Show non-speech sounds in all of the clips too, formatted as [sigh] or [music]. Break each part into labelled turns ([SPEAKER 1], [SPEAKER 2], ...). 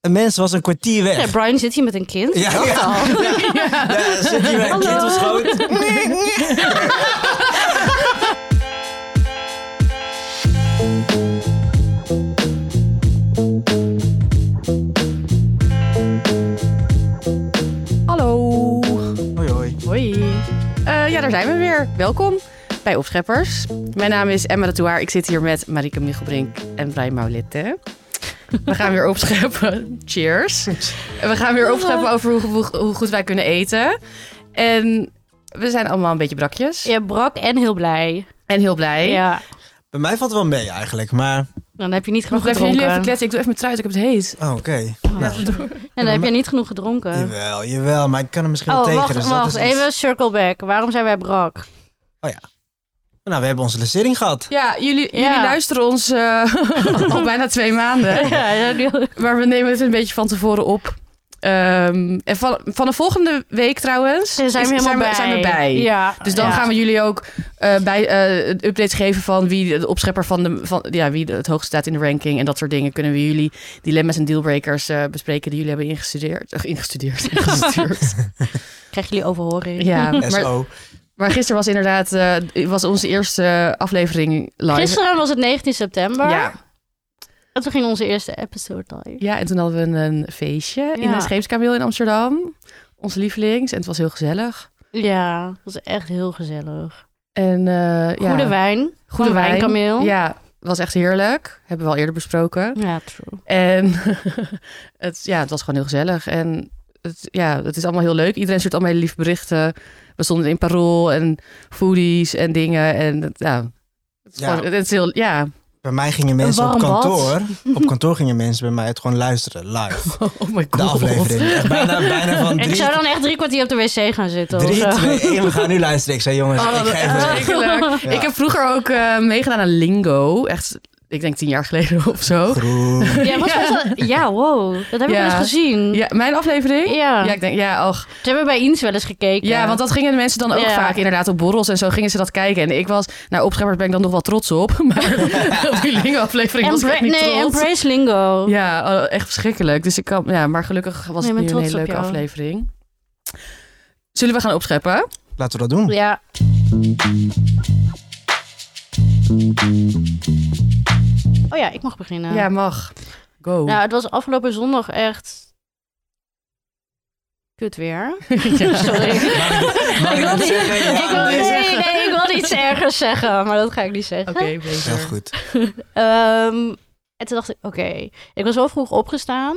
[SPEAKER 1] Een mens was een kwartier weg.
[SPEAKER 2] Ja, Brian zit hier met een kind.
[SPEAKER 1] Ja,
[SPEAKER 2] Dat
[SPEAKER 1] ja.
[SPEAKER 2] al.
[SPEAKER 1] Ja, zit hier met een
[SPEAKER 2] Hallo.
[SPEAKER 1] kind op schoot. [laughs]
[SPEAKER 3] Hallo.
[SPEAKER 1] Hoi hoi.
[SPEAKER 3] Hoi. ja, daar zijn we weer. Welkom bij Opscheppers. Mijn naam is Emma de Touaar. Ik zit hier met Marike Michelbrink en Brian Maulette. We gaan weer opscheppen. [laughs] Cheers. We gaan weer opscheppen over hoe, hoe- hoe goed wij kunnen eten. En we zijn allemaal een beetje brakjes.
[SPEAKER 2] Je brak en heel blij.
[SPEAKER 3] En heel blij.
[SPEAKER 2] Ja.
[SPEAKER 1] Bij mij valt het wel mee eigenlijk, maar...
[SPEAKER 2] Dan heb je niet
[SPEAKER 3] Ik moet
[SPEAKER 2] genoeg
[SPEAKER 3] even jullie
[SPEAKER 2] gedronken.
[SPEAKER 3] even kletsen. Ik doe even mijn truit, ik heb het heet.
[SPEAKER 1] Oh, oké. Nou,
[SPEAKER 2] En dan heb je niet genoeg gedronken.
[SPEAKER 1] jawel, jawel, maar ik kan er misschien wel
[SPEAKER 2] Oh,
[SPEAKER 1] tegen.
[SPEAKER 2] wacht,
[SPEAKER 1] dus dat
[SPEAKER 2] wacht.
[SPEAKER 1] is iets.
[SPEAKER 2] Even circle back. Waarom zijn wij
[SPEAKER 3] [laughs]
[SPEAKER 2] brak?
[SPEAKER 1] Nou, we hebben onze lancering gehad.
[SPEAKER 3] Ja, jullie, jullie
[SPEAKER 2] Ja.
[SPEAKER 3] luisteren ons eh, [laughs] al bijna twee [laughs] maanden.
[SPEAKER 2] Ja, ja, nu-
[SPEAKER 3] Maar we nemen het een beetje van tevoren op. Ehm, en van, van de volgende week trouwens.
[SPEAKER 2] Zijn we
[SPEAKER 3] is-
[SPEAKER 2] helemaal bij.
[SPEAKER 3] zijn we bij.
[SPEAKER 2] Ja.
[SPEAKER 3] Dus dan
[SPEAKER 2] Ja.
[SPEAKER 3] gaan we jullie ook eh, bij eh, updates geven van wie de opschepper van de van, ja, wie de- het hoogst staat in de ranking en dat soort dingen. Kunnen we jullie dilemma's en dealbreakers eh, bespreken die jullie hebben ingestudeerd, eh,
[SPEAKER 2] [laughs]
[SPEAKER 3] ingestudeerd, ingestuurd.
[SPEAKER 2] Krijgen jullie overhoring.
[SPEAKER 3] ja, maar,
[SPEAKER 1] SO.
[SPEAKER 3] maar gisteren was inderdaad eh, was onze eerste aflevering live.
[SPEAKER 2] Gisteren was het 19 september.
[SPEAKER 3] Nou, Ja,
[SPEAKER 2] En toen ging onze eerste episode live.
[SPEAKER 3] Ja, en toen hadden we een, een feestje in
[SPEAKER 2] Ja.
[SPEAKER 3] de Scheepskameel in Amsterdam. Onze lievelings. En het was heel gezellig.
[SPEAKER 2] Ja, dat was echt heel gezellig.
[SPEAKER 3] En, eh, ja,
[SPEAKER 2] Goede wijn. Van Wijnkameel.
[SPEAKER 3] Ja, was echt heerlijk. Hebben we al eerder besproken.
[SPEAKER 2] Ja, true.
[SPEAKER 3] En [laughs] het, ja, het was gewoon heel gezellig. En het, ja, het is allemaal heel leuk. Iedereen stuurt allemaal hele lieve berichten. We stonden in parool en foodies en dingen. En het- ja, het is,
[SPEAKER 1] Ja.
[SPEAKER 3] gewoon- het is heel... Ja,
[SPEAKER 1] Bij mij gingen mensen op
[SPEAKER 2] warm bad.
[SPEAKER 1] kantoor...
[SPEAKER 2] [laughs]
[SPEAKER 1] Op kantoor gingen mensen bij mij het gewoon luisteren, live.
[SPEAKER 3] [laughs] oh my god.
[SPEAKER 1] De aflevering. Echt bijna, bijna van
[SPEAKER 2] [laughs] Ik
[SPEAKER 1] drie,
[SPEAKER 2] zou dan echt drie kwartier op de wc gaan zitten. of
[SPEAKER 1] drie
[SPEAKER 2] zo. [laughs]
[SPEAKER 1] twee, één. We gaan nu luisteren. Ik zei, jongens,
[SPEAKER 3] Oh,
[SPEAKER 1] ik
[SPEAKER 3] dat
[SPEAKER 1] ga
[SPEAKER 3] is
[SPEAKER 1] even...
[SPEAKER 3] verschrikkelijk.
[SPEAKER 1] Ja.
[SPEAKER 3] Ik heb vroeger ook eh, meegedaan aan Lingo. Echt, ik denk tien jaar geleden [laughs] of zo.
[SPEAKER 1] Groen.
[SPEAKER 2] Ja, was best wel- ja, wow. Dat heb ik
[SPEAKER 3] Ja.
[SPEAKER 2] wel eens gezien.
[SPEAKER 3] Ja, mijn aflevering?
[SPEAKER 2] Ja.
[SPEAKER 3] ik denk, ja, och.
[SPEAKER 2] Ze hebben bij Eens wel eens gekeken.
[SPEAKER 3] Ja, want dat gingen de mensen dan ook
[SPEAKER 2] eh, Ja.
[SPEAKER 3] vaak inderdaad op borrels en zo gingen ze dat kijken. En ik was, nou, opscheppers ben ik dan nog wel trots op. [laughs] Maar op die Lingo-aflevering
[SPEAKER 2] en
[SPEAKER 3] was ik echt
[SPEAKER 2] Bra-
[SPEAKER 3] niet
[SPEAKER 2] nee,
[SPEAKER 3] trots.
[SPEAKER 2] Embrace Lingo.
[SPEAKER 3] Ja, oh, echt verschrikkelijk. Dus ik kan, ja, maar gelukkig was
[SPEAKER 2] Nee,
[SPEAKER 3] het
[SPEAKER 2] ik
[SPEAKER 3] nu
[SPEAKER 2] ben
[SPEAKER 3] een hele
[SPEAKER 2] trots op
[SPEAKER 3] leuke
[SPEAKER 2] jou.
[SPEAKER 3] aflevering. Zullen we gaan opscheppen?
[SPEAKER 1] Laten we dat doen.
[SPEAKER 2] Ja. Oh ja, ik mag beginnen.
[SPEAKER 3] Ja, mag. Go.
[SPEAKER 2] Nou, het was afgelopen zondag echt... Kut weer.
[SPEAKER 3] [laughs] Ja.
[SPEAKER 2] [laughs] Sorry.
[SPEAKER 1] Mag
[SPEAKER 2] Ik wil
[SPEAKER 1] dat
[SPEAKER 2] niet-
[SPEAKER 1] zeggen? Ja,
[SPEAKER 2] ik, wil,
[SPEAKER 1] dat is
[SPEAKER 2] nee, nee, ik wil iets ergers zeggen, maar dat ga ik niet zeggen.
[SPEAKER 3] Oké, beter.
[SPEAKER 1] Heel goed.
[SPEAKER 2] Ehm, en toen dacht ik, oké, ik was wel vroeg opgestaan.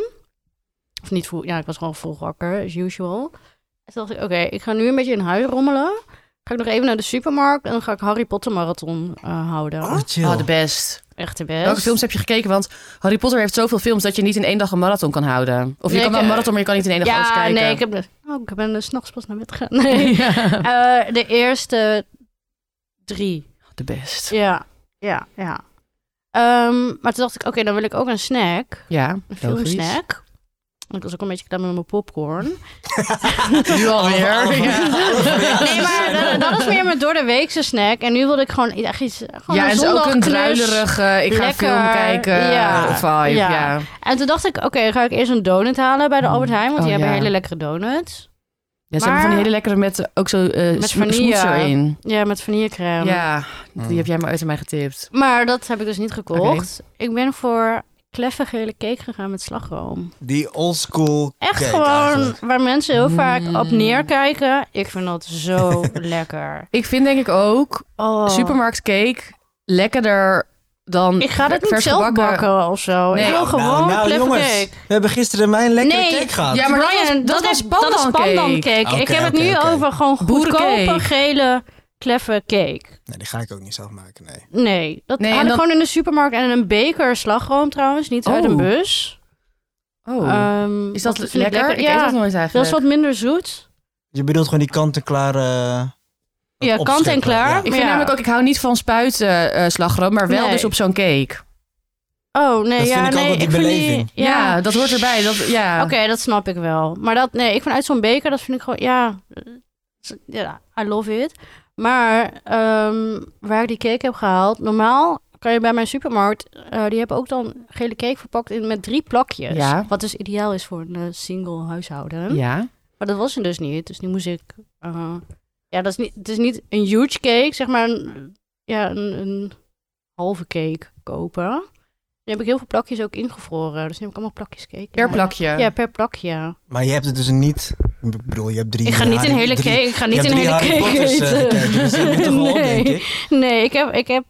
[SPEAKER 2] Of niet vroeg, ja, ik was gewoon vroeg wakker, as usual. En toen dacht ik, oké, ik ga nu een beetje in huis rommelen. Ga ik nog even naar de supermarkt en dan ga ik Harry Potter marathon eh, houden.
[SPEAKER 1] Oh, chill.
[SPEAKER 3] Oh, de best.
[SPEAKER 2] Echt de
[SPEAKER 3] Welke
[SPEAKER 2] best.
[SPEAKER 3] films heb je gekeken? Want Harry Potter heeft zoveel films dat je niet in één dag een marathon kan houden. Of je
[SPEAKER 2] Nee,
[SPEAKER 3] kan wel
[SPEAKER 2] ik- eh,
[SPEAKER 3] een marathon, maar je kan niet in één dag alles
[SPEAKER 2] ja,
[SPEAKER 3] kijken.
[SPEAKER 2] nee, ik, [laughs]
[SPEAKER 3] [laughs]
[SPEAKER 2] heb, oh, ik ben eh, 's s'nachts pas naar bed gegaan. [laughs] Nee. Eh, de eerste drie.
[SPEAKER 3] De best.
[SPEAKER 2] Ja, ja, ja. Ehm, maar toen dacht ik, oké, dan wil ik ook een snack.
[SPEAKER 3] Ja,
[SPEAKER 2] Een filmsnack. Want ik was ook een beetje klaar met mijn popcorn.
[SPEAKER 3] Nu
[SPEAKER 1] Alle-
[SPEAKER 3] alweer. Ja, [laughs]
[SPEAKER 2] Nee, maar dat, dat is meer mijn door de weekse snack. En nu wilde ik gewoon echt iets. Gewoon
[SPEAKER 3] ja
[SPEAKER 2] een
[SPEAKER 3] en zo ook een
[SPEAKER 2] zondagklus.
[SPEAKER 3] druilerig, eh, ik ga
[SPEAKER 2] Lekker.
[SPEAKER 3] film kijken
[SPEAKER 2] Ja.
[SPEAKER 3] eh, vibe.
[SPEAKER 2] Ja.
[SPEAKER 3] Ja.
[SPEAKER 2] En toen dacht ik, oké, ga ik eerst een donut halen bij de Albert Heijn. Want
[SPEAKER 3] Oh,
[SPEAKER 2] die hebben
[SPEAKER 3] ja.
[SPEAKER 2] hele lekkere donuts.
[SPEAKER 3] Ja,
[SPEAKER 2] Maar-
[SPEAKER 3] ze hebben van die hele lekkere met eh, ook zo eh
[SPEAKER 2] Met
[SPEAKER 3] met
[SPEAKER 2] vanille.
[SPEAKER 3] erin.
[SPEAKER 2] Ja, met vanillecrème.
[SPEAKER 3] ja,
[SPEAKER 1] Mm.
[SPEAKER 3] die heb jij maar uit aan mij getipt.
[SPEAKER 2] Maar dat heb ik dus niet gekocht. Ik ben voor kleffe gele cake gegaan met slagroom.
[SPEAKER 1] Die oldschool
[SPEAKER 2] Echt
[SPEAKER 1] cake
[SPEAKER 2] gewoon
[SPEAKER 1] eigenlijk.
[SPEAKER 2] waar mensen heel vaak
[SPEAKER 3] Mm.
[SPEAKER 2] op neerkijken. Ik vind dat zo
[SPEAKER 3] [laughs]
[SPEAKER 2] lekker.
[SPEAKER 3] Ik vind denk ik ook
[SPEAKER 2] Oh.
[SPEAKER 3] supermarktcake lekkerder dan
[SPEAKER 2] Ik ga dat niet
[SPEAKER 3] vers
[SPEAKER 2] zelf
[SPEAKER 3] gebakken.
[SPEAKER 2] bakken of zo.
[SPEAKER 3] Nee.
[SPEAKER 2] Ik wil
[SPEAKER 3] Nou,
[SPEAKER 2] gewoon
[SPEAKER 1] nou, nou,
[SPEAKER 2] kleffe
[SPEAKER 1] jongens,
[SPEAKER 2] cake.
[SPEAKER 1] We hebben gisteren mijn lekkere
[SPEAKER 2] Nee.
[SPEAKER 1] cake gehad.
[SPEAKER 3] Ja, maar dat was- dat was
[SPEAKER 2] is-
[SPEAKER 3] pandancake.
[SPEAKER 2] dat is pandancake.
[SPEAKER 1] Oké,
[SPEAKER 2] ik heb het
[SPEAKER 1] oké,
[SPEAKER 2] nu
[SPEAKER 1] oké.
[SPEAKER 2] over gewoon goedkope
[SPEAKER 3] Boerencake.
[SPEAKER 2] gele kleffe cake.
[SPEAKER 1] Nee, die ga ik ook niet zelf maken, nee.
[SPEAKER 2] Nee, dat
[SPEAKER 3] Nee,
[SPEAKER 2] had
[SPEAKER 3] en
[SPEAKER 2] ik
[SPEAKER 3] dan-
[SPEAKER 2] gewoon in de supermarkt en een beker slagroom trouwens, niet uit een
[SPEAKER 3] Oh.
[SPEAKER 2] bus.
[SPEAKER 3] Oh,
[SPEAKER 2] Ehm,
[SPEAKER 3] is dat
[SPEAKER 2] vind ik
[SPEAKER 3] lekker? Ik
[SPEAKER 2] Ja,
[SPEAKER 3] eet dat nooit
[SPEAKER 2] dat
[SPEAKER 3] eigenlijk.
[SPEAKER 2] is wat minder zoet.
[SPEAKER 1] Je bedoelt gewoon die kant-en-klaar... eh,
[SPEAKER 2] Ja,
[SPEAKER 1] opscheppen,
[SPEAKER 2] kant en klaar.
[SPEAKER 3] Ik
[SPEAKER 2] Maar
[SPEAKER 3] vind
[SPEAKER 2] ja.
[SPEAKER 3] namelijk ook, ik hou niet van spuiten eh, slagroom, maar wel
[SPEAKER 2] Nee.
[SPEAKER 3] dus op zo'n cake.
[SPEAKER 2] Oh, nee,
[SPEAKER 1] Dat
[SPEAKER 2] ja,
[SPEAKER 1] vind ik ook
[SPEAKER 2] nee,
[SPEAKER 1] wel die
[SPEAKER 2] vind
[SPEAKER 1] beleving.
[SPEAKER 2] Ja,
[SPEAKER 3] Ja, dat hoort erbij. Dat, ja.
[SPEAKER 2] oké, dat snap ik wel. Maar dat, nee, ik vind uit zo'n beker, dat vind ik gewoon, ja, ja I love it. Maar ehm, waar ik die cake heb gehaald, normaal kan je bij mijn supermarkt, eh, die hebben ook dan gele cake verpakt in, met drie plakjes.
[SPEAKER 3] Ja.
[SPEAKER 2] Wat dus ideaal is voor een eh, single huishouden.
[SPEAKER 3] Ja.
[SPEAKER 2] Maar dat was er dus niet. Dus nu moest ik. eh, ja, dat is niet, het is niet een huge cake, zeg maar een, ja, een, een halve cake kopen. Nu heb ik heel veel plakjes ook ingevroren. Dus nu heb ik allemaal plakjes cake.
[SPEAKER 3] Per
[SPEAKER 2] Ja.
[SPEAKER 3] plakje.
[SPEAKER 2] Ja, per plakje.
[SPEAKER 1] Maar je hebt het dus niet... Ik bedoel, je hebt drie...
[SPEAKER 2] Ik ga niet
[SPEAKER 1] Harry-
[SPEAKER 2] een hele
[SPEAKER 1] drie-
[SPEAKER 2] cake. Ik ga
[SPEAKER 1] je
[SPEAKER 2] niet
[SPEAKER 1] hebt
[SPEAKER 2] een
[SPEAKER 1] drie
[SPEAKER 2] hele
[SPEAKER 1] Harry
[SPEAKER 2] cake
[SPEAKER 1] Potters, eh, gekeken, dus dat moet
[SPEAKER 2] eten.
[SPEAKER 1] toch wel, denk
[SPEAKER 2] [laughs] nee,
[SPEAKER 1] ik.
[SPEAKER 2] nee ik, heb, ik heb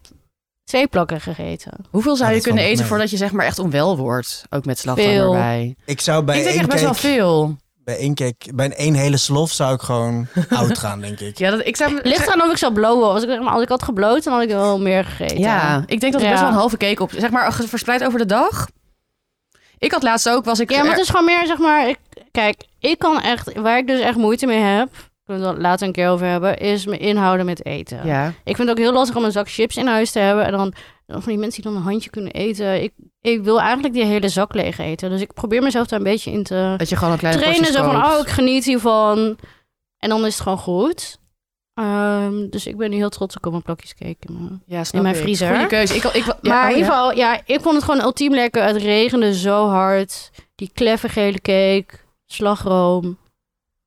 [SPEAKER 2] twee plakken gegeten.
[SPEAKER 3] Hoeveel zou
[SPEAKER 1] Ja,
[SPEAKER 3] je
[SPEAKER 1] dat valt
[SPEAKER 3] kunnen eten
[SPEAKER 1] mee.
[SPEAKER 3] voordat je zeg maar echt onwel wordt? Ook met slagroom
[SPEAKER 2] Veel.
[SPEAKER 3] erbij.
[SPEAKER 1] Ik zou bij
[SPEAKER 3] ik denk echt
[SPEAKER 1] één
[SPEAKER 3] best wel
[SPEAKER 1] cake...
[SPEAKER 3] veel.
[SPEAKER 1] Bij één cake... Bij een één hele slof zou ik
[SPEAKER 2] [laughs]
[SPEAKER 1] gewoon oud gaan, denk ik.
[SPEAKER 3] Ja, dat, ik zou...
[SPEAKER 2] Ligt eraan of ik zou blowen. Als ik, zeg maar, als ik had gebloot, dan had ik wel meer gegeten.
[SPEAKER 3] Ja, ik denk dat ik
[SPEAKER 2] Ja.
[SPEAKER 3] best wel een halve cake op... Zeg maar ge- verspreid over de dag. Ik had laatst ook, was ik...
[SPEAKER 2] Ja, maar
[SPEAKER 3] er-
[SPEAKER 2] het is gewoon meer, zeg maar... Ik, kijk, ik kan echt... Waar ik dus echt moeite mee heb... Kunnen we het later een keer over hebben... Is me inhouden met eten.
[SPEAKER 3] Ja.
[SPEAKER 2] Ik vind het ook heel lastig om een zak chips in huis te hebben. En dan dan van die mensen die dan een handje kunnen eten. Ik, ik wil eigenlijk die hele zak leeg eten. Dus ik probeer mezelf daar een beetje in te
[SPEAKER 3] Dat je gewoon een kleine
[SPEAKER 2] trainen.
[SPEAKER 3] porties
[SPEAKER 2] Zo van,
[SPEAKER 3] koopt.
[SPEAKER 2] oh, ik geniet hiervan. En dan is het gewoon goed. Ehm, dus ik ben nu heel trots ook op mijn plakjes cake. in mijn-
[SPEAKER 3] Ja, snap
[SPEAKER 2] in mijn
[SPEAKER 3] ik.
[SPEAKER 2] vriezer.
[SPEAKER 3] Goeie keuze. Ik, ik, ja,
[SPEAKER 2] maar in
[SPEAKER 3] oh, ja.
[SPEAKER 2] ieder geval, ja, ik vond het gewoon ultiem lekker. Het regende zo hard. Die kleffe gele cake, slagroom.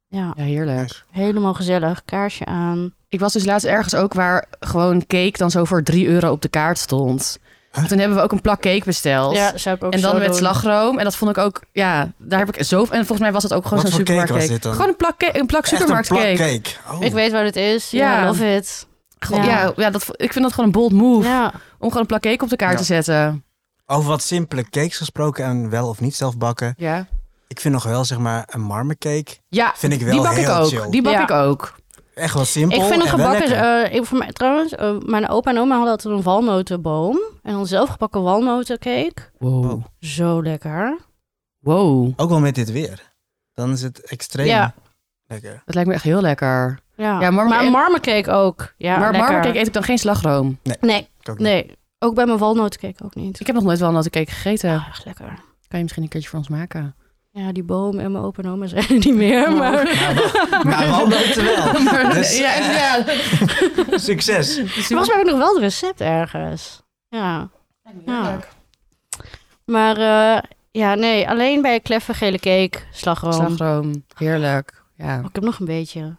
[SPEAKER 2] Ja,
[SPEAKER 3] Ja, heerlijk.
[SPEAKER 2] helemaal gezellig. Kaarsje aan.
[SPEAKER 3] Ik was dus laatst ergens ook waar gewoon cake dan zo voor 3 euro op de kaart stond. En Toen hebben we ook een plak cake besteld.
[SPEAKER 2] ja, zou ik ook
[SPEAKER 3] en
[SPEAKER 2] zo
[SPEAKER 3] dan met
[SPEAKER 2] doen.
[SPEAKER 3] slagroom. En dat vond ik ook, ja, daar heb ik zo... En volgens mij was het ook gewoon
[SPEAKER 1] Wat
[SPEAKER 3] zo'n
[SPEAKER 1] voor cake was
[SPEAKER 3] supermarkt cake.
[SPEAKER 1] dit dan?
[SPEAKER 3] Gewoon een plak, cake- een plak supermarkt
[SPEAKER 1] Echt een
[SPEAKER 3] cake.
[SPEAKER 1] plak cake. Oh.
[SPEAKER 2] Ik weet wat het is. Ja,
[SPEAKER 3] Ja.
[SPEAKER 2] love it.
[SPEAKER 3] Gewoon-
[SPEAKER 2] Ja.
[SPEAKER 3] Ja, ja, dat, ik vind dat gewoon een bold move.
[SPEAKER 2] Ja,
[SPEAKER 3] Om gewoon een plak cake op de kaart
[SPEAKER 1] Ja.
[SPEAKER 3] te zetten.
[SPEAKER 1] Over wat simpele cakes gesproken en wel of niet zelf bakken.
[SPEAKER 3] Ja.
[SPEAKER 1] Ik vind nog wel, zeg maar, een marmercake
[SPEAKER 3] Ja,
[SPEAKER 1] vind ik wel
[SPEAKER 3] die bak
[SPEAKER 1] heel
[SPEAKER 3] ik ook.
[SPEAKER 1] chill.
[SPEAKER 3] Die bak
[SPEAKER 2] Ja.
[SPEAKER 3] ik ook.
[SPEAKER 1] Echt wel simpel
[SPEAKER 2] ik vind een
[SPEAKER 1] en wel
[SPEAKER 2] gebakken...
[SPEAKER 1] lekker.
[SPEAKER 2] eh, ik, voor mij, trouwens, eh, mijn opa en oma hadden altijd een walnotenboom. En dan zelfgebakken walnotencake.
[SPEAKER 1] Oh.
[SPEAKER 3] Wow.
[SPEAKER 2] Zo lekker.
[SPEAKER 3] Wow.
[SPEAKER 1] Ook wel met dit weer. Dan is het extreem
[SPEAKER 2] Ja.
[SPEAKER 1] lekker.
[SPEAKER 3] Dat lijkt me echt heel lekker.
[SPEAKER 2] Ja,
[SPEAKER 3] Ja, marmer-
[SPEAKER 2] maar een marmercake ook. Ja,
[SPEAKER 3] maar
[SPEAKER 2] lekker.
[SPEAKER 3] marmercake eet ik dan geen slagroom.
[SPEAKER 2] Nee,
[SPEAKER 1] Ik ook niet.
[SPEAKER 2] nee. Ook bij mijn walnotencake ook niet.
[SPEAKER 3] Ik heb nog nooit wel een cake gegeten.
[SPEAKER 2] Ah, echt lekker.
[SPEAKER 3] Kan je misschien een keertje voor ons maken?
[SPEAKER 2] Ja, die boom en mijn opa en oma [laughs] zijn er niet meer.
[SPEAKER 3] Oh. [laughs]
[SPEAKER 2] Maar
[SPEAKER 1] Maar,
[SPEAKER 2] [laughs]
[SPEAKER 1] wa- maar walnoten wel. [laughs]
[SPEAKER 3] Maar-
[SPEAKER 1] Dus- eh,
[SPEAKER 3] ja, en- ja.
[SPEAKER 1] Succes.
[SPEAKER 2] volgens mij heb ik nog wel het recept ergens. Ja. Ja. Maar eh, ja, nee, alleen bij kleffe gele cake, slagroom.
[SPEAKER 3] Slagroom. Heerlijk. Ja.
[SPEAKER 2] Oh, ik heb nog een beetje.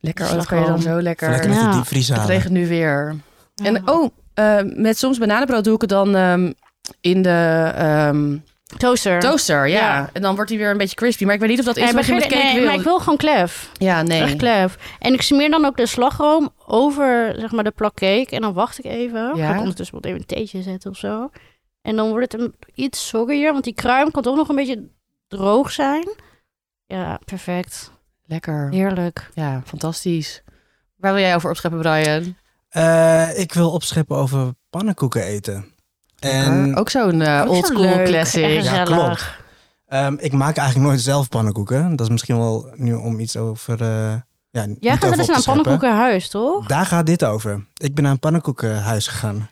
[SPEAKER 3] Lekker. Oh, dat kan je dan zo lekker.
[SPEAKER 1] Lekker
[SPEAKER 2] Ja.
[SPEAKER 1] met de diepvries
[SPEAKER 3] Het
[SPEAKER 1] halen.
[SPEAKER 3] regent nu weer.
[SPEAKER 2] Ja.
[SPEAKER 3] En oh, eh, met soms bananenbrood doe ik het dan ehm, in de ehm,
[SPEAKER 2] toaster.
[SPEAKER 3] toaster. Ja.
[SPEAKER 2] Ja.
[SPEAKER 3] En dan wordt hij weer een beetje crispy. Maar ik weet niet of dat
[SPEAKER 2] Nee,
[SPEAKER 3] is
[SPEAKER 2] maar,
[SPEAKER 3] wat je met
[SPEAKER 2] gele-
[SPEAKER 3] cake
[SPEAKER 2] nee,
[SPEAKER 3] wil.
[SPEAKER 2] maar ik wil gewoon klef.
[SPEAKER 3] Ja, nee.
[SPEAKER 2] Echt klef. En ik smeer dan ook de slagroom over zeg maar, de plak cake. En dan wacht ik even.
[SPEAKER 3] Ja.
[SPEAKER 2] Ga ik ondertussen wel even een theetje zetten of zo. En dan wordt het een, iets soggier. Want die kruim kan toch nog een beetje droog zijn. Ja, perfect.
[SPEAKER 3] Lekker.
[SPEAKER 2] Heerlijk.
[SPEAKER 3] Ja, fantastisch. Waar wil jij over opscheppen, Brian?
[SPEAKER 1] Eh, ik wil opscheppen over pannenkoeken eten. En
[SPEAKER 2] Oh.
[SPEAKER 3] ook zo'n eh,
[SPEAKER 2] Ook zo
[SPEAKER 3] old school
[SPEAKER 2] leuk.
[SPEAKER 3] classic.
[SPEAKER 2] Echt
[SPEAKER 1] Ja,
[SPEAKER 2] gezellig.
[SPEAKER 1] klopt. ehm, ik maak eigenlijk nooit zelf pannenkoeken. Dat is misschien wel nu om iets over... eh ja, niet
[SPEAKER 2] Jij gaat
[SPEAKER 1] over op te
[SPEAKER 2] wel eens dus naar een
[SPEAKER 1] scheppen.
[SPEAKER 2] pannenkoekenhuis, toch?
[SPEAKER 1] Daar gaat dit over. Ik ben naar een pannenkoekenhuis gegaan.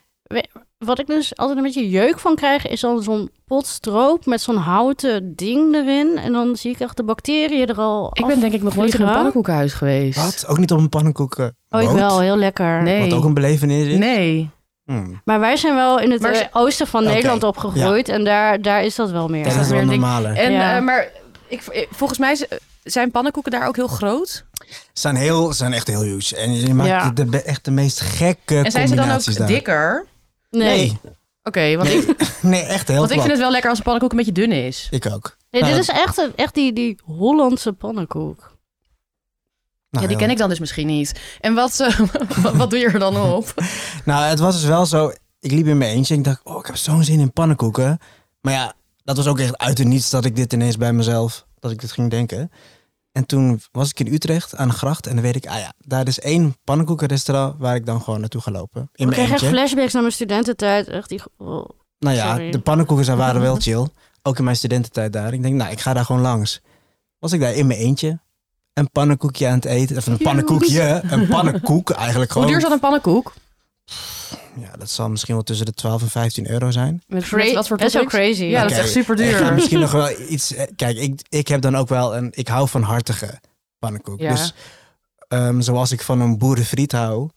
[SPEAKER 2] Wat ik dus altijd een beetje jeuk van krijg, is dan zo'n pot stroop met zo'n houten ding erin. En dan zie ik echt de bacteriën er al
[SPEAKER 3] Ik ben denk ik nog nooit in een
[SPEAKER 2] afvliegen.
[SPEAKER 3] pannenkoekenhuis geweest.
[SPEAKER 1] Wat? Ook niet op een pannenkoeken.
[SPEAKER 2] Oh, ik wel. Heel lekker.
[SPEAKER 3] Nee.
[SPEAKER 1] Wat ook een belevenis is.
[SPEAKER 3] Nee.
[SPEAKER 1] Hmm.
[SPEAKER 2] Maar wij zijn wel in het
[SPEAKER 3] Maar
[SPEAKER 2] eh,
[SPEAKER 3] ze-
[SPEAKER 2] oosten van
[SPEAKER 1] Oké,
[SPEAKER 2] Nederland opgegroeid. En daar, daar is dat wel meer.
[SPEAKER 1] Dat is
[SPEAKER 3] weer
[SPEAKER 1] wel
[SPEAKER 3] een ding.
[SPEAKER 1] normaler.
[SPEAKER 3] En,
[SPEAKER 2] Ja.
[SPEAKER 3] eh, maar ik, ik- volgens mij z- zijn pannenkoeken daar ook heel groot.
[SPEAKER 1] Ze zijn, heel, ze zijn echt heel huge. En je maakt
[SPEAKER 2] Ja.
[SPEAKER 1] de, be- echt de meest gekke
[SPEAKER 3] En zijn ze dan
[SPEAKER 1] combinaties
[SPEAKER 3] ook
[SPEAKER 1] daar.
[SPEAKER 3] dikker? Oké,
[SPEAKER 2] nee.
[SPEAKER 1] Nee,
[SPEAKER 3] want, ik,
[SPEAKER 1] [laughs] nee, echt heel
[SPEAKER 3] want ik
[SPEAKER 1] plat.
[SPEAKER 3] vind het wel lekker als een pannenkoek een beetje dun is.
[SPEAKER 1] Ik ook.
[SPEAKER 2] Nee, dit
[SPEAKER 1] Nou,
[SPEAKER 2] is echt, een- echt die, die Hollandse pannenkoek.
[SPEAKER 1] Nou,
[SPEAKER 3] ja, die ken ik dan dus misschien niet. En wat, eh, [laughs] wat, wat doe je er dan op?
[SPEAKER 1] Nou, het was dus wel zo. Ik liep in mijn eentje en ik dacht, oh, ik heb zo'n zin in pannenkoeken. Maar ja, dat was ook echt uit het niets dat ik dit ineens bij mezelf, dat ik dit ging denken. En toen was ik in Utrecht aan de gracht en dan weet ik, ah ja, daar is één pannenkoekenrestaurant waar ik dan gewoon naartoe ga lopen. In
[SPEAKER 2] Ik
[SPEAKER 1] mijn
[SPEAKER 2] krijg echt
[SPEAKER 1] eentje.
[SPEAKER 2] flashbacks naar mijn studententijd. Echt die... oh.
[SPEAKER 1] Nou ja,
[SPEAKER 2] Sorry.
[SPEAKER 1] de pannenkoeken zijn- waren wel chill. Ook in mijn studententijd daar. Ik denk, nou, ik ga daar gewoon langs. Was ik daar in mijn eentje een pannenkoekje aan het eten. Of een pannenkoekje. Een pannenkoek eigenlijk
[SPEAKER 3] Hoe
[SPEAKER 1] gewoon.
[SPEAKER 3] duur is dat een pannenkoek?
[SPEAKER 1] Ja, dat zal misschien wel tussen de 12 en 15 euro zijn.
[SPEAKER 3] Met,
[SPEAKER 2] Cra-
[SPEAKER 3] met wat voor
[SPEAKER 2] best wel
[SPEAKER 3] toppings?
[SPEAKER 2] crazy.
[SPEAKER 3] Ja, dat is
[SPEAKER 1] Oké,
[SPEAKER 3] echt super
[SPEAKER 1] Ik heb
[SPEAKER 3] duur.
[SPEAKER 1] misschien nog wel iets... eh, Kijk, ik, ik heb dan ook wel een... Ik hou van hartige pannenkoek.
[SPEAKER 3] Ja.
[SPEAKER 1] Dus ehm, zoals ik van een boerenfriet hou...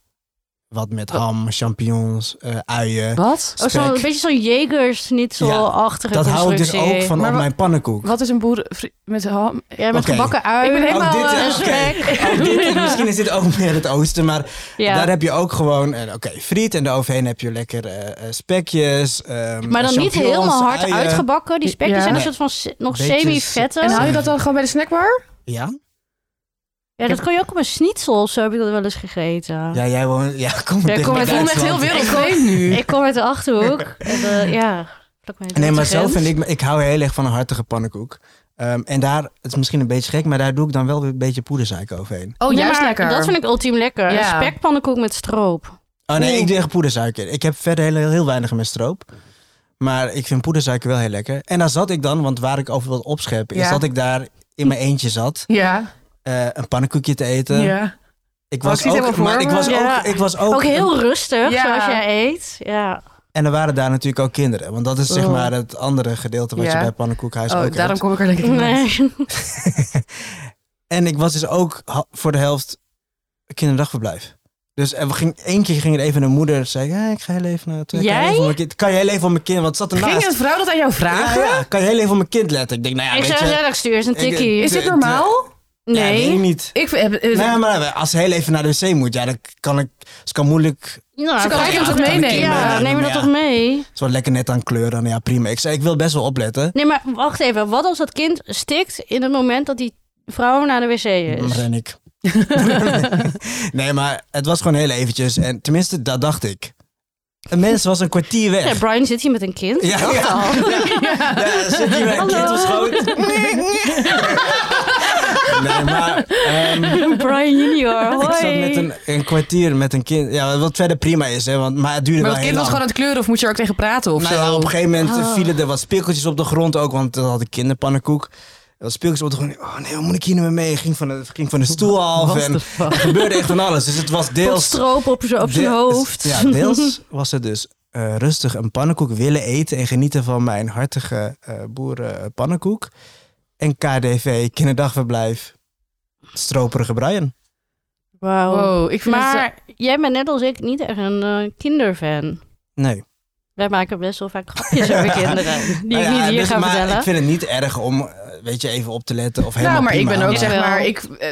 [SPEAKER 1] Wat met ham, champignons, eh, uien.
[SPEAKER 3] Wat?
[SPEAKER 2] Oh, zo'n een
[SPEAKER 1] spek.
[SPEAKER 2] beetje zo'n jegers niet zo
[SPEAKER 1] Ja,
[SPEAKER 2] achtige
[SPEAKER 1] Dat hou ik dus
[SPEAKER 2] constructie.
[SPEAKER 1] ook van
[SPEAKER 3] Maar
[SPEAKER 1] op
[SPEAKER 3] wa-
[SPEAKER 1] mijn pannenkoek.
[SPEAKER 3] Wat is een boer vri- met ham?
[SPEAKER 2] Ja, met
[SPEAKER 1] Oké.
[SPEAKER 2] gebakken ui.
[SPEAKER 3] Ik ben helemaal,
[SPEAKER 1] dit,
[SPEAKER 2] eh,
[SPEAKER 1] eh,
[SPEAKER 2] een
[SPEAKER 1] oké.
[SPEAKER 2] spek.
[SPEAKER 1] Oh, dit-
[SPEAKER 2] [laughs]
[SPEAKER 1] misschien is dit ook meer het oosten, maar
[SPEAKER 2] Ja.
[SPEAKER 1] daar heb je ook gewoon, eh, oké, friet en daaroverheen heb je lekker eh, eh, spekjes. ehm,
[SPEAKER 2] maar dan niet
[SPEAKER 1] champignons,
[SPEAKER 2] helemaal hard
[SPEAKER 1] uien.
[SPEAKER 2] uitgebakken. Die spekjes
[SPEAKER 3] Ja.
[SPEAKER 2] zijn een
[SPEAKER 1] Nee.
[SPEAKER 2] soort van se- nog
[SPEAKER 1] Beetje
[SPEAKER 2] semi-vette.
[SPEAKER 3] En hou je dat dan gewoon bij de snackbar?
[SPEAKER 1] Ja?
[SPEAKER 2] Ja, dat kan je ook op een schnitzel of zo heb ik dat wel eens gegeten.
[SPEAKER 1] Ja, jij woont, ja, [laughs] kom
[SPEAKER 2] Ja,
[SPEAKER 1] maar
[SPEAKER 2] kom, ik voel me echt heel
[SPEAKER 1] veel.
[SPEAKER 3] wereldvreemd nu.
[SPEAKER 2] Ik kom uit de Achterhoek. [laughs] en, eh, ja, vlak bij de
[SPEAKER 1] Nee, maar
[SPEAKER 2] grens.
[SPEAKER 1] zo vind ik, ik hou heel erg van een hartige pannenkoek. Ehm, en daar, het is misschien een beetje gek, maar daar doe ik dan wel weer een beetje poedersuiker overheen.
[SPEAKER 3] Oh,
[SPEAKER 2] Ja,
[SPEAKER 3] juist
[SPEAKER 2] maar
[SPEAKER 3] lekker.
[SPEAKER 2] Dat vind ik ultiem lekker.
[SPEAKER 3] Ja.
[SPEAKER 2] Een spekpannenkoek met stroop.
[SPEAKER 1] Oh nee,
[SPEAKER 3] Oeh.
[SPEAKER 1] ik doe echt poedersuiker. Ik heb verder heel, heel, heel weinig met stroop. Maar ik vind poedersuiker wel heel lekker. En daar zat ik dan, want waar ik over wil opscheppen, is
[SPEAKER 3] Ja.
[SPEAKER 1] dat ik daar in mijn eentje zat,
[SPEAKER 3] Ja.
[SPEAKER 1] eh, een pannenkoekje te eten. Ik
[SPEAKER 3] ja. Oh, ik
[SPEAKER 1] was
[SPEAKER 3] zie het
[SPEAKER 1] ook,
[SPEAKER 3] helemaal voor
[SPEAKER 1] maar ik
[SPEAKER 3] me.
[SPEAKER 1] was
[SPEAKER 2] Ja.
[SPEAKER 1] ook, ik was ook,
[SPEAKER 2] Ook heel rustig,
[SPEAKER 3] Ja.
[SPEAKER 2] zoals jij eet. Ja.
[SPEAKER 1] en er waren daar natuurlijk ook kinderen, want dat is zeg
[SPEAKER 2] Oh.
[SPEAKER 1] maar het andere gedeelte wat
[SPEAKER 3] Ja.
[SPEAKER 1] je bij pannenkoekhuis
[SPEAKER 3] Oh,
[SPEAKER 1] ook
[SPEAKER 3] daarom
[SPEAKER 1] hebt.
[SPEAKER 3] kom ik er lekker niet uit.
[SPEAKER 2] [laughs] Nee.
[SPEAKER 1] En ik was dus ook ha- voor de helft kinderdagverblijf. Dus eh, we ging, één keer ging er even een moeder zei, "Ja, ik ga heel even naar het kan je heel
[SPEAKER 2] Jij?
[SPEAKER 1] even op mijn kind- Kan je heel even op mijn kind, want het zat
[SPEAKER 3] Ging
[SPEAKER 1] ernaast.
[SPEAKER 3] een vrouw dat aan jou vragen?
[SPEAKER 1] Ja, ja, kan je heel even op mijn kind letten? Ik denk, nou ja,
[SPEAKER 2] ik
[SPEAKER 1] weet
[SPEAKER 2] zou
[SPEAKER 1] je...
[SPEAKER 2] zeggen, stuur eens een
[SPEAKER 1] ik- eh,
[SPEAKER 2] tikkie.
[SPEAKER 3] Is dit
[SPEAKER 1] de-
[SPEAKER 3] normaal?
[SPEAKER 1] ja,
[SPEAKER 2] Nee.
[SPEAKER 1] nee, niet.
[SPEAKER 3] Ik heb... eh,
[SPEAKER 1] Nee, maar nou, als ze heel even naar de wc moet, ja, dan kan ik... Ze kan moeilijk...
[SPEAKER 2] Nou,
[SPEAKER 3] Ze kan
[SPEAKER 2] vraag
[SPEAKER 3] het
[SPEAKER 2] je
[SPEAKER 3] hem
[SPEAKER 2] dat
[SPEAKER 3] toch
[SPEAKER 2] aan-
[SPEAKER 3] meenemen?
[SPEAKER 2] Ja, neem je dat
[SPEAKER 1] Ja.
[SPEAKER 2] toch mee?
[SPEAKER 1] Ze wordt lekker net aan kleur dan. Ja, prima. Ik zei, ik wil best wel opletten.
[SPEAKER 2] Nee, maar wacht even. Wat als dat kind stikt in het moment dat die vrouw naar de wc
[SPEAKER 1] Dan
[SPEAKER 2] is?
[SPEAKER 1] ren ik. [laughs] nee, maar het was gewoon heel eventjes. En tenminste, dat dacht ik. Een mens was een kwartier weg.
[SPEAKER 2] Ja, Brian zit hier met een kind.
[SPEAKER 1] Ja,
[SPEAKER 2] Dat
[SPEAKER 1] ja.
[SPEAKER 2] al.
[SPEAKER 1] Ja, zit hier met een kind op schoot. Nee, maar ehm,
[SPEAKER 2] [laughs] Brian junior,
[SPEAKER 1] [laughs]
[SPEAKER 2] hoi.
[SPEAKER 1] ik zat met een, een kwartier met een kind. Ja, wat verder prima is, hè, want, maar het duurde
[SPEAKER 3] Maar
[SPEAKER 1] wel
[SPEAKER 3] dat
[SPEAKER 1] heel
[SPEAKER 3] kind was
[SPEAKER 1] lang.
[SPEAKER 3] gewoon aan het kleuren of moet je er ook tegen praten of
[SPEAKER 1] Nou ja,
[SPEAKER 3] zo?
[SPEAKER 1] op een gegeven moment eh,
[SPEAKER 2] Ah.
[SPEAKER 1] vielen er wat speelgoedjes op de grond ook, want dat had ik kinderpannenkoek. Er was speelgoedjes op de grond. Oh nee, hoe moet ik hier nou mee? mee? Ik Ging van de, ging van de stoel af en er gebeurde echt van alles. Dus het was
[SPEAKER 2] Tot
[SPEAKER 1] deels...
[SPEAKER 2] stroop op zijn op zijn
[SPEAKER 1] de-
[SPEAKER 2] hoofd.
[SPEAKER 1] Ja, deels was het dus eh, rustig een pannenkoek willen eten en genieten van mijn hartige eh boerenpannenkoek. En KDV, kinderdagverblijf, stroperige Brian.
[SPEAKER 2] [laughs] Wauw.
[SPEAKER 3] Wow, ik vind het...
[SPEAKER 2] Maar jij bent net als ik niet echt een eh, kinderfan.
[SPEAKER 1] Nee.
[SPEAKER 2] Wij maken best wel vaak
[SPEAKER 1] [laughs]
[SPEAKER 2] grapjes over kinderen. Die
[SPEAKER 1] Nou
[SPEAKER 2] ik
[SPEAKER 1] ja,
[SPEAKER 2] niet hier
[SPEAKER 1] dus-
[SPEAKER 2] ga
[SPEAKER 1] maar
[SPEAKER 2] vertellen.
[SPEAKER 1] Ik vind het niet erg om, eh, weet je, even op te letten of helemaal
[SPEAKER 3] Nou, maar ik
[SPEAKER 1] prima.
[SPEAKER 3] ben ook
[SPEAKER 2] Ja.
[SPEAKER 3] zeg
[SPEAKER 2] Wel.
[SPEAKER 3] maar... Ik, eh,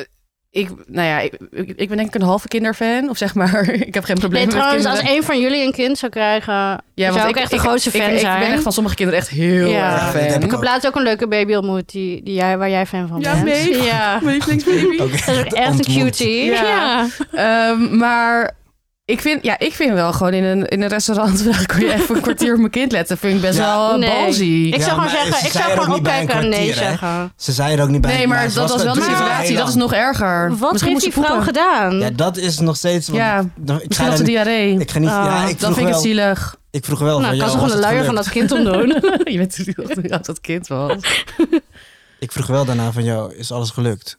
[SPEAKER 3] ik, nou ja, ik, ik ik ben denk ik een halve kinderfan. Of zeg maar, [laughs] ik heb geen probleem
[SPEAKER 2] Nee,
[SPEAKER 3] met
[SPEAKER 2] trouwens, als
[SPEAKER 3] kinderen.
[SPEAKER 2] één van jullie een kind zou krijgen,
[SPEAKER 3] ja,
[SPEAKER 2] zou ik echt de grootste fan
[SPEAKER 3] ik,
[SPEAKER 2] zijn.
[SPEAKER 3] Ik ben echt van sommige kinderen echt heel
[SPEAKER 2] Ja.
[SPEAKER 1] Ja,
[SPEAKER 3] erg
[SPEAKER 1] dat
[SPEAKER 3] fan.
[SPEAKER 1] heb
[SPEAKER 2] Ik heb
[SPEAKER 1] Ook.
[SPEAKER 2] laatst ook een leuke baby ontmoet die, die jij, waar jij fan van
[SPEAKER 3] Ja,
[SPEAKER 2] bent.
[SPEAKER 3] nee.
[SPEAKER 2] [laughs] Ja,
[SPEAKER 3] Mijn lievelingsbaby.
[SPEAKER 1] Ook
[SPEAKER 2] dat is ook echt een
[SPEAKER 1] [laughs] ontmoet.
[SPEAKER 2] cutie.
[SPEAKER 3] Ja.
[SPEAKER 2] Ja.
[SPEAKER 3] Ehm, maar ik vind, ja, ik vind wel gewoon in een, in een restaurant [laughs] vragen, kun je even een kwartier op mijn kind letten. Vind ik best
[SPEAKER 1] Ja.
[SPEAKER 3] wel
[SPEAKER 2] Nee. Ik
[SPEAKER 3] nee.
[SPEAKER 1] Ja,
[SPEAKER 2] zou gewoon
[SPEAKER 1] maar
[SPEAKER 2] zeggen,
[SPEAKER 1] ze
[SPEAKER 2] ik
[SPEAKER 1] zei
[SPEAKER 2] zou
[SPEAKER 1] er ook
[SPEAKER 2] gewoon
[SPEAKER 1] niet bij een
[SPEAKER 2] oppakken en nee
[SPEAKER 1] kwartier, hè?
[SPEAKER 2] zeggen.
[SPEAKER 1] Ze zei er ook niet bij.
[SPEAKER 3] Nee, maar
[SPEAKER 1] ze
[SPEAKER 3] dat was wel de
[SPEAKER 1] doet ze heel
[SPEAKER 3] situatie. Dat is
[SPEAKER 1] lang.
[SPEAKER 3] nog erger.
[SPEAKER 2] Wat
[SPEAKER 3] Misschien
[SPEAKER 2] heeft
[SPEAKER 3] moest
[SPEAKER 2] die
[SPEAKER 3] ze
[SPEAKER 2] vrouw
[SPEAKER 3] poepen.
[SPEAKER 2] gedaan?
[SPEAKER 1] Ja, dat is nog steeds... want-
[SPEAKER 3] Ja,
[SPEAKER 1] nou, ik
[SPEAKER 3] Misschien
[SPEAKER 1] ga
[SPEAKER 3] had ze
[SPEAKER 1] er niet...
[SPEAKER 3] diarree.
[SPEAKER 1] Ik ga niet...
[SPEAKER 2] Ah,
[SPEAKER 1] ja, ik
[SPEAKER 3] Dan
[SPEAKER 1] vroeg
[SPEAKER 3] vind ik het
[SPEAKER 1] wel...
[SPEAKER 3] zielig.
[SPEAKER 1] Ik vroeg wel
[SPEAKER 2] nou,
[SPEAKER 1] van,
[SPEAKER 2] ik kan
[SPEAKER 1] joh,
[SPEAKER 2] ze
[SPEAKER 1] was
[SPEAKER 2] gewoon de
[SPEAKER 1] het
[SPEAKER 2] luier
[SPEAKER 1] gelukt?
[SPEAKER 2] van dat kind
[SPEAKER 1] [laughs]
[SPEAKER 2] omdoen.
[SPEAKER 3] [laughs] je weet natuurlijk niet als dat kind was.
[SPEAKER 1] Ik vroeg wel daarna van, jou is alles gelukt?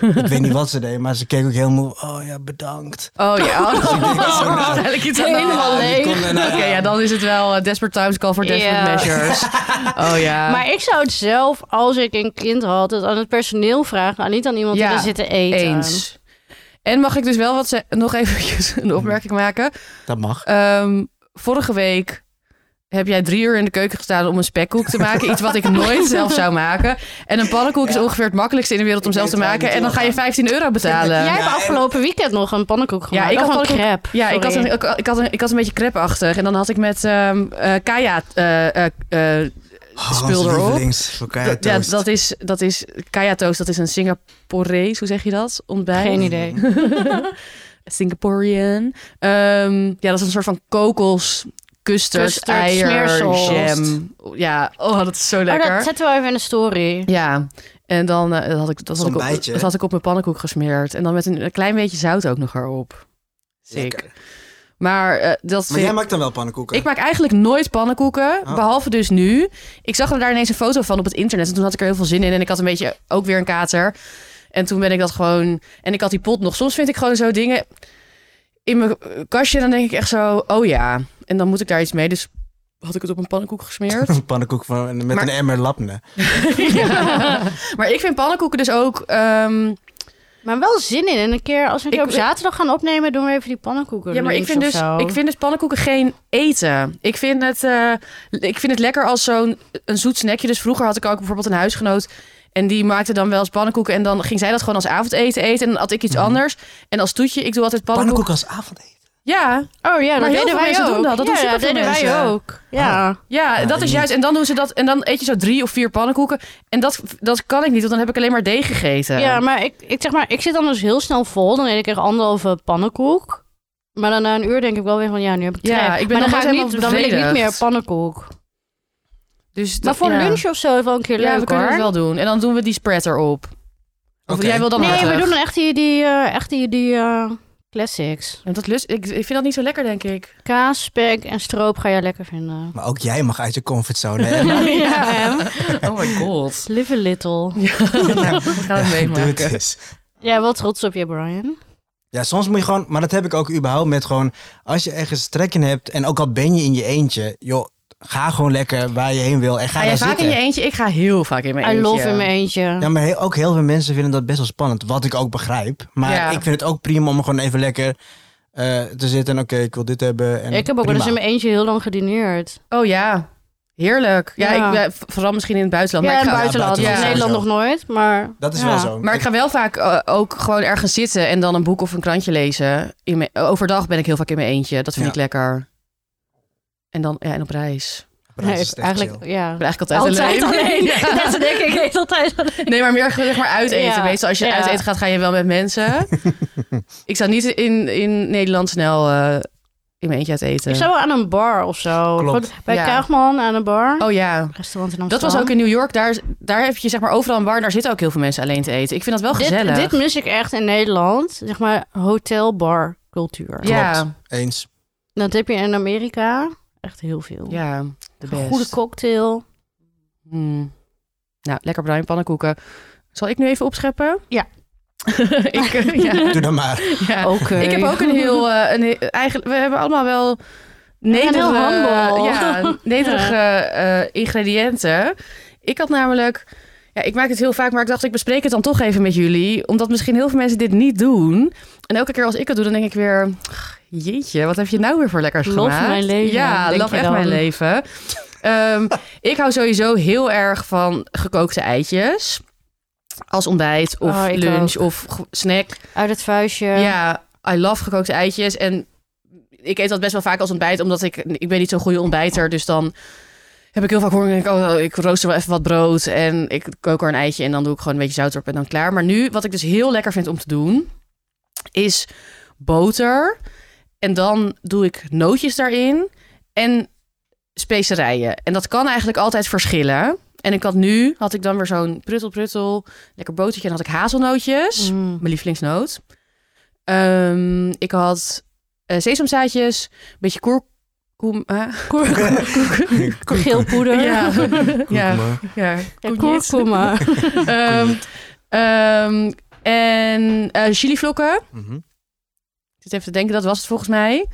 [SPEAKER 1] ik weet niet wat ze deed, maar ze keek ook heel moe. Oh ja, bedankt.
[SPEAKER 3] Oh
[SPEAKER 2] [laughs]
[SPEAKER 3] ja, oh,
[SPEAKER 1] ik denk, oh, nou.
[SPEAKER 3] [laughs] waarschijnlijk iets aan de
[SPEAKER 2] Helemaal
[SPEAKER 3] hand.
[SPEAKER 1] Ja, die
[SPEAKER 2] leeg.
[SPEAKER 1] kon- nou,
[SPEAKER 3] Oké, ja, dan is het wel eh, Desperate Times Call for Desperate
[SPEAKER 2] Ja. [laughs]
[SPEAKER 3] Measures. Oh ja.
[SPEAKER 2] Maar ik zou het zelf, als ik een kind had, het aan het personeel vragen. En niet aan iemand
[SPEAKER 3] Ja,
[SPEAKER 2] die er zit te eten.
[SPEAKER 3] Eens. En mag ik dus wel wat ze- nog even [laughs] een opmerking maken?
[SPEAKER 1] Dat mag.
[SPEAKER 3] Ehm, vorige week heb jij drie uur in de keuken gestaan om een spekkoek te maken. Iets wat ik nooit zelf zou maken. En een pannenkoek is ongeveer het makkelijkste in de wereld om
[SPEAKER 1] Ik
[SPEAKER 3] zelf te
[SPEAKER 1] weet waar
[SPEAKER 3] maken.
[SPEAKER 1] je
[SPEAKER 3] En dan ga je
[SPEAKER 1] naartoe
[SPEAKER 3] 15 euro betalen.
[SPEAKER 2] Jij
[SPEAKER 1] Ja,
[SPEAKER 2] hebt
[SPEAKER 1] en-
[SPEAKER 2] afgelopen weekend nog een pannenkoek gemaakt.
[SPEAKER 3] ik
[SPEAKER 2] ik
[SPEAKER 3] had
[SPEAKER 2] had een
[SPEAKER 3] pannenkoek-
[SPEAKER 2] crepe.
[SPEAKER 3] Ja, ik had, een,
[SPEAKER 2] sorry.
[SPEAKER 3] ik, ik had een, ik had een beetje crepeachtig. En dan had ik met ehm eh, Kaya... eh, eh, eh, spul erop.
[SPEAKER 1] Oh, Links,
[SPEAKER 3] dat- ja, dat is, dat is Kaya Toast. Dat is een Singaporees, hoe zeg je dat? Ontbijt.
[SPEAKER 2] Geen idee.
[SPEAKER 3] [laughs] Singaporean. Ehm, ja, dat is een soort van kokos, custard,
[SPEAKER 2] Custard,
[SPEAKER 3] eier,
[SPEAKER 2] smeersel.
[SPEAKER 3] jam. Ja, oh, dat is zo
[SPEAKER 2] Maar
[SPEAKER 3] lekker.
[SPEAKER 2] dat zetten we even in de story.
[SPEAKER 3] Ja, en dan eh, dat had ik, dat had
[SPEAKER 1] Zo'n
[SPEAKER 3] ik, op,
[SPEAKER 1] bijtje.
[SPEAKER 3] dat had ik op mijn pannenkoek gesmeerd. En dan met een, een klein beetje zout ook nog erop. Sick. Maar eh, dat
[SPEAKER 1] Maar
[SPEAKER 3] vind
[SPEAKER 1] jij
[SPEAKER 3] ik-
[SPEAKER 1] maakt dan wel pannenkoeken?
[SPEAKER 3] ik maak eigenlijk nooit pannenkoeken,
[SPEAKER 1] Oh.
[SPEAKER 3] behalve dus nu. Ik zag er daar ineens een foto van op het internet en toen had ik er heel veel zin in en ik had een beetje ook weer een kater. En toen ben ik dat gewoon en ik had die pot nog. Soms vind ik gewoon zo dingen in mijn eh, kastje dan denk ik echt zo, oh ja. En dan moet ik daar iets mee, dus had ik het op een pannenkoek
[SPEAKER 1] [laughs]
[SPEAKER 3] gesmeerd. [laughs]
[SPEAKER 1] Een pannenkoek van, met
[SPEAKER 3] Maar-
[SPEAKER 1] een emmer lapne.
[SPEAKER 3] Ja. Maar ik vind pannenkoeken dus ook ehm,
[SPEAKER 2] Maar wel zin in. En een keer, als we een keer
[SPEAKER 3] Ik-
[SPEAKER 2] op zaterdag gaan opnemen, doen we even die pannenkoeken.
[SPEAKER 3] Ja, maar ik
[SPEAKER 2] links
[SPEAKER 3] vind,
[SPEAKER 2] of
[SPEAKER 3] dus,
[SPEAKER 2] zo.
[SPEAKER 3] ik vind dus pannenkoeken geen eten. Ik vind het, eh, ik vind het lekker als zo'n een zoet snackje. Dus vroeger had ik ook bijvoorbeeld een huisgenoot. En die maakte dan wel eens pannenkoeken. En dan ging zij dat gewoon als avondeten eten. En dan had ik
[SPEAKER 2] Mhm.
[SPEAKER 3] iets anders. En als toetje, ik doe altijd pannenkoeken.
[SPEAKER 1] Pannenkoek als avondeten.
[SPEAKER 3] Ja,
[SPEAKER 2] Oh ja, dat
[SPEAKER 3] Maar heel
[SPEAKER 2] deden
[SPEAKER 3] veel
[SPEAKER 2] wij
[SPEAKER 3] mensen
[SPEAKER 2] ook.
[SPEAKER 3] doen dat. Dat
[SPEAKER 2] ja,
[SPEAKER 3] doen superveel
[SPEAKER 2] deden wij
[SPEAKER 3] mensen.
[SPEAKER 2] ook. Ja.
[SPEAKER 3] ja,
[SPEAKER 1] Ja,
[SPEAKER 3] dat is
[SPEAKER 1] ik
[SPEAKER 3] juist. En dan doen ze dat. En dan eet je zo drie of vier pannenkoeken. En dat, dat kan ik niet, want dan heb ik alleen maar deeg gegeten.
[SPEAKER 2] Ja, maar ik, ik zeg maar, ik zit dan dus heel snel vol. Dan eet ik echt anderhalve pannenkoek. Maar dan na een uur denk ik wel weer van, ja, nu heb ik
[SPEAKER 3] Ja,
[SPEAKER 2] trek.
[SPEAKER 3] ik ben
[SPEAKER 2] maar dan,
[SPEAKER 3] nog
[SPEAKER 2] ga
[SPEAKER 3] nooit
[SPEAKER 2] ik
[SPEAKER 3] helemaal
[SPEAKER 2] niet, dan wil ik niet
[SPEAKER 3] bevredigd.
[SPEAKER 2] meer pannenkoek.
[SPEAKER 3] dus dat,
[SPEAKER 2] Maar voor
[SPEAKER 3] ja.
[SPEAKER 2] lunch of zo is wel een keer
[SPEAKER 3] Ja, we
[SPEAKER 2] leuk
[SPEAKER 3] kunnen
[SPEAKER 2] hoor.
[SPEAKER 3] het wel doen. En dan doen we die spread erop. Of
[SPEAKER 1] Oké.
[SPEAKER 3] jij wil dan
[SPEAKER 2] nee,
[SPEAKER 3] hartig.
[SPEAKER 2] we doen dan echt die, die, eh, echt die, die eh, classics.
[SPEAKER 3] Ja, dat lust, ik, ik vind dat niet zo lekker, denk ik.
[SPEAKER 2] Kaas, spek en stroop ga jij lekker
[SPEAKER 3] [laughs]
[SPEAKER 2] vinden.
[SPEAKER 1] Maar ook jij mag uit je [laughs] comfortzone. hè?
[SPEAKER 2] Ja, hè?
[SPEAKER 3] Oh my god.
[SPEAKER 2] Live a little.
[SPEAKER 3] Nou, we gaan het
[SPEAKER 1] Doe het
[SPEAKER 3] meemaken.
[SPEAKER 1] eens.
[SPEAKER 2] Ja, wel trots op je, Brian.
[SPEAKER 1] Ja, soms moet je gewoon, maar dat heb ik ook überhaupt met gewoon, als je ergens trek in hebt en ook al ben je in je eentje, joh, ga gewoon lekker waar je heen wil en ga
[SPEAKER 3] Ga
[SPEAKER 1] daar
[SPEAKER 3] jij vaak
[SPEAKER 1] zitten.
[SPEAKER 3] in je eentje? Ik ga heel vaak in mijn
[SPEAKER 2] I
[SPEAKER 3] eentje.
[SPEAKER 2] love in mijn eentje.
[SPEAKER 1] Ja, maar heel- ook heel veel mensen vinden dat best wel spannend, wat ik ook begrijp. Maar
[SPEAKER 3] Ja.
[SPEAKER 1] ik vind het ook prima om gewoon even lekker eh, te zitten en oké, ik wil dit hebben. En
[SPEAKER 2] ik heb ook wel eens in
[SPEAKER 1] prima.
[SPEAKER 2] mijn eentje heel lang gedineerd.
[SPEAKER 3] Oh ja, heerlijk. Ja,
[SPEAKER 2] Ja.
[SPEAKER 3] Ik, ben- v- vooral misschien in het buitenland.
[SPEAKER 2] ja,
[SPEAKER 3] maar
[SPEAKER 2] in het
[SPEAKER 3] ik ga,
[SPEAKER 2] buitenland.
[SPEAKER 1] Ja,
[SPEAKER 2] In
[SPEAKER 3] buitenland
[SPEAKER 2] Nederland nog
[SPEAKER 1] sowieso.
[SPEAKER 2] nooit, maar...
[SPEAKER 1] Dat is
[SPEAKER 2] ja.
[SPEAKER 1] wel zo.
[SPEAKER 3] Maar ik ga wel vaak eh, ook gewoon ergens zitten en dan een boek of een krantje lezen. In mijn, overdag ben ik heel vaak in mijn eentje. Dat vind
[SPEAKER 1] Ja.
[SPEAKER 3] ik lekker. En dan ja, en op reis.
[SPEAKER 1] Praat
[SPEAKER 2] Nee,
[SPEAKER 1] is echt
[SPEAKER 2] eigenlijk,
[SPEAKER 1] chill.
[SPEAKER 2] ja.
[SPEAKER 3] Ik ben eigenlijk altijd, alleen. [laughs] Ja.
[SPEAKER 2] [laughs] Mensen denken, ik eet altijd alleen.
[SPEAKER 3] Nee, maar meer zeg maar uit eten.
[SPEAKER 2] Ja.
[SPEAKER 3] Weet je, als je
[SPEAKER 2] Ja.
[SPEAKER 3] uit eten gaat, ga je wel met mensen.
[SPEAKER 1] [laughs]
[SPEAKER 3] ik zou niet in, in Nederland snel eh, in mijn eentje uit eten.
[SPEAKER 2] Ik zou wel aan een bar of zo.
[SPEAKER 1] Klopt.
[SPEAKER 2] Gewoon Bij
[SPEAKER 3] Ja.
[SPEAKER 2] Kaagman aan een bar.
[SPEAKER 3] Oh ja.
[SPEAKER 2] Restaurant in
[SPEAKER 3] Dat
[SPEAKER 2] Amsterdam.
[SPEAKER 3] was ook in New York. Daar, daar heb je zeg maar overal een bar. Daar zitten ook heel veel mensen alleen te eten. Ik vind dat wel gezellig.
[SPEAKER 2] dit, dit mis ik echt in Nederland. Zeg maar hotelbar cultuur.
[SPEAKER 3] ja,
[SPEAKER 1] Eens.
[SPEAKER 2] Dat heb je in Amerika echt heel veel.
[SPEAKER 3] ja, de best.
[SPEAKER 2] Goede cocktail.
[SPEAKER 3] Hmm. Nou, lekker bruin pannenkoeken. Zal ik nu even opscheppen?
[SPEAKER 2] Ja.
[SPEAKER 3] [laughs] ik, eh, ja,
[SPEAKER 1] Doe dan
[SPEAKER 3] [laughs]
[SPEAKER 1] maar.
[SPEAKER 3] ja.
[SPEAKER 2] Oké.
[SPEAKER 3] Ik heb
[SPEAKER 2] [laughs]
[SPEAKER 3] ook een heel... eh, een, he- eigenlijk, we hebben allemaal wel nederige,
[SPEAKER 2] heel humble. [laughs]
[SPEAKER 3] ja, nederige eh, ingrediënten. Ik had namelijk... Ja, ik maak het heel vaak, maar ik dacht ik bespreek het dan toch even met jullie. Omdat misschien heel veel mensen dit niet doen. En elke keer als ik het doe, dan denk ik weer... "Ach, Jeetje, wat heb je nou weer voor lekkers
[SPEAKER 2] Love
[SPEAKER 3] gemaakt?
[SPEAKER 2] mijn leven,
[SPEAKER 3] Ja,
[SPEAKER 2] denk
[SPEAKER 3] love
[SPEAKER 2] je
[SPEAKER 3] echt
[SPEAKER 2] dan.
[SPEAKER 3] mijn leven. Ehm, ik hou sowieso heel erg van gekookte eitjes. Als ontbijt of
[SPEAKER 2] Oh, ik
[SPEAKER 3] lunch of ge- snack.
[SPEAKER 2] Uit het vuistje.
[SPEAKER 3] Ja, I love gekookte eitjes. En ik eet dat best wel vaak als ontbijt, omdat ik, ik ben niet zo'n goede ontbijter. Dus dan heb ik heel vaak honger en denk ik, oh, ik rooster wel even wat brood. En ik kook er een eitje en dan doe ik gewoon een beetje zout op en dan klaar. Maar nu, wat ik dus heel lekker vind om te doen, is boter. En dan doe ik nootjes daarin en specerijen. En dat kan eigenlijk altijd verschillen. En ik had nu, had ik dan weer zo'n pruttel pruttel, lekker botertje. En dan had ik
[SPEAKER 2] [laughs]
[SPEAKER 3] hazelnootjes.
[SPEAKER 2] Mm.
[SPEAKER 3] Mijn lievelingsnoot. Ehm, ik had eh sesamzaadjes, een beetje kurkum... eh,
[SPEAKER 2] Geel poeder.
[SPEAKER 3] ja, ja,
[SPEAKER 1] maar.
[SPEAKER 3] ja.
[SPEAKER 2] [laughs] Ja, kurkuma.
[SPEAKER 3] Ehm, ehm, en eh chilivlokken.
[SPEAKER 1] Mhm.
[SPEAKER 3] Ik zit even te denken, dat was het volgens mij.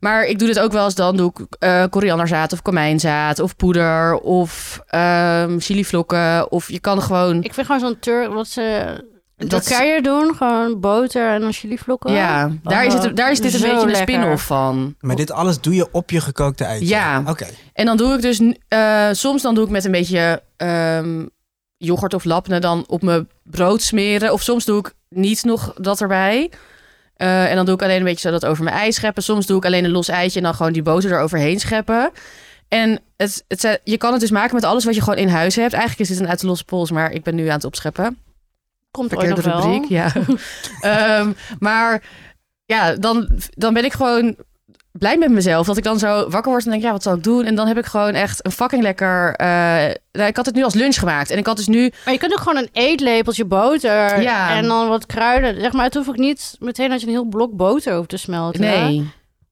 [SPEAKER 3] Maar ik doe dit ook wel eens dan. Doe ik eh, korianderzaad of komijnzaad of poeder of ehm chilivlokken. Of je kan gewoon...
[SPEAKER 2] [laughs] Ik vind gewoon zo'n Turk, wat ze in
[SPEAKER 3] Dat is-
[SPEAKER 2] Turkije doen, gewoon boter en dan chilivlokken.
[SPEAKER 3] Ja, daar is, het, daar is dit een
[SPEAKER 2] Oh, Zo
[SPEAKER 3] beetje een
[SPEAKER 2] lekker.
[SPEAKER 3] spin-off van.
[SPEAKER 1] Maar dit alles doe je op je gekookte eitje?
[SPEAKER 3] Ja.
[SPEAKER 1] Oké.
[SPEAKER 3] En dan doe ik dus, eh, soms dan doe ik met een beetje ehm, yoghurt of lapne dan op mijn brood smeren. Of soms doe ik niet nog dat erbij. Eh, en dan doe ik alleen een beetje zo dat over mijn ei scheppen. Soms doe ik alleen een los eitje en dan gewoon die boter eroverheen scheppen. En het, het, zijn- je kan het dus maken met alles wat je gewoon in huis hebt. Eigenlijk is dit een uit de losse pols, maar ik ben nu aan het opscheppen.
[SPEAKER 2] Komt ooit nog
[SPEAKER 3] Verkeerde
[SPEAKER 2] wel.
[SPEAKER 3] rubriek, ja. Ehm, maar ja, dan, dan ben ik gewoon blij met mezelf. Dat ik dan zo wakker word en denk, ja, wat zal ik doen? En dan heb ik gewoon echt een fucking lekker... eh, nou, ik had het nu als lunch gemaakt. En ik had dus nu...
[SPEAKER 2] Maar je kunt ook gewoon een eetlepeltje boter
[SPEAKER 3] Ja.
[SPEAKER 2] en dan wat kruiden. Zeg maar, het hoeft ook niet meteen dat je een heel blok boter hoeft te smelten.
[SPEAKER 3] Nee.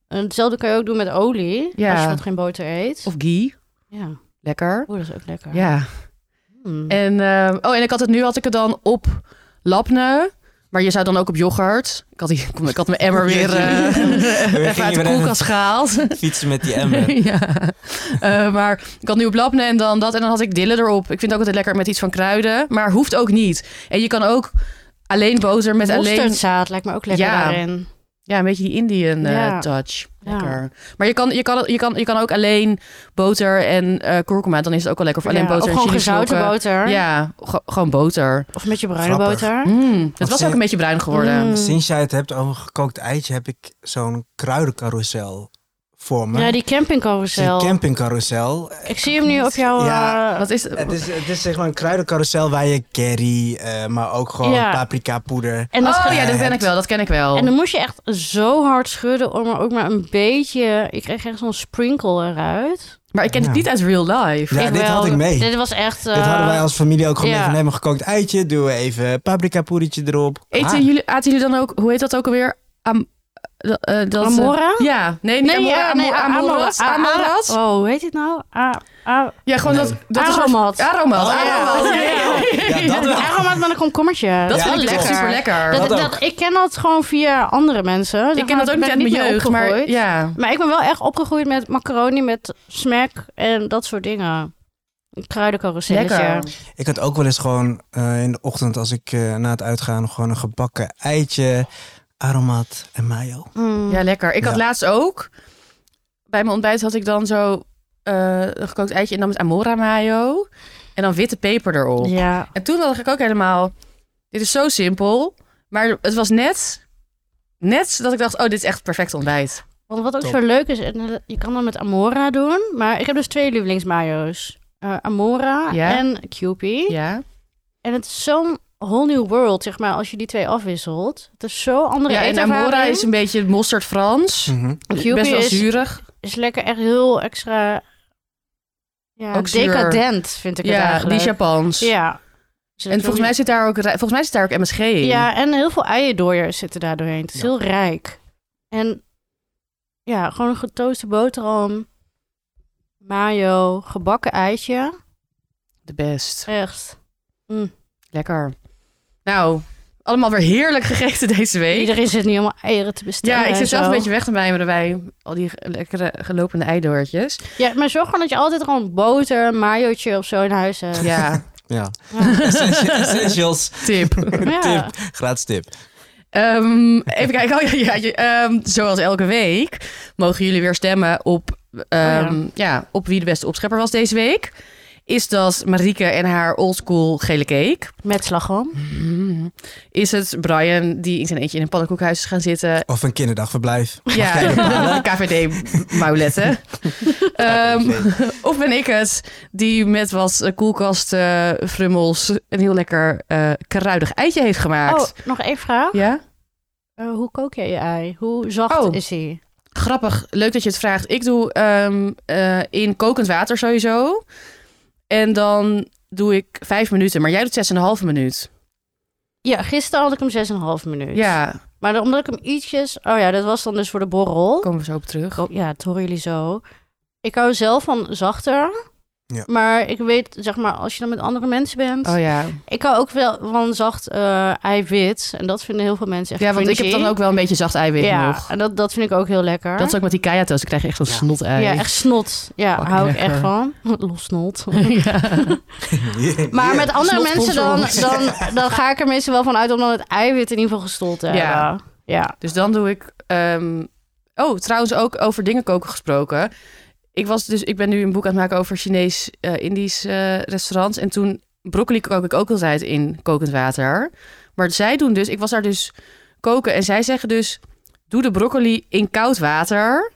[SPEAKER 2] En hetzelfde kan je ook doen met olie,
[SPEAKER 3] Ja.
[SPEAKER 2] als je wat geen boter eet.
[SPEAKER 3] Of ghee.
[SPEAKER 2] Ja,
[SPEAKER 3] Lekker.
[SPEAKER 2] Oeh, dat is ook lekker.
[SPEAKER 3] Ja.
[SPEAKER 2] Hmm.
[SPEAKER 3] En, ehm, oh, en ik had het nu had ik het dan op lapne. Maar je zou dan ook op yoghurt. Ik had, die, ik had mijn emmer
[SPEAKER 1] [laughs]
[SPEAKER 3] weer eh, [laughs] even
[SPEAKER 1] gingen
[SPEAKER 3] uit de
[SPEAKER 1] weer even-
[SPEAKER 3] koelkast gehaald.
[SPEAKER 1] Fietsen met die emmer.
[SPEAKER 3] [laughs] ja. Eh, maar ik had nu op labne en dan dat. En dan had ik dillen erop. Ik vind het ook altijd lekker met iets van kruiden. Maar hoeft ook niet. En je kan ook Alleen boter met alleen...
[SPEAKER 2] Mosterdzaad lijkt me ook lekker
[SPEAKER 3] Ja.
[SPEAKER 2] daarin.
[SPEAKER 3] Ja, een beetje die Indian eh,
[SPEAKER 2] Ja.
[SPEAKER 3] touch.
[SPEAKER 2] Ja.
[SPEAKER 3] Lekker. Maar je kan, je, kan, je, kan, je kan ook alleen boter en eh kurkuma. Dan is het ook wel lekker. Of alleen
[SPEAKER 2] Ja,
[SPEAKER 3] boter
[SPEAKER 2] of
[SPEAKER 3] en
[SPEAKER 2] gewoon
[SPEAKER 3] chili
[SPEAKER 2] gezouten
[SPEAKER 3] slokken.
[SPEAKER 2] boter.
[SPEAKER 3] Ja, ge- gewoon boter.
[SPEAKER 2] Of met je bruine
[SPEAKER 1] Grappig.
[SPEAKER 2] boter.
[SPEAKER 3] Mm, het was
[SPEAKER 1] ze-
[SPEAKER 3] ook een beetje bruin geworden.
[SPEAKER 2] Mm.
[SPEAKER 1] Sinds jij het hebt over gekookt eitje, heb ik zo'n kruidencarousel voor me.
[SPEAKER 2] Ja, die campingcarousel.
[SPEAKER 1] Een campingcarousel.
[SPEAKER 2] Ik zie hem nu op jouw...
[SPEAKER 1] Ja,
[SPEAKER 2] eh,
[SPEAKER 3] Wat is
[SPEAKER 1] Het is, het is zeg maar een kruidencarousel waar je curry, eh, maar ook gewoon
[SPEAKER 2] Ja.
[SPEAKER 1] paprika poeder.
[SPEAKER 2] en dat
[SPEAKER 3] Oh
[SPEAKER 2] ga-
[SPEAKER 3] ja, dat ken ik wel. Dat ken ik wel.
[SPEAKER 2] En dan moest je echt zo hard schudden om er ook maar een beetje... Ik kreeg echt zo'n sprinkle eruit.
[SPEAKER 3] Maar ik ken het
[SPEAKER 1] Ja.
[SPEAKER 3] niet uit real life.
[SPEAKER 1] Ja,
[SPEAKER 2] Ik
[SPEAKER 1] dit
[SPEAKER 2] wel.
[SPEAKER 1] had ik mee.
[SPEAKER 2] Dit was echt... eh,
[SPEAKER 1] Dit hadden wij als familie ook gewoon
[SPEAKER 2] ja.
[SPEAKER 1] mee van, nee, maar gekookt eitje, doen we even paprika poedertje erop.
[SPEAKER 3] Eten
[SPEAKER 1] Ah,
[SPEAKER 3] jullie, aten jullie dan ook, hoe heet dat ook alweer? Am, eh, eh, dat,
[SPEAKER 2] Amora?
[SPEAKER 3] Ja, nee, niet Amora.
[SPEAKER 2] ja, nee,
[SPEAKER 3] Amora-
[SPEAKER 2] Amora-
[SPEAKER 3] Amoras.
[SPEAKER 2] A- A-
[SPEAKER 3] Amoras.
[SPEAKER 2] Oh, hoe heet dit nou? A- A-
[SPEAKER 3] Ja, gewoon
[SPEAKER 1] Nee.
[SPEAKER 3] dat... dat is
[SPEAKER 2] Aromat.
[SPEAKER 3] Aromat.
[SPEAKER 1] Oh, ja.
[SPEAKER 3] Aromat.
[SPEAKER 2] Ja.
[SPEAKER 1] Ja, dat wel.
[SPEAKER 2] Aromat met een komkommertje.
[SPEAKER 3] Dat
[SPEAKER 1] Ja,
[SPEAKER 3] vind ik
[SPEAKER 1] klopt.
[SPEAKER 3] echt super lekker.
[SPEAKER 2] Dat,
[SPEAKER 1] Dat ook.
[SPEAKER 2] dat- ik ken dat gewoon via andere mensen. Daar
[SPEAKER 3] ik ken dat ook
[SPEAKER 2] ben ik
[SPEAKER 3] niet uit mijn
[SPEAKER 2] mee
[SPEAKER 3] jeugd, maar
[SPEAKER 2] opgegroeid.
[SPEAKER 3] ja.
[SPEAKER 2] Maar ik ben wel echt opgegroeid met macaroni, met smack en dat soort dingen. Een Kruidencarouselletje.
[SPEAKER 3] Lekker.
[SPEAKER 1] Ik had ook wel eens gewoon eh, in de ochtend als ik eh, na het uitgaan nog gewoon een gebakken eitje, aromaat en mayo.
[SPEAKER 2] Mm.
[SPEAKER 3] Ja, lekker. Ik had
[SPEAKER 1] Ja.
[SPEAKER 3] laatst ook, bij mijn ontbijt had ik dan zo eh, een gekookt eitje en dan met Amora mayo. En dan witte peper erop.
[SPEAKER 2] Ja.
[SPEAKER 3] En toen dacht ik ook helemaal, dit is zo simpel. Maar het was net, net dat ik dacht, oh, dit is echt perfect ontbijt.
[SPEAKER 2] Want wat ook
[SPEAKER 1] Top.
[SPEAKER 2] zo leuk is, en eh, je kan dat met Amora doen. Maar ik heb dus twee lievelingsmayo's. Eh, Amora
[SPEAKER 3] Ja.
[SPEAKER 2] en Cupie.
[SPEAKER 3] Ja,
[SPEAKER 2] En het is zo'n whole new world, zeg maar, als je die twee afwisselt. Het is zo'n andere
[SPEAKER 3] ja en
[SPEAKER 2] eetervaring.
[SPEAKER 3] Amora is een beetje mosterd Frans.
[SPEAKER 1] Mhm.
[SPEAKER 2] Cupie
[SPEAKER 3] Best wel
[SPEAKER 2] is-
[SPEAKER 3] zuurig.
[SPEAKER 2] is lekker echt heel extra... Ja,
[SPEAKER 3] Ook zuur.
[SPEAKER 2] decadent vind ik het
[SPEAKER 3] Ja,
[SPEAKER 2] eigenlijk.
[SPEAKER 3] die Japans.
[SPEAKER 2] Ja. Dus Zit
[SPEAKER 3] En volgens
[SPEAKER 2] ook-
[SPEAKER 3] mij zit daar ook, ri- volgens mij zit daar ook MSG in.
[SPEAKER 2] Ja, en heel veel eiendooiers zitten daar doorheen. Het is
[SPEAKER 1] Ja.
[SPEAKER 2] heel rijk. En ja, gewoon een getooste boterham, mayo, gebakken eitje.
[SPEAKER 3] De best.
[SPEAKER 2] Echt.
[SPEAKER 3] Lekker. Nou, allemaal weer heerlijk gegeten deze week.
[SPEAKER 2] Iedereen zit nu helemaal eieren te bestellen.
[SPEAKER 3] Ja, ik
[SPEAKER 2] en
[SPEAKER 3] zit zelf
[SPEAKER 2] zo.
[SPEAKER 3] een beetje weg te mijmeren bij al die ge- lekkere gelopende eidoortjes.
[SPEAKER 2] Ja, maar zorg gewoon dat je altijd gewoon boter, een mayootje of zo in huis hebt.
[SPEAKER 3] Ja,
[SPEAKER 1] Ja.
[SPEAKER 2] Ja.
[SPEAKER 1] Essentials, essentials.
[SPEAKER 3] [laughs] tip.
[SPEAKER 2] Ja.
[SPEAKER 1] Tip. gratis tip.
[SPEAKER 3] Ehm, even kijken. Oh, ja, ja, je- ehm, zoals elke week mogen jullie weer stemmen op, ehm,
[SPEAKER 2] Oh,
[SPEAKER 3] ja. op wie de beste opschepper was deze week. Is dat Marieke en haar oldschool gele cake?
[SPEAKER 2] Met slagroom. Mm.
[SPEAKER 3] Is het Brian die in zijn eentje in een pannenkoekhuis is gaan zitten
[SPEAKER 1] Of een kinderdagverblijf.
[SPEAKER 3] Ja, [laughs] KVD-mouletten. [laughs] Ehm,
[SPEAKER 1] [laughs]
[SPEAKER 3] of ben ik het die met wat eh, koelkast eh, frummels een heel lekker eh, kruidig eitje heeft gemaakt?
[SPEAKER 2] Oh, nog één vraag.
[SPEAKER 3] Ja?
[SPEAKER 2] Eh, hoe kook jij je ei? Hoe zacht
[SPEAKER 3] Oh.
[SPEAKER 2] is hij?
[SPEAKER 3] Grappig, leuk dat je het vraagt. Ik doe ehm, eh, in kokend water sowieso. En dan doe ik vijf minuten, maar jij doet zes en een halve minuut.
[SPEAKER 2] Ja, gisteren had ik hem 6,5 minuut.
[SPEAKER 3] Ja,
[SPEAKER 2] Maar dan- omdat ik hem ietsjes... Oh ja, dat was dan dus voor de borrel.
[SPEAKER 3] komen we zo op terug.
[SPEAKER 2] Oh, ja, het horen jullie zo. Ik hou zelf van zachter.
[SPEAKER 1] Ja.
[SPEAKER 2] Maar ik weet, zeg maar, als je dan met andere mensen bent...
[SPEAKER 3] Oh ja.
[SPEAKER 2] Ik hou ook wel van zacht eh, eiwit. En dat vinden heel veel mensen echt
[SPEAKER 3] Ja, want ik heb
[SPEAKER 2] cringy.
[SPEAKER 3] dan ook wel een beetje zacht eiwit
[SPEAKER 2] Ja,
[SPEAKER 3] nog.
[SPEAKER 2] en dat, dat vind ik ook heel lekker.
[SPEAKER 3] Dat is ook met die kaya toast. Ik krijg echt zo'n
[SPEAKER 1] Ja.
[SPEAKER 3] snot ei.
[SPEAKER 2] Ja, echt snot. Ja,
[SPEAKER 3] Fucking
[SPEAKER 2] hou ik
[SPEAKER 3] lekker.
[SPEAKER 2] echt van. [laughs] Los snot.
[SPEAKER 3] [laughs] Ja.
[SPEAKER 2] Maar met andere mensen
[SPEAKER 3] Snotsponsor
[SPEAKER 2] dan,
[SPEAKER 3] ons.
[SPEAKER 2] dan, dan ga ik er meestal wel van uit... om dan het eiwit in ieder geval gestold te
[SPEAKER 3] Ja.
[SPEAKER 2] hebben. Ja.
[SPEAKER 3] Dus dan doe ik. ehm, Oh, trouwens ook over dingen koken gesproken. Ik was dus, ik ben nu een boek aan het maken over Chinees-Indisch eh, restaurants. En toen broccoli kook ik ook altijd in kokend water. Maar zij doen dus, ik was daar dus koken en zij zeggen dus: doe de broccoli in koud water.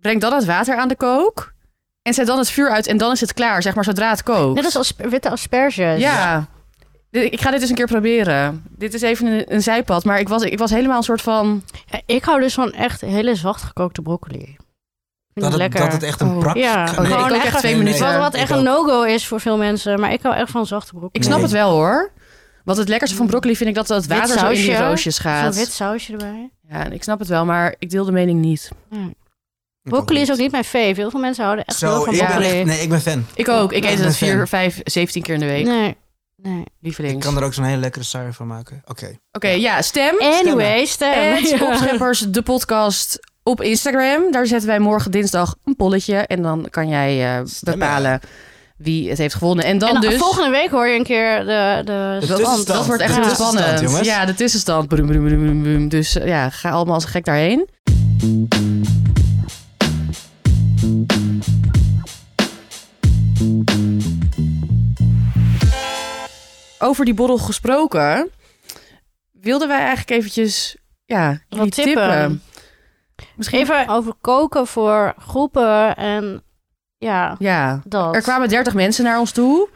[SPEAKER 3] Breng dan het water aan de kook. En zet dan het vuur uit en dan is het klaar, zeg maar, zodra het kookt.
[SPEAKER 2] Net als asp- witte asperges.
[SPEAKER 3] Ja. Dit- Ik ga dit eens een keer proberen. Dit is even een, een zijpad, maar ik was, ik was helemaal een soort van...
[SPEAKER 2] Ik hou dus van echt hele zacht gekookte broccoli. Ik
[SPEAKER 1] dat,
[SPEAKER 2] vind het
[SPEAKER 1] het,
[SPEAKER 2] lekker.
[SPEAKER 1] dat het echt een
[SPEAKER 3] Oh.
[SPEAKER 1] brak...
[SPEAKER 2] Ja.
[SPEAKER 1] Nee,
[SPEAKER 2] Oh,
[SPEAKER 3] nee,
[SPEAKER 2] Gewoon
[SPEAKER 3] ik ook echt
[SPEAKER 2] echt-
[SPEAKER 3] twee
[SPEAKER 1] Nee, nee,
[SPEAKER 3] minuten.
[SPEAKER 2] Wat, wat
[SPEAKER 1] Ik
[SPEAKER 2] echt
[SPEAKER 1] ook.
[SPEAKER 2] een no-go is voor veel mensen. Maar ik hou echt van zachte broccoli.
[SPEAKER 3] Ik snap
[SPEAKER 1] Nee.
[SPEAKER 3] het wel hoor. Wat het lekkerste van broccoli vind ik dat dat
[SPEAKER 2] Wit
[SPEAKER 3] water zo in die
[SPEAKER 2] sausje.
[SPEAKER 3] roosjes
[SPEAKER 2] Zo'n
[SPEAKER 3] gaat.
[SPEAKER 2] wit sausje erbij.
[SPEAKER 3] Ja, en ik snap het wel, maar ik deel de mening niet.
[SPEAKER 1] Ik
[SPEAKER 2] Broccoli is ook
[SPEAKER 1] niet.
[SPEAKER 2] niet mijn fave. Heel veel mensen houden echt
[SPEAKER 1] Zo,
[SPEAKER 2] wel van
[SPEAKER 1] ik ben
[SPEAKER 2] broccoli.
[SPEAKER 1] echt- nee, ik ben fan.
[SPEAKER 3] Ik ook. Ik
[SPEAKER 1] Ja,
[SPEAKER 3] eet
[SPEAKER 1] ik
[SPEAKER 3] het
[SPEAKER 1] ben
[SPEAKER 3] vier,
[SPEAKER 1] fan.
[SPEAKER 3] vijf, zeventien keer in de week.
[SPEAKER 2] Nee. nee.
[SPEAKER 1] Ik
[SPEAKER 3] Lievelings.
[SPEAKER 1] kan
[SPEAKER 3] Oké,
[SPEAKER 1] er ook zo'n hele lekkere saai van maken. Oké.
[SPEAKER 3] ja, stem.
[SPEAKER 2] Anyway, [laughs] stem.
[SPEAKER 3] Het
[SPEAKER 2] Ja.
[SPEAKER 3] Opscheppers, de podcast op Instagram. Daar zetten wij morgen dinsdag een polletje. En dan kan jij eh,
[SPEAKER 1] Stemmen.
[SPEAKER 3] bepalen wie het heeft gewonnen. En dan
[SPEAKER 2] en dan-
[SPEAKER 3] dus...
[SPEAKER 2] volgende week hoor je een keer de... de
[SPEAKER 1] Dat-
[SPEAKER 3] Dat,
[SPEAKER 1] Tussenstand.
[SPEAKER 3] dat wordt echt
[SPEAKER 1] De
[SPEAKER 3] heel
[SPEAKER 1] tussenstand,
[SPEAKER 3] spannend.
[SPEAKER 1] jongens.
[SPEAKER 3] Ja, de tussenstand. Broem, broem, broem, broem, broem. Dus eh, ja, ga allemaal als een gek daarheen. Over die borrel gesproken, wilden wij eigenlijk eventjes ja,
[SPEAKER 2] Wat
[SPEAKER 3] jullie
[SPEAKER 2] tippen.
[SPEAKER 3] Misschien
[SPEAKER 2] even over koken voor groepen en ja,
[SPEAKER 3] Ja,
[SPEAKER 2] dat.
[SPEAKER 3] er kwamen 30 mensen naar ons toe.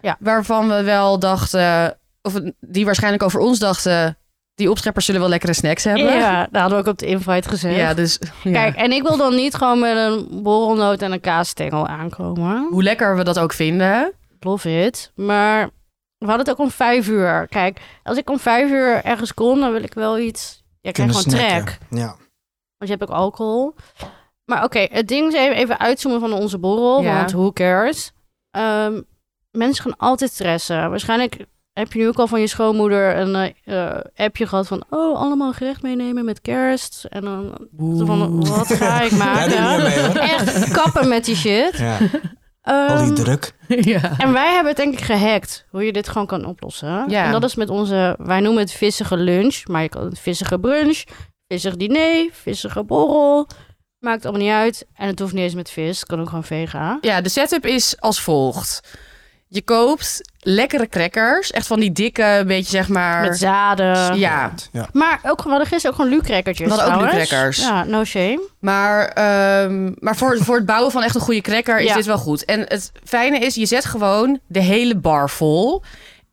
[SPEAKER 2] Ja.
[SPEAKER 3] Waarvan we wel dachten, of die waarschijnlijk over ons dachten, die opscheppers zullen wel lekkere snacks hebben.
[SPEAKER 2] Ja, dat hadden we ook op de invite gezegd.
[SPEAKER 3] Ja, dus ja.
[SPEAKER 2] Kijk, en ik wil dan niet gewoon met een borrelnoot en een kaasstengel aankomen.
[SPEAKER 3] hoe lekker we dat ook vinden.
[SPEAKER 2] Love it. Maar we hadden het ook om vijf uur. Kijk, als ik om vijf uur ergens kom, dan wil ik wel iets... Ja, ik krijg
[SPEAKER 1] Kunnen
[SPEAKER 2] gewoon
[SPEAKER 1] snacken.
[SPEAKER 2] trek.
[SPEAKER 1] Ja.
[SPEAKER 2] Want je hebt ook alcohol. Maar oké, het ding is even, even uitzoomen van onze borrel.
[SPEAKER 3] Ja.
[SPEAKER 2] Want who cares? Ehm, mensen gaan altijd stressen. Waarschijnlijk heb je nu ook al van je schoonmoeder een eh, eh, appje gehad van... Oh, allemaal gerecht meenemen met kerst. En
[SPEAKER 1] [laughs]
[SPEAKER 2] dan zo van, wat ga ik
[SPEAKER 1] Ja,
[SPEAKER 2] maken?
[SPEAKER 1] doe niet mee hoor.
[SPEAKER 2] Echt kappen met die shit.
[SPEAKER 1] Ja, al
[SPEAKER 2] Ehm,
[SPEAKER 1] die druk.
[SPEAKER 3] [laughs] ja.
[SPEAKER 2] [laughs] en wij hebben het denk ik gehackt hoe je dit gewoon kan oplossen.
[SPEAKER 3] Ja.
[SPEAKER 2] En dat is met onze, wij noemen het vissige lunch, maar je kan het vissige brunch, vissig diner, vissige borrel. Maakt allemaal niet uit. En het hoeft niet eens met vis, het kan ook gewoon vega.
[SPEAKER 3] ja, de setup is als volgt. Je koopt lekkere crackers, echt van die dikke, beetje zeg maar...
[SPEAKER 2] Met zaden.
[SPEAKER 3] ja,
[SPEAKER 1] Ja.
[SPEAKER 2] Maar ook, we hadden gisteren ook gewoon lucrackertjes.
[SPEAKER 3] We hadden ook
[SPEAKER 2] trouwens.
[SPEAKER 3] lucrackers.
[SPEAKER 2] Ja, no shame.
[SPEAKER 3] Maar, ehm, maar voor, voor het bouwen van echt een goede cracker is
[SPEAKER 2] Ja.
[SPEAKER 3] dit wel goed. En het fijne is, je zet gewoon de hele bar vol.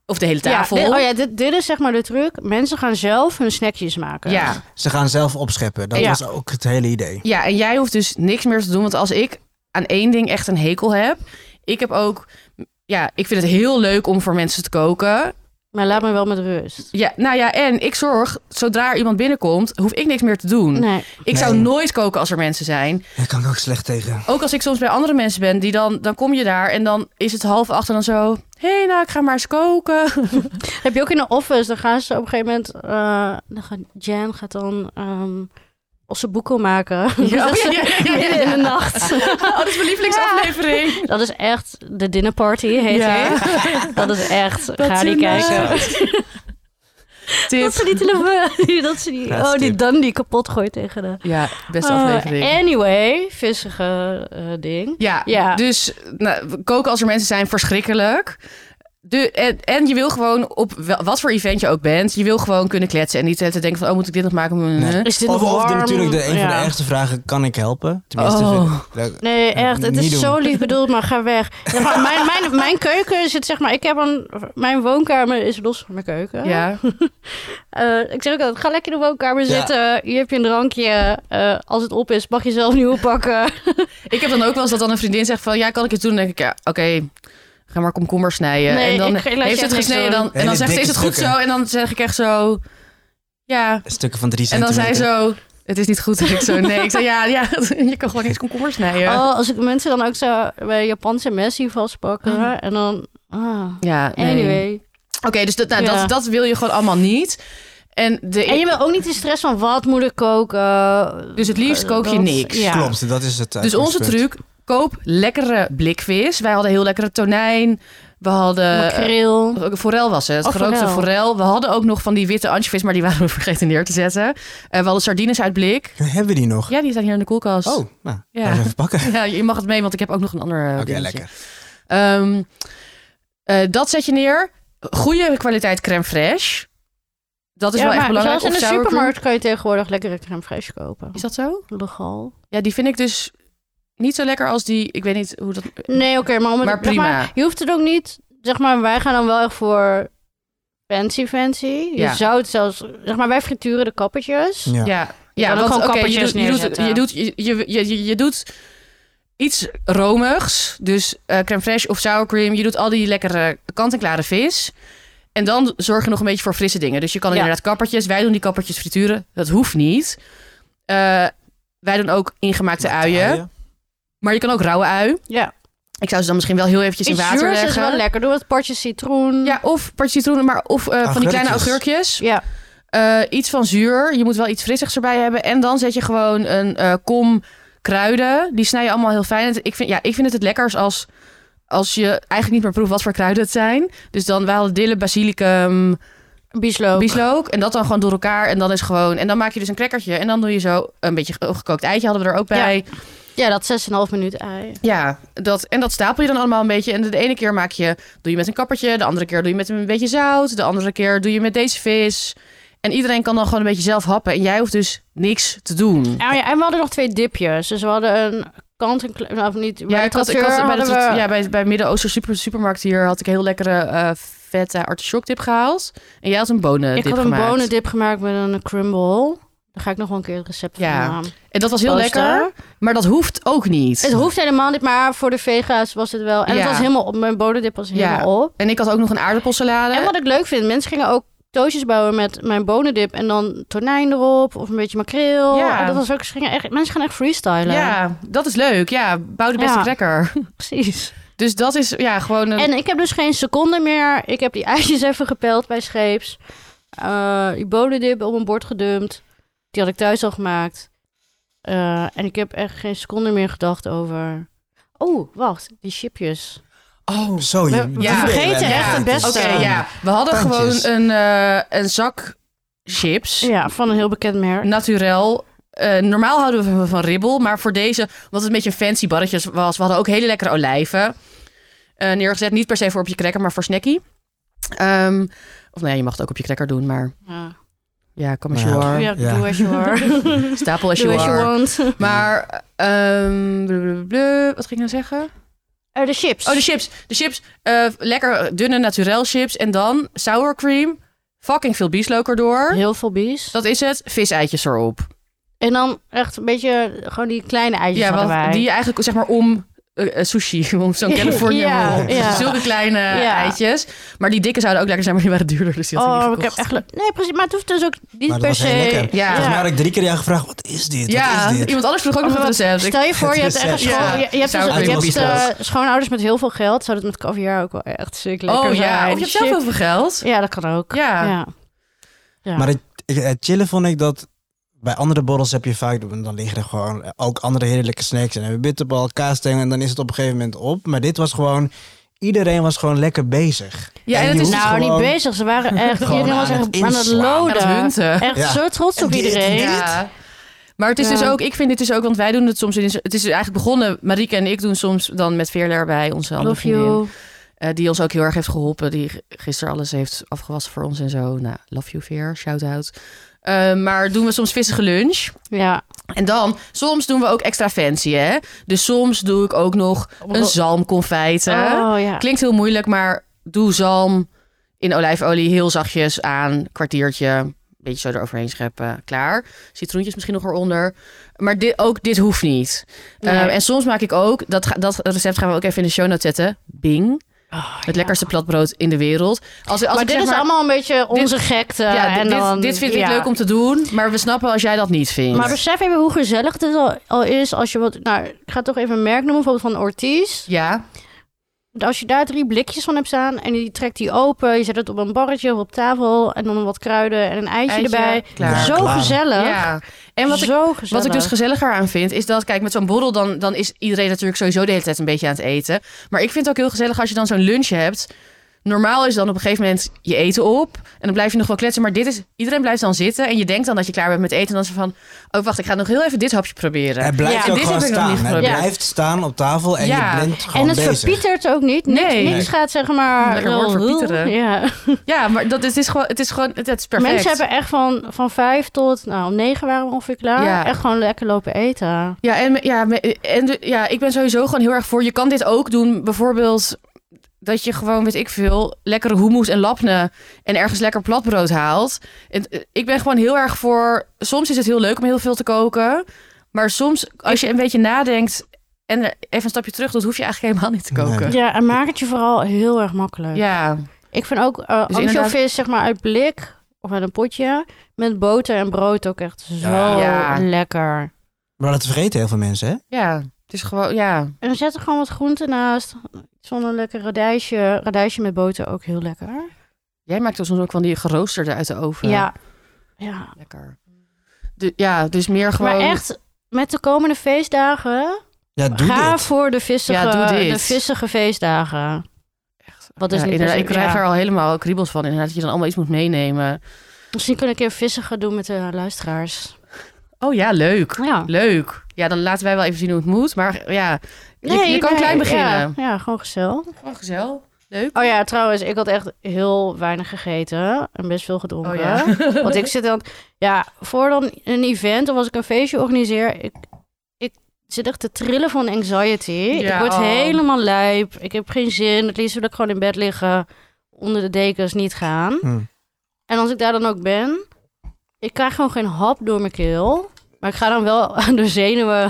[SPEAKER 3] Of de hele tafel.
[SPEAKER 2] Ja, dit, oh ja, dit, dit is zeg maar de truc. Mensen gaan zelf hun snackjes maken.
[SPEAKER 3] ja.
[SPEAKER 1] Ze gaan zelf opscheppen. Dat
[SPEAKER 2] Ja.
[SPEAKER 1] was ook het hele idee.
[SPEAKER 3] Ja, en jij hoeft dus niks meer te doen. Want als ik aan één ding echt een hekel heb... Ik heb ook... Ja, ik vind het heel leuk om voor mensen te koken.
[SPEAKER 2] Maar laat me wel met rust.
[SPEAKER 3] Ja, nou ja, en ik zorg, zodra er iemand binnenkomt, hoef ik niks meer te doen.
[SPEAKER 2] Nee.
[SPEAKER 3] Ik zou
[SPEAKER 1] Nee.
[SPEAKER 3] nooit koken als er mensen zijn.
[SPEAKER 1] Daar kan ik ook slecht tegen.
[SPEAKER 3] Ook als ik soms bij andere mensen ben, die dan, dan kom je daar en dan is het half acht en dan zo... Hé, hey, nou, ik ga maar eens koken. [laughs]
[SPEAKER 2] Heb je ook in de office, dan gaan ze op een gegeven moment... eh, dan gaat, Jan gaat dan ehm onze boeken [laughs] maken. Dus
[SPEAKER 3] Ja,
[SPEAKER 2] Dat is
[SPEAKER 3] ja, ja, ja, ja.
[SPEAKER 2] midden in de nacht. [laughs]
[SPEAKER 3] Oh, dat is mijn lievelingsaflevering.
[SPEAKER 2] Dat is echt de dinnerparty, heet
[SPEAKER 3] Ja.
[SPEAKER 2] die. Dat is echt, ga die
[SPEAKER 3] toen, eh,
[SPEAKER 2] kijken.
[SPEAKER 3] Tip.
[SPEAKER 2] Dat ze die telefoon, [laughs] dat ze die,
[SPEAKER 1] Laatste
[SPEAKER 2] oh, die
[SPEAKER 1] tip.
[SPEAKER 2] dan die kapot gooit tegen de...
[SPEAKER 3] Ja, beste
[SPEAKER 2] Oh,
[SPEAKER 3] aflevering.
[SPEAKER 2] anyway, vissige eh, ding.
[SPEAKER 3] Ja,
[SPEAKER 2] Ja.
[SPEAKER 3] dus nou, we koken als er mensen zijn, verschrikkelijk. De, en, en je wil gewoon op wel- wat voor event je ook bent, je wil gewoon kunnen kletsen en niet te denken van, oh, moet ik dit nog maken?
[SPEAKER 1] Nee.
[SPEAKER 2] [laughs] Is dit
[SPEAKER 1] Of,
[SPEAKER 2] nog
[SPEAKER 1] of de-
[SPEAKER 2] warm?
[SPEAKER 1] natuurlijk de, een van
[SPEAKER 2] Ja.
[SPEAKER 1] de ergste vragen, kan ik helpen? Tenminste,
[SPEAKER 3] Oh.
[SPEAKER 1] vind ik-
[SPEAKER 2] Nee, echt. Het
[SPEAKER 1] Niet
[SPEAKER 2] is
[SPEAKER 1] doen.
[SPEAKER 2] zo lief bedoeld, maar ga weg.
[SPEAKER 1] [laughs]
[SPEAKER 2] Ja, maar mijn, mijn, mijn keuken zit, zeg maar, ik heb een. Mijn woonkamer is los van mijn keuken.
[SPEAKER 3] Ja,
[SPEAKER 2] Eh, ik zeg ook altijd: ga lekker in de woonkamer
[SPEAKER 1] Ja.
[SPEAKER 2] zitten. Hier heb je een drankje. Eh, als het op is, mag je zelf nieuwe
[SPEAKER 3] [laughs]
[SPEAKER 2] pakken.
[SPEAKER 3] ik heb dan ook wel eens dat dan een vriendin zegt van, ja, kan ik het doen? Dan denk ik, ja, oké, ga maar komkommer snijden.
[SPEAKER 2] Nee,
[SPEAKER 3] en dan
[SPEAKER 2] ik- ik laat je
[SPEAKER 3] heeft
[SPEAKER 2] echt
[SPEAKER 3] ze het
[SPEAKER 2] niks
[SPEAKER 3] gesneden dan,
[SPEAKER 2] doen.
[SPEAKER 3] en dan
[SPEAKER 1] Hele
[SPEAKER 3] zegt ze, is
[SPEAKER 1] dikke
[SPEAKER 3] het goed zo?
[SPEAKER 1] stukken.
[SPEAKER 3] En dan zeg ik echt zo, ja.
[SPEAKER 1] stukken van drie
[SPEAKER 3] En dan
[SPEAKER 1] centimeter.
[SPEAKER 3] zei ze zo, het is niet goed. En ik zo, nee. Ik zei, ja, ja, [laughs] je kan gewoon eens komkommer snijden.
[SPEAKER 2] Oh, als ik mensen dan ook zo bij Japanse messi vastpakken.
[SPEAKER 3] Ah.
[SPEAKER 2] En dan. Ah,
[SPEAKER 3] Ja, nee.
[SPEAKER 2] anyway.
[SPEAKER 3] Oké, dus dat, nou,
[SPEAKER 2] Ja.
[SPEAKER 3] dat, dat wil je gewoon allemaal niet. En, de, e-
[SPEAKER 2] En je wil ook niet de stress van wat moet ik koken.
[SPEAKER 3] Dus het liefst kook je
[SPEAKER 2] Dat-
[SPEAKER 3] niks.
[SPEAKER 2] ja.
[SPEAKER 1] Klopt, dat is het
[SPEAKER 3] dus onze
[SPEAKER 1] uitgangspunt.
[SPEAKER 3] truc, koop lekkere blikvis. Wij hadden heel lekkere tonijn. We hadden... eh,
[SPEAKER 2] Makreel.
[SPEAKER 3] Forel was het,
[SPEAKER 2] Oh,
[SPEAKER 3] gerookte
[SPEAKER 2] forel.
[SPEAKER 3] forel. We hadden ook nog van die witte ansjovis, maar die waren we [laughs] vergeten neer te zetten. Eh, we hadden sardines uit blik.
[SPEAKER 1] Hebben we die nog?
[SPEAKER 3] Ja, die staan hier in de koelkast.
[SPEAKER 1] Oh, nou,
[SPEAKER 3] Ja.
[SPEAKER 1] laten we even pakken.
[SPEAKER 3] [laughs] Ja, je mag het mee, want ik heb ook nog een ander eh,
[SPEAKER 1] Oké,
[SPEAKER 3] dingetje.
[SPEAKER 1] lekker.
[SPEAKER 3] Ehm, eh, dat zet je neer. Goede kwaliteit crème fraîche. Dat is
[SPEAKER 2] ja,
[SPEAKER 3] wel echt
[SPEAKER 2] maar
[SPEAKER 3] belangrijk.
[SPEAKER 2] zelfs in
[SPEAKER 3] Of
[SPEAKER 2] de
[SPEAKER 3] sour cream.
[SPEAKER 2] supermarkt kan je tegenwoordig lekkere crème fraîche kopen.
[SPEAKER 3] Is dat zo?
[SPEAKER 2] Legal.
[SPEAKER 3] Ja, die vind ik dus niet zo lekker als die... Ik weet niet hoe dat...
[SPEAKER 2] Nee, oké, maar, om het-
[SPEAKER 3] Maar
[SPEAKER 2] zeg
[SPEAKER 3] prima.
[SPEAKER 2] je hoeft het ook niet... Zeg maar, wij gaan dan wel echt voor fancy fancy. Je
[SPEAKER 3] Ja.
[SPEAKER 2] zou het zelfs... Zeg maar, wij frituren de kappertjes.
[SPEAKER 1] Ja.
[SPEAKER 3] Ja,
[SPEAKER 2] kan
[SPEAKER 3] ja
[SPEAKER 2] ook
[SPEAKER 3] want
[SPEAKER 2] gewoon
[SPEAKER 3] oké, je,
[SPEAKER 2] kappertjes
[SPEAKER 3] doet, je, doet,
[SPEAKER 2] neerzetten.
[SPEAKER 3] je, doet, je, je, je, je doet iets romigs. Dus eh crème fraîche of sour cream. Je doet al die lekkere kant-en-klare vis. En dan zorg je nog een beetje voor frisse dingen. Dus je kan
[SPEAKER 2] Ja.
[SPEAKER 3] inderdaad kappertjes. Wij doen die kappertjes frituren. Dat hoeft niet. Eh, wij doen ook ingemaakte uien. Maar je kan ook rauwe ui.
[SPEAKER 2] Ja.
[SPEAKER 3] Ik zou ze dan misschien wel heel eventjes in
[SPEAKER 2] Iets
[SPEAKER 3] water
[SPEAKER 2] zuurs is
[SPEAKER 3] leggen.
[SPEAKER 2] wel lekker. Doe wat partjes citroen.
[SPEAKER 3] Ja, of partje citroenen, maar of eh, van die kleine
[SPEAKER 1] Augurkjes.
[SPEAKER 3] augurkjes.
[SPEAKER 2] Ja.
[SPEAKER 3] Eh, iets van zuur. Je moet wel iets frissigs erbij hebben. En dan zet je gewoon een eh, kom kruiden. Die snij je allemaal heel fijn. Ik vind, ja, ik vind het het lekkers als als je eigenlijk niet meer proeft wat voor kruiden het zijn. Dus dan wij hadden dille, basilicum, eh,
[SPEAKER 2] Biesloop.
[SPEAKER 3] bieslook. En dat dan gewoon door elkaar. En dan is gewoon. En dan maak je dus een crackertje. En dan doe je zo een beetje ge- gekookt eitje hadden we er ook bij. Ja,
[SPEAKER 2] Ja, dat 6,5 minuut ei.
[SPEAKER 3] dat, en dat stapel je dan allemaal een beetje. En de ene keer maak je, doe je met een kappertje. De andere keer doe je met een beetje zout. De andere keer doe je met deze vis. En iedereen kan dan gewoon een beetje zelf happen. En jij hoeft dus niks te doen.
[SPEAKER 2] En, ja, en we hadden nog twee dipjes. Dus we hadden een kant en kle- of niet. bij de
[SPEAKER 3] ik had- ik
[SPEAKER 2] tracteur
[SPEAKER 3] had bij, de,
[SPEAKER 2] hadden
[SPEAKER 3] tot-
[SPEAKER 2] we-
[SPEAKER 3] ja, bij, bij Midden-Oosten super, supermarkt hier had ik een heel lekkere eh vette artichokdip gehaald. En jij had een bonendip
[SPEAKER 2] ik had een
[SPEAKER 3] gemaakt.
[SPEAKER 2] bonendip gemaakt met een crumble. Daar ga ik nog wel een keer het recept van
[SPEAKER 3] Ja.
[SPEAKER 2] aan.
[SPEAKER 3] En dat was heel
[SPEAKER 2] Poster.
[SPEAKER 3] lekker, maar dat hoeft ook niet.
[SPEAKER 2] Het hoeft helemaal niet, maar voor de vega's was het wel. En
[SPEAKER 3] Ja.
[SPEAKER 2] het was helemaal op. Mijn bonendip was
[SPEAKER 3] Ja.
[SPEAKER 2] helemaal op.
[SPEAKER 3] En ik had ook nog een aardappelsalade.
[SPEAKER 2] En wat ik leuk vind, mensen gingen ook toastjes bouwen met mijn bonendip en dan tonijn erop of een beetje makreel.
[SPEAKER 3] Ja.
[SPEAKER 2] En dat was ook, ze gingen echt, mensen gaan echt freestylen.
[SPEAKER 3] ja, dat is leuk. Ja, bouw de beste
[SPEAKER 2] Ja.
[SPEAKER 3] cracker.
[SPEAKER 2] precies.
[SPEAKER 3] Dus dat is ja, gewoon een...
[SPEAKER 2] En ik heb dus geen seconde meer. Ik heb die eitjes [laughs] even gepeld bij scheeps. Eh, die bonendip op een bord gedumpt. Die had ik thuis al gemaakt. Eh, en ik heb echt geen seconde meer gedacht over. Oh, wacht, die chipjes.
[SPEAKER 3] Oh,
[SPEAKER 1] Zo, je,
[SPEAKER 2] We- we
[SPEAKER 1] ja.
[SPEAKER 2] vergeten
[SPEAKER 1] Ja.
[SPEAKER 2] echt het beste.
[SPEAKER 3] Oké, ja. We hadden
[SPEAKER 1] Tandjes.
[SPEAKER 3] gewoon een, eh, een zak chips.
[SPEAKER 2] Ja, van een heel bekend merk.
[SPEAKER 3] Naturel. Eh, normaal houden we van, van ribbel, maar voor deze, wat het een beetje een fancy barretje was, we hadden ook hele lekkere olijven eh, neergezet. Niet per se voor op je cracker, maar voor snackie. Ehm, of nou ja, je mag het ook op je cracker doen, maar
[SPEAKER 2] Ja,
[SPEAKER 3] ja, come as
[SPEAKER 1] Nou,
[SPEAKER 3] you are.
[SPEAKER 2] ja,
[SPEAKER 1] Ja.
[SPEAKER 2] do as you [laughs] are.
[SPEAKER 3] Stapel as
[SPEAKER 2] do
[SPEAKER 3] you
[SPEAKER 2] as you
[SPEAKER 3] are.
[SPEAKER 2] want.
[SPEAKER 3] Maar, ehm, blablabla, wat ging ik nou zeggen?
[SPEAKER 2] Eh, de chips.
[SPEAKER 3] Oh, de chips. De chips. eh, lekker dunne naturel chips. En dan sour cream. Fucking veel bieslook erdoor.
[SPEAKER 2] Heel veel bies.
[SPEAKER 3] Dat is het. Viseitjes erop.
[SPEAKER 2] En dan echt een beetje gewoon die kleine eitjes
[SPEAKER 3] ja,
[SPEAKER 2] hadden wij.
[SPEAKER 3] die je eigenlijk zeg maar om eh, eh, sushi, [laughs] om zo'n California
[SPEAKER 2] Ja,
[SPEAKER 3] roll.
[SPEAKER 2] ja.
[SPEAKER 3] Zulke kleine
[SPEAKER 2] Ja.
[SPEAKER 3] eitjes. Maar die dikke zouden ook lekker zijn, maar die waren duurder. Dus die had ik
[SPEAKER 2] Oh,
[SPEAKER 3] niet
[SPEAKER 2] ik heb
[SPEAKER 3] gekocht.
[SPEAKER 2] echt... le- Nee, precies. Maar het hoeft dus ook niet
[SPEAKER 1] Maar dat
[SPEAKER 2] per
[SPEAKER 1] was
[SPEAKER 2] se...
[SPEAKER 1] heel lekker.
[SPEAKER 3] Ja.
[SPEAKER 1] Volgens mij had ik drie keer aan gevraagd, wat is dit?
[SPEAKER 3] Ja,
[SPEAKER 1] Wat is dit?
[SPEAKER 3] iemand anders vroeg ook nog
[SPEAKER 2] Oh,
[SPEAKER 3] het
[SPEAKER 2] wat-
[SPEAKER 3] recept. Ik-
[SPEAKER 2] Stel je voor, je hebt
[SPEAKER 1] Het
[SPEAKER 2] echt een
[SPEAKER 1] recept,
[SPEAKER 2] schoon-
[SPEAKER 1] ja.
[SPEAKER 2] je, je hebt, dus,
[SPEAKER 3] Zou
[SPEAKER 2] je hebt
[SPEAKER 1] het
[SPEAKER 2] eh,
[SPEAKER 1] wel.
[SPEAKER 2] schoonouders met heel veel geld. Zou dat met caviar ook wel echt sick lekker
[SPEAKER 3] oh
[SPEAKER 2] zijn.
[SPEAKER 3] ja, of je hebt zelf
[SPEAKER 2] Chips.
[SPEAKER 3] heel veel geld.
[SPEAKER 2] Ja, dat kan ook.
[SPEAKER 3] Ja.
[SPEAKER 2] ja. Ja.
[SPEAKER 1] Maar het, ik- het chillen vond ik dat bij andere borrels heb je vaak, dan liggen er gewoon ook andere heerlijke snacks en hebben bitterbal, kaasstengel en dan is het op een gegeven moment op. Maar dit was gewoon, iedereen was gewoon lekker bezig.
[SPEAKER 3] Ja, en
[SPEAKER 1] En
[SPEAKER 3] het
[SPEAKER 1] die
[SPEAKER 3] is
[SPEAKER 1] hoeft
[SPEAKER 2] nou,
[SPEAKER 1] gewoon-
[SPEAKER 2] niet bezig. Ze waren echt...
[SPEAKER 1] Gewoon
[SPEAKER 2] Iedereen was
[SPEAKER 1] aan
[SPEAKER 2] echt
[SPEAKER 1] het
[SPEAKER 2] aan het
[SPEAKER 1] inslaan.
[SPEAKER 3] aan het
[SPEAKER 2] loden.
[SPEAKER 3] hunten.
[SPEAKER 2] Echt
[SPEAKER 1] Ja.
[SPEAKER 2] zo trots op
[SPEAKER 1] En dit,
[SPEAKER 2] iedereen.
[SPEAKER 1] dit.
[SPEAKER 3] Ja. Maar het is
[SPEAKER 2] Ja.
[SPEAKER 3] dus ook, ik vind dit dus ook, want wij doen het soms in. Het is eigenlijk begonnen, Marieke en ik doen soms dan met Veerle erbij, onze andere
[SPEAKER 2] Love
[SPEAKER 3] vriendin.
[SPEAKER 2] you.
[SPEAKER 3] eh, die ons ook heel erg heeft geholpen. Die g- gisteren alles heeft afgewassen voor ons en zo. Nou, love you Veer, shout out. Eh, maar doen we soms vissige lunch.
[SPEAKER 2] Ja.
[SPEAKER 3] En dan, soms doen we ook extra fancy, hè. Dus soms doe ik ook nog een zalmconfijten.
[SPEAKER 2] Oh ja.
[SPEAKER 3] Klinkt heel moeilijk, maar doe zalm in olijfolie heel zachtjes aan. Kwartiertje, beetje zo eroverheen scheppen, klaar. Citroentjes misschien nog eronder. Maar dit, ook dit hoeft niet.
[SPEAKER 2] Nee.
[SPEAKER 3] Eh, en soms maak ik ook, dat, ga- dat recept gaan we ook even in de show notes zetten. Bing.
[SPEAKER 2] Oh,
[SPEAKER 3] Het
[SPEAKER 2] ja.
[SPEAKER 3] lekkerste platbrood in de wereld. Als, als
[SPEAKER 2] maar
[SPEAKER 3] ik
[SPEAKER 2] dit
[SPEAKER 3] zeg
[SPEAKER 2] is allemaal een beetje onze gekte.
[SPEAKER 3] Ja,
[SPEAKER 2] en
[SPEAKER 3] dit,
[SPEAKER 2] dan,
[SPEAKER 3] dit vind ik
[SPEAKER 2] ja.
[SPEAKER 3] leuk om te doen, maar we snappen als jij dat niet vindt.
[SPEAKER 2] Maar besef even hoe gezellig dit al, al is. Als je wat, nou, ik ga toch even een merk noemen, bijvoorbeeld van Ortiz.
[SPEAKER 3] ja,
[SPEAKER 2] Want Als je daar drie blikjes van hebt staan en je trekt die open, je zet het op een barretje of op tafel en dan wat kruiden en een eitje,
[SPEAKER 3] Eitje,
[SPEAKER 2] erbij.
[SPEAKER 3] klaar.
[SPEAKER 2] Zo
[SPEAKER 1] Klaar.
[SPEAKER 2] gezellig.
[SPEAKER 3] ja. En wat ik,
[SPEAKER 2] Zo
[SPEAKER 3] wat
[SPEAKER 2] gezellig.
[SPEAKER 3] ik dus gezelliger aan vind, is dat, kijk, met zo'n borrel dan, dan is iedereen natuurlijk sowieso de hele tijd een beetje aan het eten. Maar ik vind het ook heel gezellig als je dan zo'n lunch hebt. Normaal is dan op een gegeven moment je eten op en dan blijf je nog wel kletsen. Maar dit is, iedereen blijft dan zitten en je denkt dan dat je klaar bent met eten. En dan is het van, oh wacht, ik ga nog heel even dit hapje proberen.
[SPEAKER 1] Het blijft
[SPEAKER 2] Ja,
[SPEAKER 1] ook
[SPEAKER 3] dit
[SPEAKER 1] gewoon
[SPEAKER 3] heb ik nog
[SPEAKER 1] staan.
[SPEAKER 3] niet
[SPEAKER 1] Het
[SPEAKER 3] geprobeerd.
[SPEAKER 1] blijft staan op tafel en
[SPEAKER 3] Ja.
[SPEAKER 1] je bent gewoon
[SPEAKER 2] en het
[SPEAKER 1] bezig.
[SPEAKER 2] verpietert ook niet. Niks,
[SPEAKER 3] Nee.
[SPEAKER 2] niks gaat zeg maar...
[SPEAKER 3] Lekker woord verpieteren.
[SPEAKER 2] Ja.
[SPEAKER 3] Ja, maar dat, het is gewoon, het is gewoon, het, het is perfect.
[SPEAKER 2] Mensen hebben echt van, van vijf tot... Nou, om negen waren we ongeveer klaar.
[SPEAKER 3] Ja.
[SPEAKER 2] Echt gewoon lekker lopen eten.
[SPEAKER 3] Ja, en, ja, me- en de- ja, ik ben sowieso gewoon heel erg voor. Je kan dit ook doen, bijvoorbeeld dat je gewoon, weet ik veel, lekkere hummus en labne en ergens lekker platbrood haalt. En, eh, ik ben gewoon heel erg voor. Soms is het heel leuk om heel veel te koken, maar soms als je een beetje nadenkt en er even een stapje terug doet, hoef je eigenlijk helemaal niet te koken.
[SPEAKER 1] Nee.
[SPEAKER 2] Ja, en maak het je vooral heel erg makkelijk.
[SPEAKER 3] Ja,
[SPEAKER 2] Ik vind ook eh
[SPEAKER 3] Dus
[SPEAKER 2] anchovies,
[SPEAKER 3] inderdaad-
[SPEAKER 2] zeg maar, uit blik of uit een potje met boter en brood ook echt zo
[SPEAKER 3] Ja.
[SPEAKER 2] lekker.
[SPEAKER 1] Maar dat vergeten heel veel mensen, hè?
[SPEAKER 3] ja, het is gewoon, ja.
[SPEAKER 2] En dan zet er gewoon wat groenten naast. Zo'n lekker radijsje. Radijsje met boter ook heel lekker.
[SPEAKER 3] Jij maakt soms ook van die geroosterde uit de oven.
[SPEAKER 2] Ja. ja.
[SPEAKER 3] lekker. Du- ja, dus meer gewoon.
[SPEAKER 2] Maar echt, met de komende feestdagen
[SPEAKER 1] Ja, doe
[SPEAKER 2] Ga
[SPEAKER 1] dit.
[SPEAKER 2] voor de vissige,
[SPEAKER 3] Ja, doe dit.
[SPEAKER 2] de vissige feestdagen. Wat is
[SPEAKER 3] Ja,
[SPEAKER 2] niet
[SPEAKER 3] inderdaad, ik
[SPEAKER 2] best-
[SPEAKER 3] krijg
[SPEAKER 2] ja.
[SPEAKER 3] er al helemaal kriebels van. Inderdaad, dat je dan allemaal iets moet meenemen.
[SPEAKER 2] Misschien kunnen we een keer vissige doen met de luisteraars.
[SPEAKER 3] Oh ja, leuk.
[SPEAKER 2] Ja.
[SPEAKER 3] Leuk. Ja, dan laten wij wel even zien hoe het moet. Maar ja, je- je, kan klein beginnen.
[SPEAKER 2] Ja, ja, gewoon gezellig.
[SPEAKER 3] Gewoon gezellig. Leuk.
[SPEAKER 2] Oh ja, trouwens, ik had echt heel weinig gegeten en best veel gedronken.
[SPEAKER 3] Oh ja.
[SPEAKER 2] [laughs] Want ik zit dan, ja, voor dan een event of als ik een feestje organiseer, ik, ik zit echt te trillen van anxiety.
[SPEAKER 3] Ja,
[SPEAKER 2] ik word
[SPEAKER 3] oh.
[SPEAKER 2] helemaal lijp. Ik heb geen zin. Het liefst wil ik gewoon in bed liggen, onder de dekens niet gaan.
[SPEAKER 1] Hm.
[SPEAKER 2] En als ik daar dan ook ben, ik krijg gewoon geen hap door mijn keel. Maar ik ga dan wel [laughs] aan de zenuwen,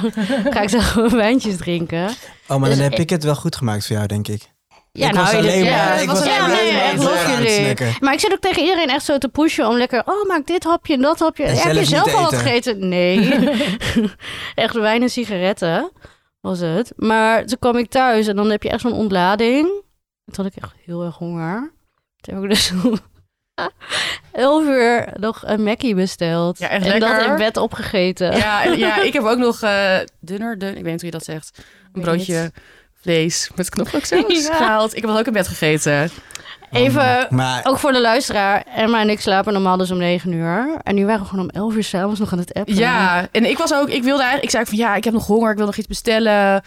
[SPEAKER 2] ga ik dan gewoon [laughs] wijntjes drinken.
[SPEAKER 1] Oh, maar
[SPEAKER 2] Dus
[SPEAKER 1] dan heb
[SPEAKER 2] ik-
[SPEAKER 1] ik het wel goed gemaakt voor jou, denk ik.
[SPEAKER 2] Ja,
[SPEAKER 1] ik was
[SPEAKER 2] je-
[SPEAKER 1] alleen
[SPEAKER 3] ja,
[SPEAKER 1] maar...
[SPEAKER 3] het
[SPEAKER 1] ik
[SPEAKER 3] was
[SPEAKER 1] was
[SPEAKER 3] alleen
[SPEAKER 1] alleen
[SPEAKER 3] maar-
[SPEAKER 1] maar
[SPEAKER 3] Ja, nee,
[SPEAKER 1] aan het
[SPEAKER 2] echt
[SPEAKER 1] aan het
[SPEAKER 2] jullie.
[SPEAKER 1] snacken.
[SPEAKER 2] Maar ik zit ook tegen iedereen echt zo te pushen om lekker... Oh, maak dit hapje en dat hapje.
[SPEAKER 1] En
[SPEAKER 2] Heb je
[SPEAKER 1] zelf
[SPEAKER 2] zelf
[SPEAKER 1] niet
[SPEAKER 2] al wat
[SPEAKER 1] eten.
[SPEAKER 2] gegeten? Nee.
[SPEAKER 1] [laughs]
[SPEAKER 2] [laughs] echt wijn en sigaretten was het. Maar toen kwam ik thuis en dan heb je echt zo'n ontlading. En toen had ik echt heel erg honger. Toen heb ik dus om [laughs] 11 uur nog een Mackie besteld.
[SPEAKER 3] Ja, echt
[SPEAKER 2] en dat
[SPEAKER 3] lekker.
[SPEAKER 2] in bed opgegeten.
[SPEAKER 3] Ja, en- ja, ik heb ook nog eh, dunner, dun, ik weet niet hoe je dat zegt. Een
[SPEAKER 2] weet
[SPEAKER 3] broodje vlees met knoflooksaus
[SPEAKER 2] [laughs] Ja.
[SPEAKER 3] gehaald. Ik heb dat ook in bed gegeten.
[SPEAKER 2] Even
[SPEAKER 1] Oh, Maar
[SPEAKER 2] Ook voor de luisteraar. Emma en ik slapen normaal dus om 9 uur. En nu waren we gewoon om 11 uur s'avonds nog aan het appen.
[SPEAKER 3] Ja, en ik was ook, ik wilde eigenlijk, ik zei ook van ja, ik heb nog honger, ik wil nog iets bestellen.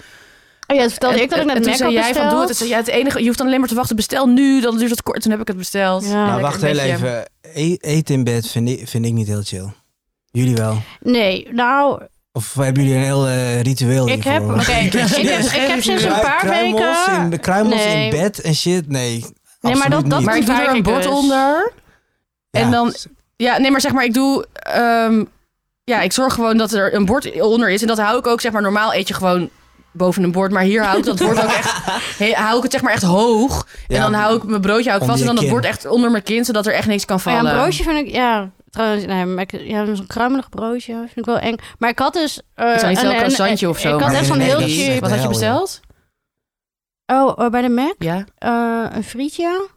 [SPEAKER 2] Oh ja, dat vertelde
[SPEAKER 3] En-
[SPEAKER 2] ik dat ik
[SPEAKER 3] en-
[SPEAKER 2] net
[SPEAKER 3] en
[SPEAKER 2] Mac
[SPEAKER 3] toen zei
[SPEAKER 2] had
[SPEAKER 3] jij van
[SPEAKER 2] besteld.
[SPEAKER 3] doe het. En zei, ja, het enige, je hoeft dan alleen maar te wachten, bestel nu, dan duurt het kort. Toen heb ik het besteld.
[SPEAKER 2] Ja.
[SPEAKER 1] maar
[SPEAKER 2] lekker
[SPEAKER 1] Nou, wacht
[SPEAKER 3] een
[SPEAKER 1] heel
[SPEAKER 3] beetje-
[SPEAKER 1] even. E- eten in bed vind ik, vind ik niet heel chill. Jullie wel.
[SPEAKER 2] Nee, nou,
[SPEAKER 1] Of hebben jullie een heel eh, ritueel
[SPEAKER 2] ik
[SPEAKER 1] hiervoor?
[SPEAKER 2] heb, oké, ik, heb, ik heb sinds een paar
[SPEAKER 1] Kruimels
[SPEAKER 2] weken...
[SPEAKER 1] In, de kruimels
[SPEAKER 2] Nee.
[SPEAKER 1] in bed en shit, nee.
[SPEAKER 2] maar
[SPEAKER 1] absoluut
[SPEAKER 2] dat-
[SPEAKER 1] niet.
[SPEAKER 2] dat-
[SPEAKER 1] Ah,
[SPEAKER 3] Maar ik doe er
[SPEAKER 2] Ontwijk
[SPEAKER 3] een
[SPEAKER 2] ik
[SPEAKER 3] bord
[SPEAKER 2] dus.
[SPEAKER 3] onder. en dan- Ja, nee, maar zeg maar, ik doe. ehm, ja, ik zorg gewoon dat er een bord onder is. En dat hou ik ook, zeg maar, normaal eet je gewoon boven een bord. Maar hier hou ik dat bord ook [laughs] echt. he- hou ik het zeg maar echt hoog.
[SPEAKER 1] Ja,
[SPEAKER 3] en dan hou ik mijn broodje hou ik
[SPEAKER 1] onder
[SPEAKER 3] vast. En
[SPEAKER 1] je
[SPEAKER 3] dan dat
[SPEAKER 1] kin.
[SPEAKER 3] bord echt onder mijn kin, zodat er echt niks kan
[SPEAKER 2] Maar ja,
[SPEAKER 3] vallen.
[SPEAKER 2] een broodje vind ik... Ja, trouwens, nee, Mac, ja, zo'n kruimelig broodje vind ik wel eng. Maar ik had dus... eh,
[SPEAKER 3] Ik zou niet
[SPEAKER 2] een-
[SPEAKER 3] zeggen
[SPEAKER 2] een-
[SPEAKER 3] croissantje of zo,
[SPEAKER 2] Ik
[SPEAKER 3] maar-
[SPEAKER 2] had echt zo'n
[SPEAKER 1] Nee,
[SPEAKER 2] heel
[SPEAKER 1] nee, nee,
[SPEAKER 2] cheap...
[SPEAKER 1] nee.
[SPEAKER 3] Wat had je besteld?
[SPEAKER 2] Oh, eh, bij de Mac?
[SPEAKER 3] Ja.
[SPEAKER 2] eh, een frietje.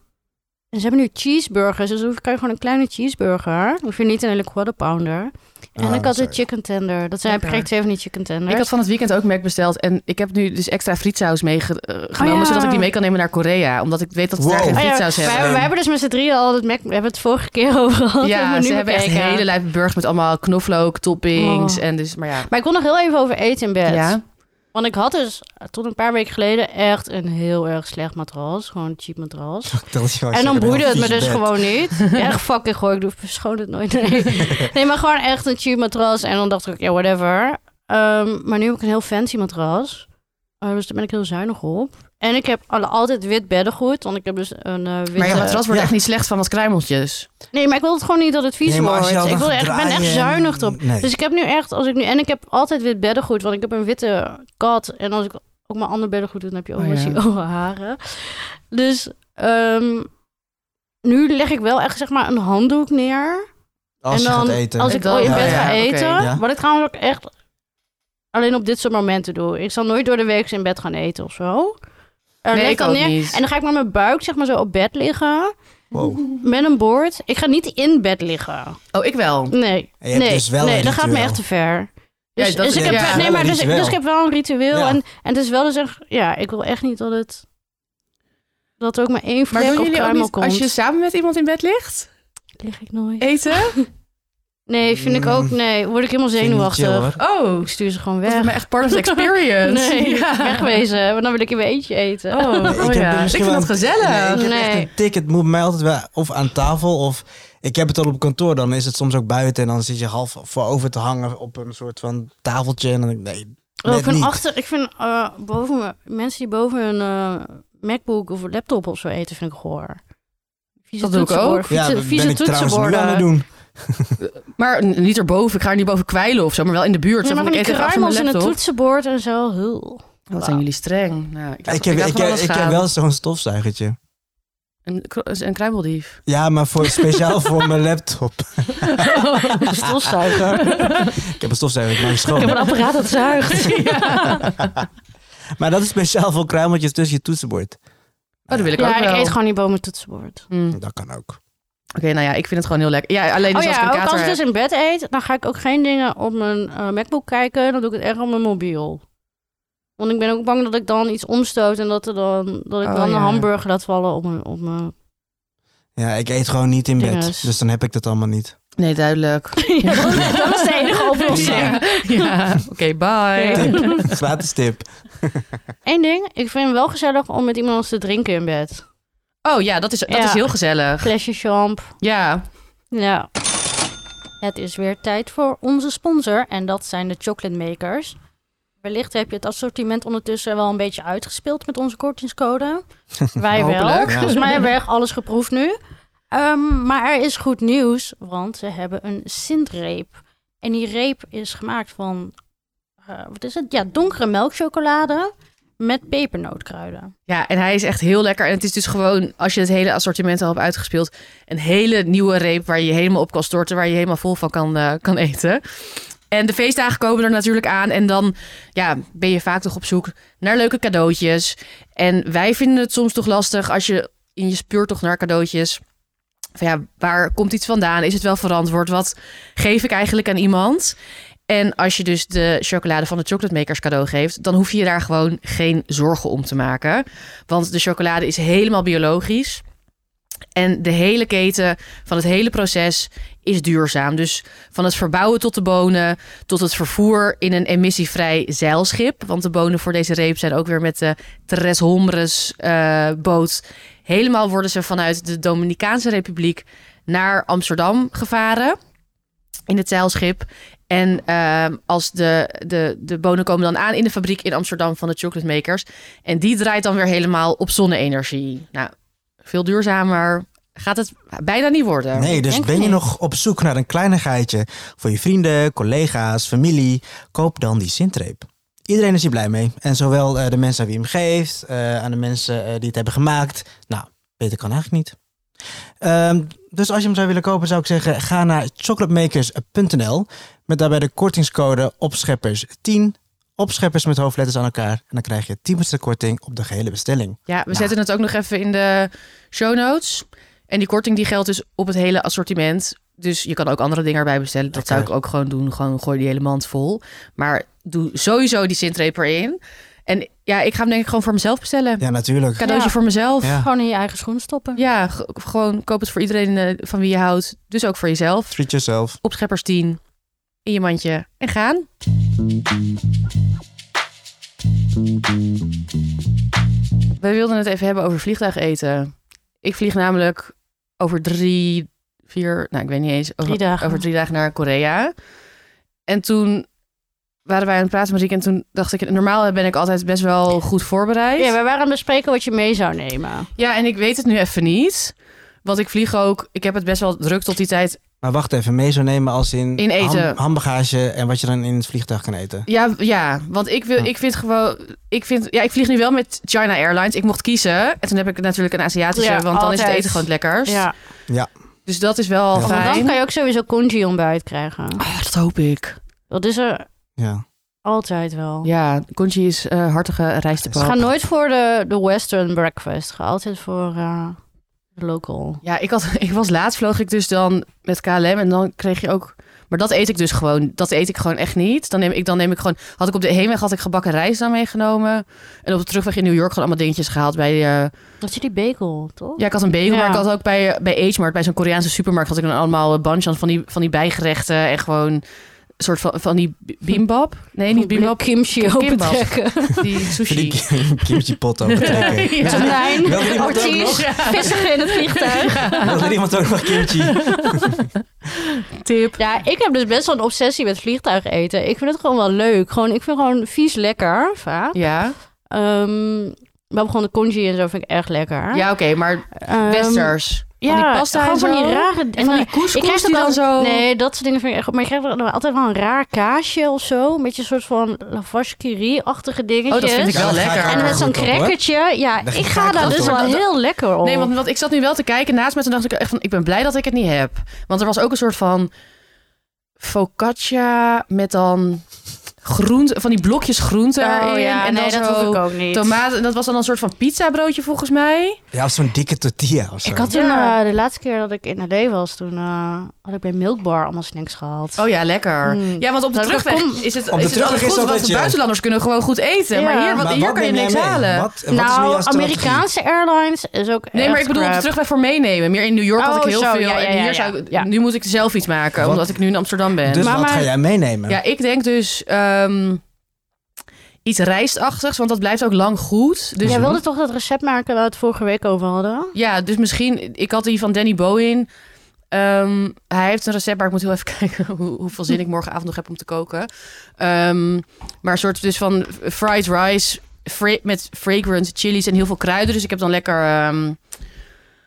[SPEAKER 2] En ze hebben nu cheeseburgers, dus dan krijg je gewoon een kleine cheeseburger. Hoef je niet een hele quarter pounder. En
[SPEAKER 1] Ah,
[SPEAKER 2] ik had de
[SPEAKER 1] sorry.
[SPEAKER 2] chicken tender. Dat zijn, heb ik
[SPEAKER 3] Lekker.
[SPEAKER 2] kreeg twee van die chicken tenders.
[SPEAKER 3] Ik had van het weekend ook Mac besteld. En ik heb nu dus extra frietsaus meegenomen.
[SPEAKER 2] ja.
[SPEAKER 3] Zodat ik die mee kan nemen naar Korea. Omdat ik weet dat ze daar
[SPEAKER 1] Wow.
[SPEAKER 3] geen
[SPEAKER 2] Oh ja,
[SPEAKER 3] frietsaus hebben.
[SPEAKER 2] wij, wij hebben dus met z'n drieën al het Mac... We hebben het vorige keer [laughs] over gehad. het
[SPEAKER 3] Ja,
[SPEAKER 2] menu
[SPEAKER 3] ze hebben echt
[SPEAKER 2] bekeken.
[SPEAKER 3] hele lijpe burgers met allemaal knoflook, toppings.
[SPEAKER 2] Oh.
[SPEAKER 3] En dus, maar ja. Dus
[SPEAKER 2] Maar ik kon nog heel even over eten in bed.
[SPEAKER 3] ja.
[SPEAKER 2] Want ik had dus eh, tot een paar weken geleden echt een heel erg slecht matras. Gewoon een cheap matras.
[SPEAKER 1] Dat is gewoon
[SPEAKER 2] En dan
[SPEAKER 1] zeker een
[SPEAKER 2] boeide het me
[SPEAKER 1] vies
[SPEAKER 2] dus
[SPEAKER 1] bed.
[SPEAKER 2] gewoon niet.
[SPEAKER 1] [laughs]
[SPEAKER 2] Ja, echt fucking gooi, ik doe verschoon het nooit. Nee. nee, maar gewoon echt een cheap matras. En dan dacht ik, ja, whatever. Ehm, maar nu heb ik een heel fancy matras. Eh, dus daar ben ik heel zuinig op. En ik heb alle, altijd wit beddengoed. Want ik heb dus een eh witte...
[SPEAKER 3] Maar ja, matras wordt
[SPEAKER 1] Ja.
[SPEAKER 3] echt niet slecht van wat kruimeltjes.
[SPEAKER 2] Nee, maar ik wil het gewoon niet dat het vies
[SPEAKER 1] Nee, maar als
[SPEAKER 2] wordt.
[SPEAKER 1] je al
[SPEAKER 2] Ik,
[SPEAKER 1] gaat
[SPEAKER 2] wil echt, ik ben
[SPEAKER 1] draaien
[SPEAKER 2] echt
[SPEAKER 1] en-
[SPEAKER 2] zuinig erop.
[SPEAKER 1] Nee.
[SPEAKER 2] Dus ik heb nu echt, als ik nu... En ik heb altijd wit beddengoed, want ik heb een witte kat. En als ik ook mijn ander beddengoed doe, dan heb je ook
[SPEAKER 3] Oh
[SPEAKER 2] wel
[SPEAKER 3] ja.
[SPEAKER 2] die [laughs] ogen haren. Dus ehm, nu leg ik wel echt zeg maar een handdoek neer.
[SPEAKER 1] als
[SPEAKER 2] en
[SPEAKER 1] je
[SPEAKER 2] dan
[SPEAKER 1] gaat eten.
[SPEAKER 2] als ik
[SPEAKER 3] Dan-
[SPEAKER 2] ooit in
[SPEAKER 1] ja,
[SPEAKER 2] bed
[SPEAKER 1] ja,
[SPEAKER 2] ga
[SPEAKER 3] oké.
[SPEAKER 2] eten.
[SPEAKER 1] Ja.
[SPEAKER 2] Wat ik trouwens ook echt alleen op dit soort momenten doe. Ik zal nooit door de week in bed gaan eten of zo. Er
[SPEAKER 3] Nee,
[SPEAKER 2] leg
[SPEAKER 3] ik
[SPEAKER 2] dan
[SPEAKER 3] ook
[SPEAKER 2] neer.
[SPEAKER 3] niet.
[SPEAKER 2] En dan ga ik met mijn buik zeg maar zo op bed liggen.
[SPEAKER 1] Wow.
[SPEAKER 2] Met een bord. Ik ga niet in bed liggen.
[SPEAKER 3] Oh, ik wel.
[SPEAKER 2] Nee,
[SPEAKER 1] En je hebt
[SPEAKER 2] nee,
[SPEAKER 1] dus wel
[SPEAKER 2] nee
[SPEAKER 1] een
[SPEAKER 2] dat gaat me
[SPEAKER 1] ritueel.
[SPEAKER 2] echt te ver.
[SPEAKER 3] Ja,
[SPEAKER 2] Dus,
[SPEAKER 3] dat
[SPEAKER 2] dus
[SPEAKER 3] is-
[SPEAKER 2] ik heb,
[SPEAKER 3] ja, het is
[SPEAKER 2] nee,
[SPEAKER 1] wel
[SPEAKER 2] maar
[SPEAKER 1] een
[SPEAKER 2] dus, ik-
[SPEAKER 1] ritueel.
[SPEAKER 2] dus ik heb wel een ritueel.
[SPEAKER 1] Ja.
[SPEAKER 2] En, en het is wel dus echt... Ja, ik wil echt niet dat het... Dat er ook maar één
[SPEAKER 3] Maar
[SPEAKER 2] vlek
[SPEAKER 3] doen
[SPEAKER 2] op
[SPEAKER 3] jullie ook
[SPEAKER 2] kruimel
[SPEAKER 3] niet
[SPEAKER 2] komt.
[SPEAKER 3] als je samen met iemand in bed ligt?
[SPEAKER 2] Lig ik nooit.
[SPEAKER 3] Eten?
[SPEAKER 2] Nee, vind ik ook... Nee, word ik helemaal
[SPEAKER 1] Mm. Vind ik niet chill,
[SPEAKER 2] zenuwachtig.
[SPEAKER 1] hoor.
[SPEAKER 3] [laughs] Oh,
[SPEAKER 2] Ik stuur ze gewoon
[SPEAKER 3] dat is
[SPEAKER 2] weg.
[SPEAKER 3] me echt part of the
[SPEAKER 2] [laughs]
[SPEAKER 3] experience.
[SPEAKER 2] Nee,
[SPEAKER 3] [laughs] Ja.
[SPEAKER 2] wegwezen. Want dan wil ik in mijn eentje eten.
[SPEAKER 3] Oh,
[SPEAKER 1] Nee, ik
[SPEAKER 3] oh
[SPEAKER 1] heb er
[SPEAKER 3] ja. Ik
[SPEAKER 1] misschien
[SPEAKER 3] vind
[SPEAKER 1] wel
[SPEAKER 3] dat
[SPEAKER 1] Nee,
[SPEAKER 3] gezellig.
[SPEAKER 1] ik heb
[SPEAKER 2] Nee.
[SPEAKER 1] echt een tik. Het moet mij altijd wel of aan tafel of... Ik heb het al op kantoor, dan is het soms ook buiten. En dan zit je half voorover te hangen op een soort van tafeltje. En dan denk ik, nee,
[SPEAKER 2] Oh, ik
[SPEAKER 1] net
[SPEAKER 2] vind,
[SPEAKER 1] niet.
[SPEAKER 2] achter, ik vind eh, boven, me- mensen die boven hun eh, MacBook of laptop of zo eten, vind ik goor. Vieze
[SPEAKER 3] Dat doe ik
[SPEAKER 2] toetsenborden,
[SPEAKER 3] ook.
[SPEAKER 2] Vieze,
[SPEAKER 1] ja, dat
[SPEAKER 2] vieze
[SPEAKER 1] ben ik trouwens nu
[SPEAKER 2] toetsenborden.
[SPEAKER 1] aan het doen.
[SPEAKER 3] Maar n- niet erboven. Ik ga er niet boven kwijlen of zo, maar wel in de buurt.
[SPEAKER 2] Ja,
[SPEAKER 3] Zo
[SPEAKER 2] maar
[SPEAKER 3] van,
[SPEAKER 2] van die
[SPEAKER 3] ik eet achter mijn
[SPEAKER 2] kruimels en een
[SPEAKER 3] laptop.
[SPEAKER 2] toetsenbord en zo. Hul.
[SPEAKER 3] Wat zijn jullie streng? Nou, ik,
[SPEAKER 1] Ik heb,
[SPEAKER 3] laat
[SPEAKER 1] ik
[SPEAKER 3] van
[SPEAKER 1] heb,
[SPEAKER 3] alles
[SPEAKER 1] ik heb
[SPEAKER 3] gaan.
[SPEAKER 1] wel zo'n stofzuigertje.
[SPEAKER 3] Een, kru- een kruimeldief.
[SPEAKER 1] Ja, maar voor, speciaal voor mijn laptop. [laughs]
[SPEAKER 2] [laughs] Een stofzuiger.
[SPEAKER 1] Ik heb een stofzuiger, ik maak het
[SPEAKER 2] [laughs] Ik heb
[SPEAKER 1] schoon.
[SPEAKER 2] een apparaat dat zuigt.
[SPEAKER 1] [laughs] Maar dat is speciaal voor kruimeltjes tussen je toetsenbord.
[SPEAKER 3] Oh, dat wil ik
[SPEAKER 2] Ja,
[SPEAKER 3] ook
[SPEAKER 2] ik
[SPEAKER 3] wel.
[SPEAKER 2] eet gewoon niet boven mijn toetsenbord.
[SPEAKER 3] Hmm. Oké,
[SPEAKER 1] Dat kan ook.
[SPEAKER 3] nou ja, ik vind het gewoon heel lekker. Ja, alleen
[SPEAKER 2] Oh
[SPEAKER 3] dus als
[SPEAKER 2] ja,
[SPEAKER 3] ik een
[SPEAKER 2] ook
[SPEAKER 3] kater
[SPEAKER 2] als ik dus
[SPEAKER 3] heb.
[SPEAKER 2] in bed eet, dan ga ik ook geen dingen op mijn eh, MacBook kijken. Dan doe ik het echt op mijn mobiel. Want ik ben ook bang dat ik dan iets omstoot en dat, er dan, dat ik
[SPEAKER 3] Oh,
[SPEAKER 2] dan
[SPEAKER 3] ja.
[SPEAKER 2] een hamburger laat vallen op mijn, op
[SPEAKER 3] [laughs]
[SPEAKER 2] mijn
[SPEAKER 1] Ja, ik eet gewoon niet in
[SPEAKER 2] Dinges.
[SPEAKER 1] bed. Dus dan heb ik dat allemaal niet.
[SPEAKER 3] Nee, duidelijk.
[SPEAKER 2] Ja, dat is- dat is de [laughs] enige oplossing.
[SPEAKER 3] Ja, oké, bye.
[SPEAKER 2] Ja.
[SPEAKER 1] Tip. Gratis tip.
[SPEAKER 2] Eén ding, ik vind het wel gezellig om met iemand anders te drinken in bed.
[SPEAKER 3] Oh ja, dat is, dat
[SPEAKER 2] Ja.
[SPEAKER 3] is heel gezellig.
[SPEAKER 2] Flesje champ.
[SPEAKER 3] Ja.
[SPEAKER 2] Ja. Het is weer tijd voor onze sponsor en dat zijn de chocolate makers. Wellicht heb je het assortiment ondertussen wel een beetje uitgespeeld met onze kortingscode. Wij wel.
[SPEAKER 3] Hopelijk.
[SPEAKER 1] Ja.
[SPEAKER 2] Volgens mij hebben we echt alles geproefd nu. Ehm, maar er is goed nieuws, want ze hebben een Sint-reep. En die reep is gemaakt van, eh, wat is het? Ja, donkere melkchocolade met pepernootkruiden.
[SPEAKER 3] Ja, en hij is echt heel lekker. En het is dus gewoon, als je het hele assortiment al hebt uitgespeeld, een hele nieuwe reep waar je je helemaal op kan storten, waar je helemaal vol van kan, eh, kan eten. En de feestdagen komen er natuurlijk aan. En dan ja, ben je vaak toch op zoek naar leuke cadeautjes. En wij vinden het soms toch lastig als je in je speurtocht naar cadeautjes. Van ja, waar komt iets vandaan? Is het wel verantwoord? Wat geef ik eigenlijk aan iemand? En als je dus de chocolade van de chocolate makers cadeau geeft, dan hoef je je daar gewoon geen zorgen om te maken. Want de chocolade is helemaal biologisch. En de hele keten van het hele proces is duurzaam. Dus van het verbouwen tot de bonen, tot het vervoer in een emissievrij zeilschip. Want de bonen voor deze reep zijn ook weer met de Tres Hombres eh, boot. Helemaal worden ze vanuit de Dominicaanse Republiek naar Amsterdam gevaren in het zeilschip. En ehm, als de, de, de bonen komen dan aan in de fabriek in Amsterdam van de chocolate makers. En die draait dan weer helemaal op zonne-energie. Nou, veel duurzamer gaat het bijna niet worden.
[SPEAKER 1] Nee, dus
[SPEAKER 2] denk
[SPEAKER 1] ben
[SPEAKER 2] het
[SPEAKER 1] je
[SPEAKER 2] niet.
[SPEAKER 1] nog op zoek naar een kleinigheidje voor je vrienden, collega's, familie? Koop dan die Sintreep. Iedereen is hier blij mee. En zowel eh, de mensen aan wie je hem geeft, eh, aan de mensen eh, die het hebben gemaakt. Nou, beter kan eigenlijk niet. Ehm, dus als je hem zou willen kopen, zou ik zeggen: ga naar chocolatemakers.nl met daarbij de kortingscode opscheppers10. Opscheppers met hoofdletters aan elkaar. En dan krijg je 10% korting op de gehele bestelling.
[SPEAKER 3] Ja, we
[SPEAKER 1] Nou.
[SPEAKER 3] zetten het ook nog even in de show notes. En die korting die geldt dus op het hele assortiment. Dus je kan ook andere dingen erbij bestellen. Dat zou ik
[SPEAKER 1] Lekker.
[SPEAKER 3] ook gewoon doen. Gewoon gooi die hele mand vol. Maar doe sowieso die Sintreep erin. En ja, ik ga hem denk ik gewoon voor mezelf bestellen.
[SPEAKER 1] Ja, natuurlijk.
[SPEAKER 3] Cadeautje
[SPEAKER 2] Ja.
[SPEAKER 3] voor mezelf.
[SPEAKER 1] Ja.
[SPEAKER 2] Gewoon in je eigen schoen stoppen.
[SPEAKER 3] Ja, g- gewoon koop het voor iedereen eh, van wie je houdt. Dus ook voor jezelf.
[SPEAKER 1] Treat yourself.
[SPEAKER 3] Op Scheppers 10. In je mandje. En gaan. Wij wilden het even hebben over vliegtuigeten. Ik vlieg namelijk over drie, vier, nou ik weet niet eens. Over,
[SPEAKER 2] Drie dagen.
[SPEAKER 3] Over drie dagen naar Korea. En toen waren wij aan het praten, Marieke. En toen dacht ik, normaal ben ik altijd best wel goed voorbereid.
[SPEAKER 2] Ja, we waren aan het bespreken wat je mee zou nemen.
[SPEAKER 3] Ja, en ik weet het nu even niet. Want ik vlieg ook. Ik heb het best wel druk tot die tijd.
[SPEAKER 1] Maar wacht even, mee zou nemen als in,
[SPEAKER 3] In eten.
[SPEAKER 1] ham- handbagage en wat je dan in het vliegtuig kan eten.
[SPEAKER 3] Ja, ja want ik,
[SPEAKER 2] Oh.
[SPEAKER 3] wil,
[SPEAKER 1] Hm.
[SPEAKER 3] ik vind gewoon. Ik, vind, ja, ik vlieg nu wel met China Airlines. Ik mocht kiezen. En toen heb ik natuurlijk een Aziatische.
[SPEAKER 2] Ja,
[SPEAKER 3] want dan is het
[SPEAKER 2] altijd.
[SPEAKER 3] eten gewoon het lekkerst.
[SPEAKER 2] Ja.
[SPEAKER 3] Dus dat is wel
[SPEAKER 1] Ja.
[SPEAKER 2] Want dan
[SPEAKER 3] fijn.
[SPEAKER 2] kan je ook sowieso congee ontbijt krijgen.
[SPEAKER 3] Oh, dat hoop ik.
[SPEAKER 2] Dat is er
[SPEAKER 1] Ja.
[SPEAKER 2] altijd wel.
[SPEAKER 3] Ja, congee is eh, hartige
[SPEAKER 2] Dus
[SPEAKER 3] rijstepap.
[SPEAKER 2] ga nooit voor de, de western breakfast. Ga altijd voor eh, de local.
[SPEAKER 3] Ja, ik, had, [laughs] ik was laatst vloog ik dus dan met KLM en dan kreeg je ook. Maar dat eet ik dus gewoon. Dat eet ik gewoon echt niet. Dan neem ik, dan neem ik gewoon. Had ik op de heenweg had ik gebakken rijst dan meegenomen. En op de terugweg in New York gewoon allemaal dingetjes gehaald bij. eh,
[SPEAKER 2] Dat is die bagel, toch?
[SPEAKER 3] ja, ik had een bagel,
[SPEAKER 2] Ja.
[SPEAKER 3] maar ik had ook bij, eh, bij H-Mart, bij zo'n Koreaanse supermarkt, had ik dan allemaal eh, banchan van die, van die bijgerechten en gewoon een soort van, van die bi- bimbap. Nee, niet bimbap.
[SPEAKER 2] kimchi
[SPEAKER 3] Kimbap.
[SPEAKER 2] opentrekken. [laughs]
[SPEAKER 3] [laughs] Die
[SPEAKER 1] Voor die
[SPEAKER 3] sushi.
[SPEAKER 1] ki- kimchi pot overtrekken.
[SPEAKER 3] [laughs] Ja.
[SPEAKER 2] Tonijn,
[SPEAKER 1] Wil er iemand ook
[SPEAKER 2] ortiz, vissen in het vliegtuig.
[SPEAKER 1] Wil er iemand ook nog kimchi?
[SPEAKER 3] Tip.
[SPEAKER 2] Ja, ik heb dus best wel een obsessie met vliegtuig eten. Ik vind het gewoon wel leuk. Gewoon, ik vind gewoon vies lekker, vaak.
[SPEAKER 3] Ja,
[SPEAKER 2] Ehm, maar gewoon de congee en zo vind ik echt lekker.
[SPEAKER 3] ja oké, maar
[SPEAKER 2] Ehm,
[SPEAKER 3] westers.
[SPEAKER 2] Ja,
[SPEAKER 3] van die pasta
[SPEAKER 2] gewoon
[SPEAKER 3] en zo.
[SPEAKER 2] van die rare... En
[SPEAKER 3] en eh, van die
[SPEAKER 2] dan- ik
[SPEAKER 3] couscous
[SPEAKER 2] krijg
[SPEAKER 3] die
[SPEAKER 2] ook
[SPEAKER 3] dan zo...
[SPEAKER 2] al- Nee, dat soort dingen vind ik echt goed. Maar ik krijg dan wel altijd wel een raar kaasje of zo. Een beetje een soort van lavashkiri-achtige dingetjes.
[SPEAKER 3] Oh, dat vind ik
[SPEAKER 1] Ja,
[SPEAKER 3] wel
[SPEAKER 1] dat ga ik
[SPEAKER 3] lekker.
[SPEAKER 1] ook
[SPEAKER 2] En
[SPEAKER 1] wel
[SPEAKER 2] met zo'n
[SPEAKER 1] goed op, hoor.
[SPEAKER 2] crackertje. Ja,
[SPEAKER 1] Daar
[SPEAKER 2] ik
[SPEAKER 1] ga
[SPEAKER 2] ga
[SPEAKER 1] ik
[SPEAKER 2] daar
[SPEAKER 1] goed
[SPEAKER 2] dus
[SPEAKER 1] op.
[SPEAKER 2] wel heel lekker op.
[SPEAKER 3] Nee, want, want ik zat nu wel te kijken naast me. Toen dacht ik echt van, ik ben blij dat ik het niet heb. Want er was ook een soort van focaccia met dan groente, van die blokjes groente erin. en
[SPEAKER 2] nee,
[SPEAKER 3] dan
[SPEAKER 2] dat
[SPEAKER 3] zo
[SPEAKER 2] hoef ik ook niet.
[SPEAKER 3] Tomaten, en dat was dan een soort van pizza broodje volgens mij.
[SPEAKER 1] Ja, of zo'n dikke tortilla of zo.
[SPEAKER 2] Ik had toen,
[SPEAKER 3] Ja.
[SPEAKER 2] eh, de laatste keer dat ik in LA was, toen eh, had ik bij Milkbar allemaal snacks gehaald.
[SPEAKER 3] Oh ja, lekker.
[SPEAKER 2] Mm.
[SPEAKER 3] Ja, want op de
[SPEAKER 2] Dat ik
[SPEAKER 3] terugweg
[SPEAKER 2] kom-
[SPEAKER 3] is het,
[SPEAKER 1] Op de
[SPEAKER 3] is het altijd
[SPEAKER 1] terugweg is
[SPEAKER 3] goed,
[SPEAKER 1] dat
[SPEAKER 3] want
[SPEAKER 1] wat
[SPEAKER 3] de
[SPEAKER 1] je-
[SPEAKER 3] buitenlanders kunnen gewoon goed eten.
[SPEAKER 2] Ja.
[SPEAKER 3] Maar hier, want
[SPEAKER 1] Maar
[SPEAKER 3] hier
[SPEAKER 1] wat
[SPEAKER 3] kan je
[SPEAKER 1] neem jij
[SPEAKER 3] niks
[SPEAKER 1] mee?
[SPEAKER 3] halen.
[SPEAKER 1] Wat, wat is nu
[SPEAKER 2] nou,
[SPEAKER 1] jouw strategie?
[SPEAKER 2] Amerikaanse airlines is ook
[SPEAKER 3] Nee, maar ik bedoel op de
[SPEAKER 2] terug.
[SPEAKER 3] terugweg voor meenemen. Meer in New York had ik
[SPEAKER 2] Oh,
[SPEAKER 3] heel
[SPEAKER 2] zo,
[SPEAKER 3] veel.
[SPEAKER 2] ja, ja,
[SPEAKER 3] en
[SPEAKER 2] ja,
[SPEAKER 3] hier
[SPEAKER 2] ja.
[SPEAKER 3] zou ik-
[SPEAKER 2] Ja.
[SPEAKER 3] Nu moet ik het zelf iets maken,
[SPEAKER 1] Wat?
[SPEAKER 3] omdat ik nu in Amsterdam ben.
[SPEAKER 1] Dus
[SPEAKER 2] Maar-
[SPEAKER 1] wat ga
[SPEAKER 2] maar-
[SPEAKER 1] jij meenemen?
[SPEAKER 3] Ja, ik denk dus ehm, iets rijstachtigs, want dat blijft ook lang goed. Dus
[SPEAKER 2] Jij wilde toch dat recept maken waar we het vorige week over hadden?
[SPEAKER 3] Ja, dus misschien... Ik had die van Danny Bowen. Ehm, hij heeft een recept, maar ik moet heel even [laughs] kijken hoe, hoeveel zin ik morgenavond nog heb om te koken. Ehm, maar een soort dus van fried rice fra- met fragrant chilies en heel veel kruiden. Dus ik heb dan lekker, ehm,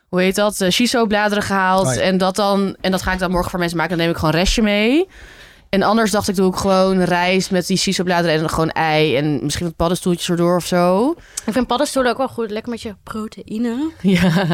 [SPEAKER 3] hoe heet dat, eh, shiso bladeren gehaald.
[SPEAKER 1] Oh ja.
[SPEAKER 3] en, dat dan, en dat ga ik dan morgen voor mensen maken. Dan neem ik gewoon een restje mee. En anders dacht ik, doe ik gewoon rijst met die shiso bladeren en dan gewoon ei. En misschien wat paddenstoeltjes erdoor of zo.
[SPEAKER 2] Ik vind paddenstoelen ook wel goed. Lekker met je proteïne.
[SPEAKER 3] Ja.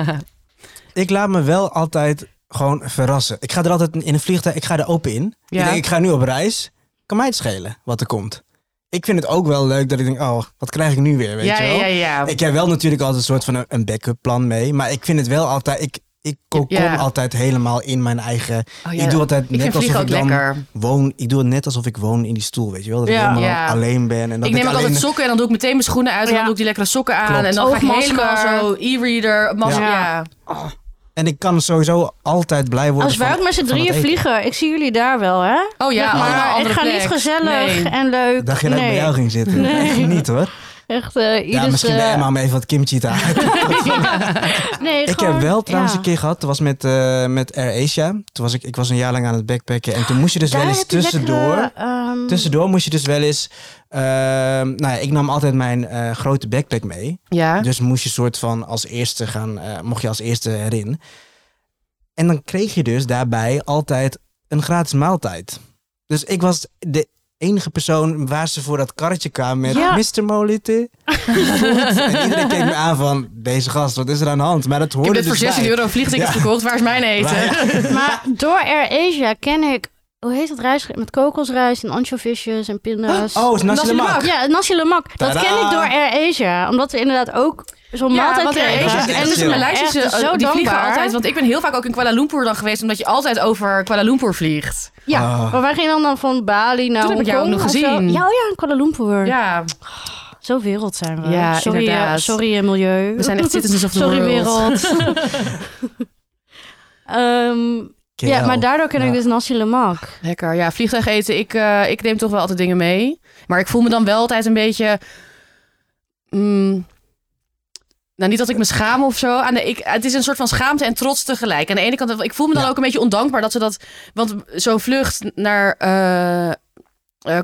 [SPEAKER 1] Ik laat me wel altijd gewoon verrassen. Ik ga er altijd in een vliegtuig, ik ga er open in.
[SPEAKER 3] Ja.
[SPEAKER 1] Ik denk, ik ga nu op reis. Kan mij het schelen wat er komt. Ik vind het ook wel leuk dat ik denk, oh, wat krijg ik nu weer, weet
[SPEAKER 3] ja,
[SPEAKER 1] je wel?
[SPEAKER 3] ja, ja, ja.
[SPEAKER 1] Ik heb wel natuurlijk altijd een soort van een- een backup plan mee. Maar ik vind het wel altijd, ik, ik kom
[SPEAKER 3] Ja.
[SPEAKER 1] altijd helemaal in mijn eigen...
[SPEAKER 3] Oh, ja.
[SPEAKER 1] Ik doe altijd
[SPEAKER 3] Ik
[SPEAKER 1] net
[SPEAKER 3] vind
[SPEAKER 1] alsof
[SPEAKER 3] vliegen ook
[SPEAKER 1] ik dan
[SPEAKER 3] lekker.
[SPEAKER 1] woon. Ik doe het net alsof ik woon in die stoel, weet je wel? Dat ik
[SPEAKER 2] Ja.
[SPEAKER 1] helemaal
[SPEAKER 3] Ja.
[SPEAKER 1] alleen ben. En dat
[SPEAKER 3] ik neem ook
[SPEAKER 1] alleen...
[SPEAKER 3] altijd sokken en dan doe ik meteen mijn schoenen uit. En dan
[SPEAKER 2] Ja.
[SPEAKER 3] doe ik die lekkere sokken aan.
[SPEAKER 1] Klopt.
[SPEAKER 3] En dan ga ik
[SPEAKER 2] Oogmasker.
[SPEAKER 3] helemaal zo e-reader. Mas-
[SPEAKER 2] Ja.
[SPEAKER 3] ja.
[SPEAKER 1] En ik kan sowieso altijd blij worden
[SPEAKER 2] Als wij
[SPEAKER 1] van-
[SPEAKER 2] ook met z'n
[SPEAKER 1] van
[SPEAKER 2] drieën
[SPEAKER 1] het eten.
[SPEAKER 2] vliegen, ik zie jullie daar wel, hè?
[SPEAKER 3] Oh ja, allemaal
[SPEAKER 2] maar ik
[SPEAKER 3] andere
[SPEAKER 2] ga niet
[SPEAKER 3] plek.
[SPEAKER 2] gezellig
[SPEAKER 3] Nee.
[SPEAKER 2] en leuk.
[SPEAKER 1] Dacht je dat ik bij
[SPEAKER 2] nee.
[SPEAKER 1] jou ging zitten?
[SPEAKER 2] Nee.
[SPEAKER 1] Echt niet hoor.
[SPEAKER 2] Echt, eh ieders,
[SPEAKER 1] ja, misschien bij
[SPEAKER 2] eh,
[SPEAKER 1] Emma om even wat kimchi te halen.
[SPEAKER 2] nee,
[SPEAKER 1] ik
[SPEAKER 2] gewoon-
[SPEAKER 1] heb wel trouwens
[SPEAKER 2] ja.
[SPEAKER 1] een keer gehad. Dat was met, eh, met Air Asia. Toen was ik, ik was een jaar lang aan het backpacken. En toen moest je dus
[SPEAKER 2] Daar
[SPEAKER 1] wel eens
[SPEAKER 2] heb je
[SPEAKER 1] tussendoor...
[SPEAKER 2] lekkere, ehm,
[SPEAKER 1] Tussendoor moest je dus wel eens... ehm, nou ja, ik nam altijd mijn eh, grote backpack mee.
[SPEAKER 3] Ja.
[SPEAKER 1] Dus moest je soort van als eerste gaan... eh, mocht je als eerste erin. En dan kreeg je dus daarbij altijd een gratis maaltijd. Dus ik was de enige persoon waar ze voor dat karretje kwamen met...
[SPEAKER 2] Ja.
[SPEAKER 1] Mr. Molite. en iedereen keek me aan van... Deze gast, wat is er aan de hand? Maar dat
[SPEAKER 3] Ik
[SPEAKER 1] hoorde
[SPEAKER 3] heb net
[SPEAKER 1] dus
[SPEAKER 3] voor 16
[SPEAKER 1] bij.
[SPEAKER 3] euro een vliegticket
[SPEAKER 1] Ja.
[SPEAKER 3] gekocht. Waar is mijn eten?
[SPEAKER 1] Maar-
[SPEAKER 2] Maar door AirAsia ken ik, hoe heet dat rijst? Met kokosrijst en anchovisjes en pinda's.
[SPEAKER 1] Oh, is
[SPEAKER 3] Nasi
[SPEAKER 1] Nasi
[SPEAKER 3] lemak.
[SPEAKER 1] Lemak.
[SPEAKER 2] Ja, nasi lemak. Dat
[SPEAKER 1] Tadaa.
[SPEAKER 2] ken ik door AirAsia. Omdat we inderdaad ook zo'n
[SPEAKER 3] Ja,
[SPEAKER 2] maaltijd
[SPEAKER 3] want er
[SPEAKER 2] kregen.
[SPEAKER 1] Asia
[SPEAKER 3] is
[SPEAKER 1] echt
[SPEAKER 3] en dus
[SPEAKER 1] chill.
[SPEAKER 3] Maleisische,
[SPEAKER 2] Echt,
[SPEAKER 3] eh,
[SPEAKER 2] zo
[SPEAKER 3] die vliegen
[SPEAKER 2] dankbaar.
[SPEAKER 3] altijd. Want ik ben heel vaak ook in Kuala Lumpur dan geweest, omdat je altijd over Kuala Lumpur vliegt.
[SPEAKER 2] Ja,
[SPEAKER 1] Ah.
[SPEAKER 2] maar wij gingen dan, dan van Bali naar
[SPEAKER 3] Toen heb ik jou
[SPEAKER 2] Hongkong
[SPEAKER 3] ook nog
[SPEAKER 2] of zo.
[SPEAKER 3] gezien.
[SPEAKER 2] Ja, oh ja, in Kuala Lumpur.
[SPEAKER 3] Ja,
[SPEAKER 2] Zo wereld zijn we.
[SPEAKER 3] Ja,
[SPEAKER 2] sorry, eh,
[SPEAKER 3] inderdaad.
[SPEAKER 2] sorry eh, milieu.
[SPEAKER 3] we zijn echt citizens of the
[SPEAKER 2] sorry
[SPEAKER 3] world.
[SPEAKER 2] wereld.
[SPEAKER 3] [laughs]
[SPEAKER 2] Ehm, ja,
[SPEAKER 1] KL.
[SPEAKER 2] maar daardoor ken ik
[SPEAKER 1] Ja.
[SPEAKER 2] dus nasi lemak.
[SPEAKER 3] Lekker, ja. Vliegtuig eten, ik, eh, ik neem toch wel altijd dingen mee. Maar ik voel me dan wel altijd een beetje... mm, nou, niet dat ik me schaam of zo. Aan de, ik, het is een soort van schaamte en trots tegelijk. Aan de ene kant, ik voel me dan
[SPEAKER 1] Ja.
[SPEAKER 3] ook een beetje ondankbaar dat ze dat... Want zo'n vlucht naar eh, eh,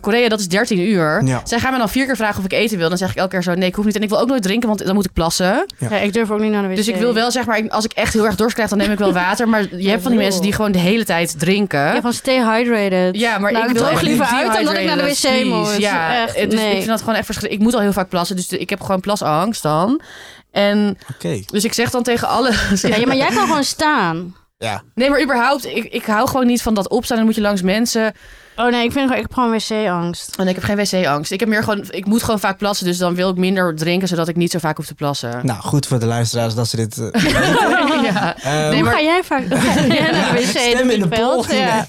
[SPEAKER 3] Korea, dat is 13 uur.
[SPEAKER 1] Ja.
[SPEAKER 3] Zij gaan me dan vier keer vragen of ik eten wil. Dan zeg ik elke keer zo, nee, ik hoef niet. En ik wil ook nooit drinken, want dan moet ik plassen.
[SPEAKER 2] Ja. ik durf ook niet naar de wc.
[SPEAKER 3] Dus ik wil wel, zeg maar, als ik echt heel erg dorst krijg, dan neem ik wel water. Maar je hebt van die mensen die gewoon de hele tijd drinken.
[SPEAKER 2] Ja, van stay hydrated.
[SPEAKER 3] Ja, maar
[SPEAKER 2] Nou,
[SPEAKER 3] ik wil
[SPEAKER 2] droog
[SPEAKER 3] echt
[SPEAKER 2] liever
[SPEAKER 3] niet
[SPEAKER 2] uit dan dat ik naar de
[SPEAKER 3] dehydrated,
[SPEAKER 2] wc moet.
[SPEAKER 3] please. Ja,
[SPEAKER 2] Echt,
[SPEAKER 3] eh, dus
[SPEAKER 2] nee.
[SPEAKER 3] ik vind dat gewoon echt verschrikkelijk. Ik moet al heel vaak plassen, dus de- ik heb gewoon plasangst dan. En
[SPEAKER 1] Oké.
[SPEAKER 3] dus ik zeg dan tegen alle... [laughs]
[SPEAKER 2] Ja, ja, maar jij kan gewoon staan.
[SPEAKER 1] Ja.
[SPEAKER 3] Nee, maar überhaupt, ik, ik hou gewoon niet van dat opstaan. Dan moet je langs mensen.
[SPEAKER 2] Oh nee, ik, vind, gewoon- ik heb gewoon wc-angst.
[SPEAKER 3] En ik heb geen wc-angst. Ik heb meer gewoon, ik moet gewoon vaak plassen, dus dan wil ik minder drinken, zodat ik niet zo vaak hoef te plassen.
[SPEAKER 1] Nou, goed voor de luisteraars dat ze dit... eh,
[SPEAKER 3] ja.
[SPEAKER 1] ehm,
[SPEAKER 3] Nee,
[SPEAKER 2] Hoe
[SPEAKER 3] maar-
[SPEAKER 2] ga jij vaak [laughs] hoe ga jij naar de wc?
[SPEAKER 1] Stem in de
[SPEAKER 2] veld?
[SPEAKER 1] poll.
[SPEAKER 2] Ja.
[SPEAKER 1] [laughs]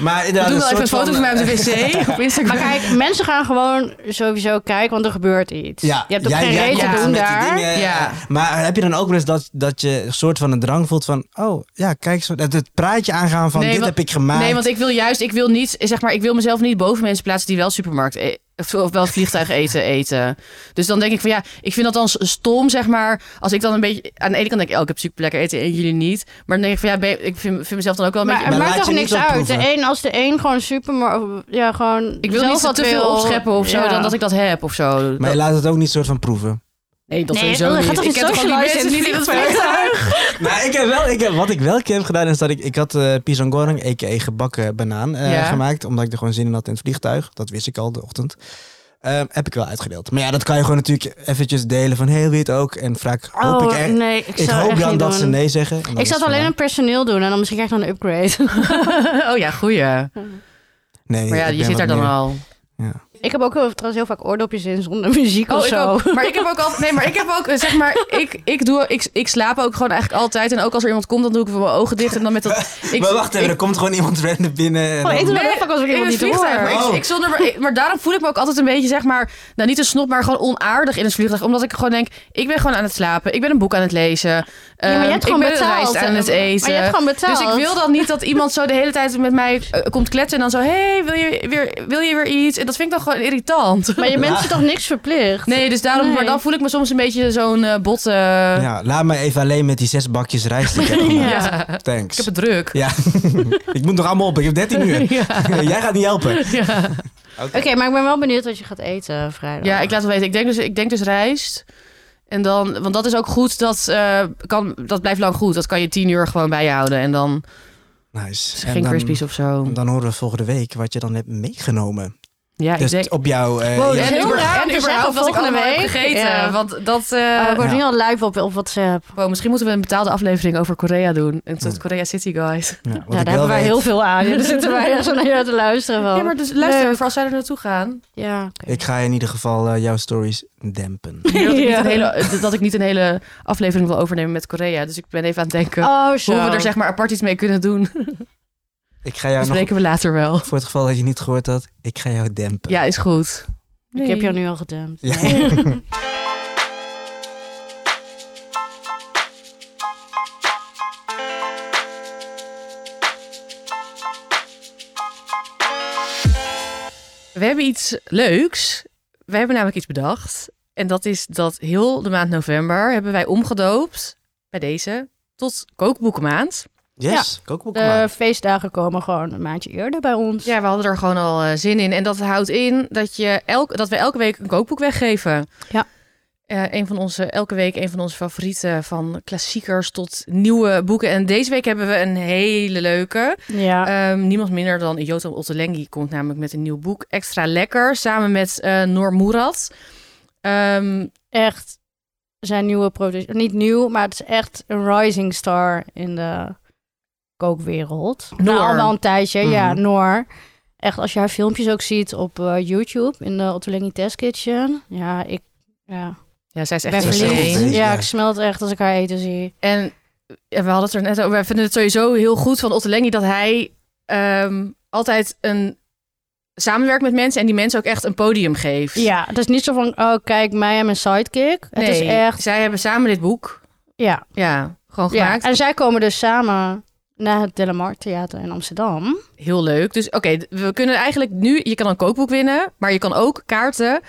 [SPEAKER 1] Maar
[SPEAKER 3] We
[SPEAKER 1] inderdaad,
[SPEAKER 3] doen wel even
[SPEAKER 1] soort
[SPEAKER 3] een foto van mij op de wc op Instagram.
[SPEAKER 2] Maar kijk, mensen gaan gewoon sowieso kijken, want er gebeurt iets.
[SPEAKER 1] eh, Ja,
[SPEAKER 2] je hebt ook
[SPEAKER 1] jij-
[SPEAKER 2] geen
[SPEAKER 1] jij
[SPEAKER 2] reden
[SPEAKER 1] komt
[SPEAKER 2] te
[SPEAKER 3] ja.
[SPEAKER 2] doen
[SPEAKER 1] met die
[SPEAKER 2] daar.
[SPEAKER 1] dingen. eh,
[SPEAKER 3] Ja.
[SPEAKER 1] Maar heb je dan ook wel eens dat, dat je een soort van een drang voelt van... Oh, ja, kijk, zo, dat het praatje aangaan van
[SPEAKER 3] Nee,
[SPEAKER 1] dit
[SPEAKER 3] want-
[SPEAKER 1] heb ik gemaakt.
[SPEAKER 3] Nee, want ik wil juist, ik wil niet, zeg maar, ik wil mezelf niet boven mensen plaatsen die wel supermarkt e- of- of wel
[SPEAKER 1] [laughs]
[SPEAKER 3] vliegtuig eten eten. Dus dan denk ik van ja, ik vind dat dan s- stom, zeg maar. Als ik dan een beetje aan de ene kant denk ik, oh, ik heb super lekker eten en jullie niet. Maar dan denk ik van ja, ben je- ik vind, vind mezelf dan ook wel een
[SPEAKER 2] Maar
[SPEAKER 3] beetje.
[SPEAKER 2] het
[SPEAKER 1] Maar
[SPEAKER 2] maakt
[SPEAKER 1] laat
[SPEAKER 2] toch
[SPEAKER 1] je
[SPEAKER 2] niks
[SPEAKER 1] niet
[SPEAKER 2] uit. De
[SPEAKER 1] opproeven.
[SPEAKER 2] een, als de een gewoon super... maar- Ja, gewoon
[SPEAKER 3] Ik wil
[SPEAKER 2] zelf
[SPEAKER 3] niet zo
[SPEAKER 2] wat
[SPEAKER 3] te veel
[SPEAKER 2] wil.
[SPEAKER 3] opscheppen of zo,
[SPEAKER 2] Ja.
[SPEAKER 3] dan dat ik dat heb of zo.
[SPEAKER 1] maar
[SPEAKER 3] Dat-
[SPEAKER 1] je laat het ook niet soort van proeven.
[SPEAKER 3] nee, dat
[SPEAKER 2] Nee,
[SPEAKER 3] sowieso
[SPEAKER 2] dan gaat
[SPEAKER 3] niet.
[SPEAKER 2] toch
[SPEAKER 3] ik
[SPEAKER 2] geen
[SPEAKER 3] ken toch die
[SPEAKER 2] socialize
[SPEAKER 3] mensen
[SPEAKER 2] in
[SPEAKER 3] niet
[SPEAKER 2] het
[SPEAKER 3] in het [laughs]
[SPEAKER 2] vliegtuig?
[SPEAKER 3] vliegtuig.
[SPEAKER 1] maar ik heb wel, ik heb, wat ik wel een keer heb gedaan is dat ik... Ik had eh pisangoreng, a.k.a. gebakken banaan, eh,
[SPEAKER 3] Ja.
[SPEAKER 1] gemaakt. Omdat ik er gewoon zin in had in het vliegtuig. Dat wist ik al de ochtend. Ehm, heb ik wel uitgedeeld. Maar ja, dat kan je gewoon natuurlijk eventjes delen van... Heel wit ook. En vaak hoop
[SPEAKER 2] [laughs] Oh,
[SPEAKER 1] ik echt...
[SPEAKER 2] nee, ik,
[SPEAKER 1] Ik
[SPEAKER 2] zou
[SPEAKER 1] hoop
[SPEAKER 2] echt
[SPEAKER 1] dan
[SPEAKER 2] niet
[SPEAKER 1] dat
[SPEAKER 2] doen.
[SPEAKER 1] ze nee zeggen. en dan
[SPEAKER 2] Ik
[SPEAKER 1] is
[SPEAKER 2] zou
[SPEAKER 1] het
[SPEAKER 2] het alleen
[SPEAKER 1] gedaan.
[SPEAKER 2] een personeel doen en dan misschien krijg ik dan een upgrade. [laughs]
[SPEAKER 3] Oh ja, goeie.
[SPEAKER 1] Nee,
[SPEAKER 3] Maar ja,
[SPEAKER 1] ik
[SPEAKER 3] je
[SPEAKER 1] ben
[SPEAKER 3] zit
[SPEAKER 1] wat
[SPEAKER 3] daar dan
[SPEAKER 1] meer-
[SPEAKER 3] al.
[SPEAKER 1] Ja.
[SPEAKER 2] Ik heb ook heel- trouwens heel vaak oordopjes in zonder muziek of
[SPEAKER 3] Oh, ik
[SPEAKER 2] zo. [laughs]
[SPEAKER 3] ook. Maar ik heb ook [laughs] al. Nee, maar ik heb ook. eh, Zeg maar, ik, ik, doe, ik, ik slaap ook gewoon eigenlijk altijd. En ook als er iemand komt, dan doe ik even mijn ogen dicht. En dan
[SPEAKER 1] [laughs]
[SPEAKER 3] met dat. Ik,
[SPEAKER 1] maar wacht even,
[SPEAKER 3] ik-
[SPEAKER 1] er komt gewoon iemand random binnen. En
[SPEAKER 2] Oh, ik
[SPEAKER 1] dan-
[SPEAKER 2] doe dat
[SPEAKER 3] Nee,
[SPEAKER 2] heel vaak als ik iemand
[SPEAKER 3] in
[SPEAKER 2] niet
[SPEAKER 3] het vliegtuig.
[SPEAKER 2] hoor.
[SPEAKER 3] Maar,
[SPEAKER 1] Oh.
[SPEAKER 3] ik, ik zonder, maar, ik- maar daarom voel ik me ook altijd een beetje, zeg maar, nou niet een snop, maar gewoon onaardig in het vliegtuig. Omdat ik gewoon denk, ik ben gewoon aan het slapen. Ik ben een boek aan het lezen.
[SPEAKER 2] Ja, maar
[SPEAKER 3] ehm,
[SPEAKER 2] je hebt gewoon
[SPEAKER 3] ik ben een
[SPEAKER 2] betaald.
[SPEAKER 3] rijst aan het eten.
[SPEAKER 2] Maar je hebt gewoon betaald.
[SPEAKER 3] Dus ik wil dan niet [laughs] dat iemand zo de hele tijd met mij eh, komt kletsen en dan zo, hey, wil je weer, wil je weer iets? En dat vind ik dan gewoon irritant.
[SPEAKER 2] Maar je mensen toch niks verplicht?
[SPEAKER 3] Nee, dus daarom,
[SPEAKER 2] Nee.
[SPEAKER 3] maar dan voel ik me soms een beetje zo'n eh bot. eh,
[SPEAKER 1] Ja, laat me even alleen met die zes bakjes rijst
[SPEAKER 2] [laughs]
[SPEAKER 1] die ik heb
[SPEAKER 3] ja.
[SPEAKER 1] gemaakt.
[SPEAKER 3] [laughs] Ik
[SPEAKER 1] Thanks.
[SPEAKER 3] heb het druk.
[SPEAKER 1] Ja, ik moet nog allemaal op. Ik heb
[SPEAKER 2] [laughs]
[SPEAKER 1] 13 uur.
[SPEAKER 3] [laughs]
[SPEAKER 1] [laughs] Jij gaat niet helpen.
[SPEAKER 3] Ja.
[SPEAKER 2] Oké, maar ik ben wel benieuwd wat je gaat eten vrijdag.
[SPEAKER 3] Ja, ik laat het weten. Ik denk dus, ik denk dus rijst. En dan, want dat is ook goed, dat, eh, kan, dat blijft lang goed. Dat kan je tien uur gewoon bij je houden. En dan
[SPEAKER 1] Nice. En
[SPEAKER 3] geen
[SPEAKER 1] dan-
[SPEAKER 3] crispies of zo.
[SPEAKER 1] Dan horen we volgende week wat je dan hebt meegenomen.
[SPEAKER 3] Ja, ik
[SPEAKER 1] dus
[SPEAKER 3] denk...
[SPEAKER 1] op jouw... eh,
[SPEAKER 2] Wow,
[SPEAKER 1] ja,
[SPEAKER 2] dat is
[SPEAKER 3] en
[SPEAKER 2] heel
[SPEAKER 3] überhaupt-
[SPEAKER 2] raar om
[SPEAKER 3] en
[SPEAKER 2] te
[SPEAKER 3] überhaupt
[SPEAKER 2] zeggen
[SPEAKER 3] wat ik
[SPEAKER 2] volgende
[SPEAKER 3] allemaal
[SPEAKER 2] week.
[SPEAKER 3] heb gegeten.
[SPEAKER 2] Ja.
[SPEAKER 3] Want dat... eh,
[SPEAKER 2] Oh, ik word
[SPEAKER 1] Ja.
[SPEAKER 2] nu al live op, op WhatsApp.
[SPEAKER 3] wow, misschien moeten we een betaalde aflevering over Korea doen. En tot
[SPEAKER 1] Ja.
[SPEAKER 3] Korea City, guys.
[SPEAKER 1] wat
[SPEAKER 2] Ja,
[SPEAKER 1] ik
[SPEAKER 2] daar
[SPEAKER 1] wel
[SPEAKER 2] hebben wij
[SPEAKER 1] weet-
[SPEAKER 2] heel
[SPEAKER 1] [laughs]
[SPEAKER 2] veel aan. Ja, Daar zitten wij echt zo naar jou te luisteren van.
[SPEAKER 3] Ja, maar dus luister,
[SPEAKER 2] Leuk.
[SPEAKER 3] voor als zij er naartoe gaan.
[SPEAKER 2] Ja, oké.
[SPEAKER 1] Ik ga in ieder geval eh, jouw stories dempen.
[SPEAKER 3] Dat, ik niet
[SPEAKER 2] Ja.
[SPEAKER 3] een hele, dat ik niet een hele aflevering wil overnemen met Korea. Dus ik ben even aan het denken
[SPEAKER 2] Oh, zo.
[SPEAKER 3] hoe we er zeg maar apart iets mee kunnen doen.
[SPEAKER 1] Ik ga jou
[SPEAKER 3] dat
[SPEAKER 1] nog...
[SPEAKER 3] spreken we later wel.
[SPEAKER 1] Voor het geval dat je niet gehoord had, ik ga jou dempen.
[SPEAKER 3] Ja, is goed.
[SPEAKER 2] Ik heb jou nu al gedempt.
[SPEAKER 1] Ja. [laughs]
[SPEAKER 3] We hebben iets leuks. We hebben namelijk iets bedacht. En dat is dat heel de maand november hebben wij omgedoopt bij deze tot kookboekenmaand.
[SPEAKER 1] Yes, kookboek
[SPEAKER 2] De
[SPEAKER 1] maken.
[SPEAKER 2] feestdagen komen gewoon een maandje eerder bij ons.
[SPEAKER 3] Ja, we hadden er gewoon al eh, zin in. En dat houdt in dat, je elk, dat we elke week een kookboek weggeven.
[SPEAKER 2] Ja.
[SPEAKER 3] Eh, een van onze, elke week een van onze favorieten, van klassiekers tot nieuwe boeken. En deze week hebben we een hele leuke.
[SPEAKER 2] Ja.
[SPEAKER 3] Ehm, niemand minder dan Jotam Ottolengi komt namelijk met een nieuw boek. Extra lekker, samen met eh Noor Moerad. Ehm,
[SPEAKER 2] echt zijn nieuwe product. Niet nieuw, maar het is echt een rising star in de kookwereld. Nou,
[SPEAKER 3] Noor.
[SPEAKER 2] al wel een tijdje, ja,
[SPEAKER 1] Mhm.
[SPEAKER 2] Noor. Echt, als je haar filmpjes ook ziet op eh, YouTube in de Ottolenghi Test Kitchen. Ja, ik ja,
[SPEAKER 3] ja, zij is
[SPEAKER 2] ben
[SPEAKER 3] echt
[SPEAKER 1] een
[SPEAKER 2] verliefd.
[SPEAKER 1] steen.
[SPEAKER 3] insane.
[SPEAKER 1] Ja.
[SPEAKER 2] Ja, ik smelt echt als ik haar eten zie.
[SPEAKER 3] En ja, we hadden het er net over. Wij vinden het sowieso heel goed van Ottolengi dat hij ehm, altijd een samenwerkt met mensen en die mensen ook echt een podium geeft.
[SPEAKER 2] Ja, het is niet zo van, oh kijk, mij en mijn sidekick. Het
[SPEAKER 3] Nee,
[SPEAKER 2] is echt,
[SPEAKER 3] Zij hebben samen dit boek.
[SPEAKER 2] ja.
[SPEAKER 3] Ja, gewoon
[SPEAKER 2] ja.
[SPEAKER 3] gemaakt.
[SPEAKER 2] En zij komen dus samen naar het Delamar Theater in Amsterdam.
[SPEAKER 3] Heel leuk. Dus oké, we kunnen eigenlijk nu. Je kan een kookboek winnen, maar je kan ook kaarten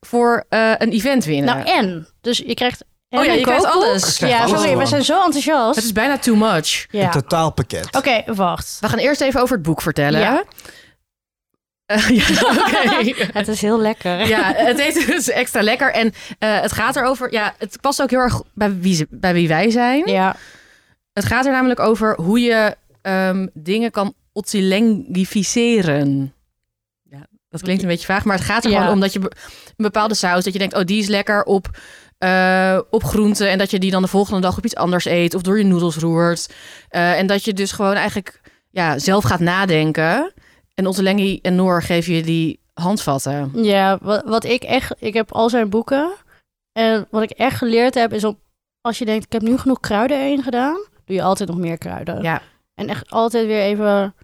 [SPEAKER 3] voor eh, een event winnen.
[SPEAKER 2] Nou, en. Dus je krijgt en
[SPEAKER 3] oh ja,
[SPEAKER 2] een
[SPEAKER 3] je krijgt
[SPEAKER 2] kookboek.
[SPEAKER 3] alles.
[SPEAKER 1] krijgt
[SPEAKER 2] Ja,
[SPEAKER 1] alles
[SPEAKER 2] sorry, we
[SPEAKER 1] gewoon.
[SPEAKER 2] zijn zo enthousiast.
[SPEAKER 3] Het is bijna too much.
[SPEAKER 2] ja.
[SPEAKER 1] Een totaalpakket.
[SPEAKER 2] Oké, wacht.
[SPEAKER 3] We gaan eerst even over het boek vertellen.
[SPEAKER 2] Ja.
[SPEAKER 3] Eh, [laughs] ja,
[SPEAKER 2] [laughs]
[SPEAKER 3] oké.
[SPEAKER 2] Het is heel lekker.
[SPEAKER 3] Ja, het heet dus extra lekker. En eh, het gaat erover. Ja, het past ook heel erg bij wie, ze- bij wie wij zijn.
[SPEAKER 2] Ja,
[SPEAKER 3] Het gaat er namelijk over hoe je ehm, dingen kan ottilengificeren. Ja, dat klinkt een beetje vaag, maar het gaat er
[SPEAKER 2] Ja.
[SPEAKER 3] gewoon om dat je be- een bepaalde saus, dat je denkt, oh, die is lekker op, eh, op groenten. En dat je die dan de volgende dag op iets anders eet of door je noedels roert. Eh, en dat je dus gewoon eigenlijk ja, zelf gaat nadenken. En Ottilengi en Noor geven je die handvatten.
[SPEAKER 2] ja wat, wat ik echt... Ik heb al zijn boeken. En wat ik echt geleerd heb, is om... Als je denkt, ik heb nu genoeg kruiden erin gedaan... doe je altijd nog meer kruiden.
[SPEAKER 3] Ja,
[SPEAKER 2] En echt altijd weer even...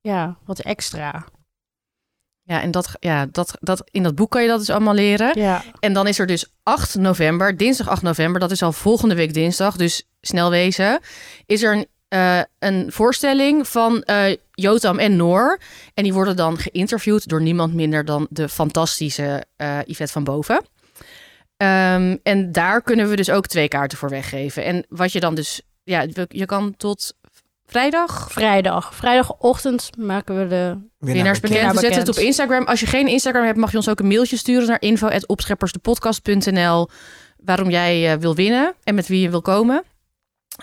[SPEAKER 2] Ja, wat extra.
[SPEAKER 3] ja en dat, ja, dat, dat, in dat boek kan je dat dus allemaal leren.
[SPEAKER 2] Ja.
[SPEAKER 3] En dan is er dus 8 november, dinsdag 8 november, dat is al volgende week dinsdag, dus snel wezen, is er een, eh, een voorstelling van eh, Jotam en Noor. En die worden dan geïnterviewd door niemand minder dan de fantastische eh, Yvette van Boven. Ehm, en daar kunnen we dus ook twee kaarten voor weggeven. En wat je dan dus, ja, we- je kan tot vrijdag
[SPEAKER 2] Vrijdag. Vrijdagochtend maken we de...
[SPEAKER 3] winnaars bekend. We
[SPEAKER 2] bekend.
[SPEAKER 3] zetten het op Instagram. Als je geen Instagram hebt, mag je ons ook een mailtje sturen naar info.opscheppersdepodcast.nl waarom jij eh, wil winnen en met wie je wil komen.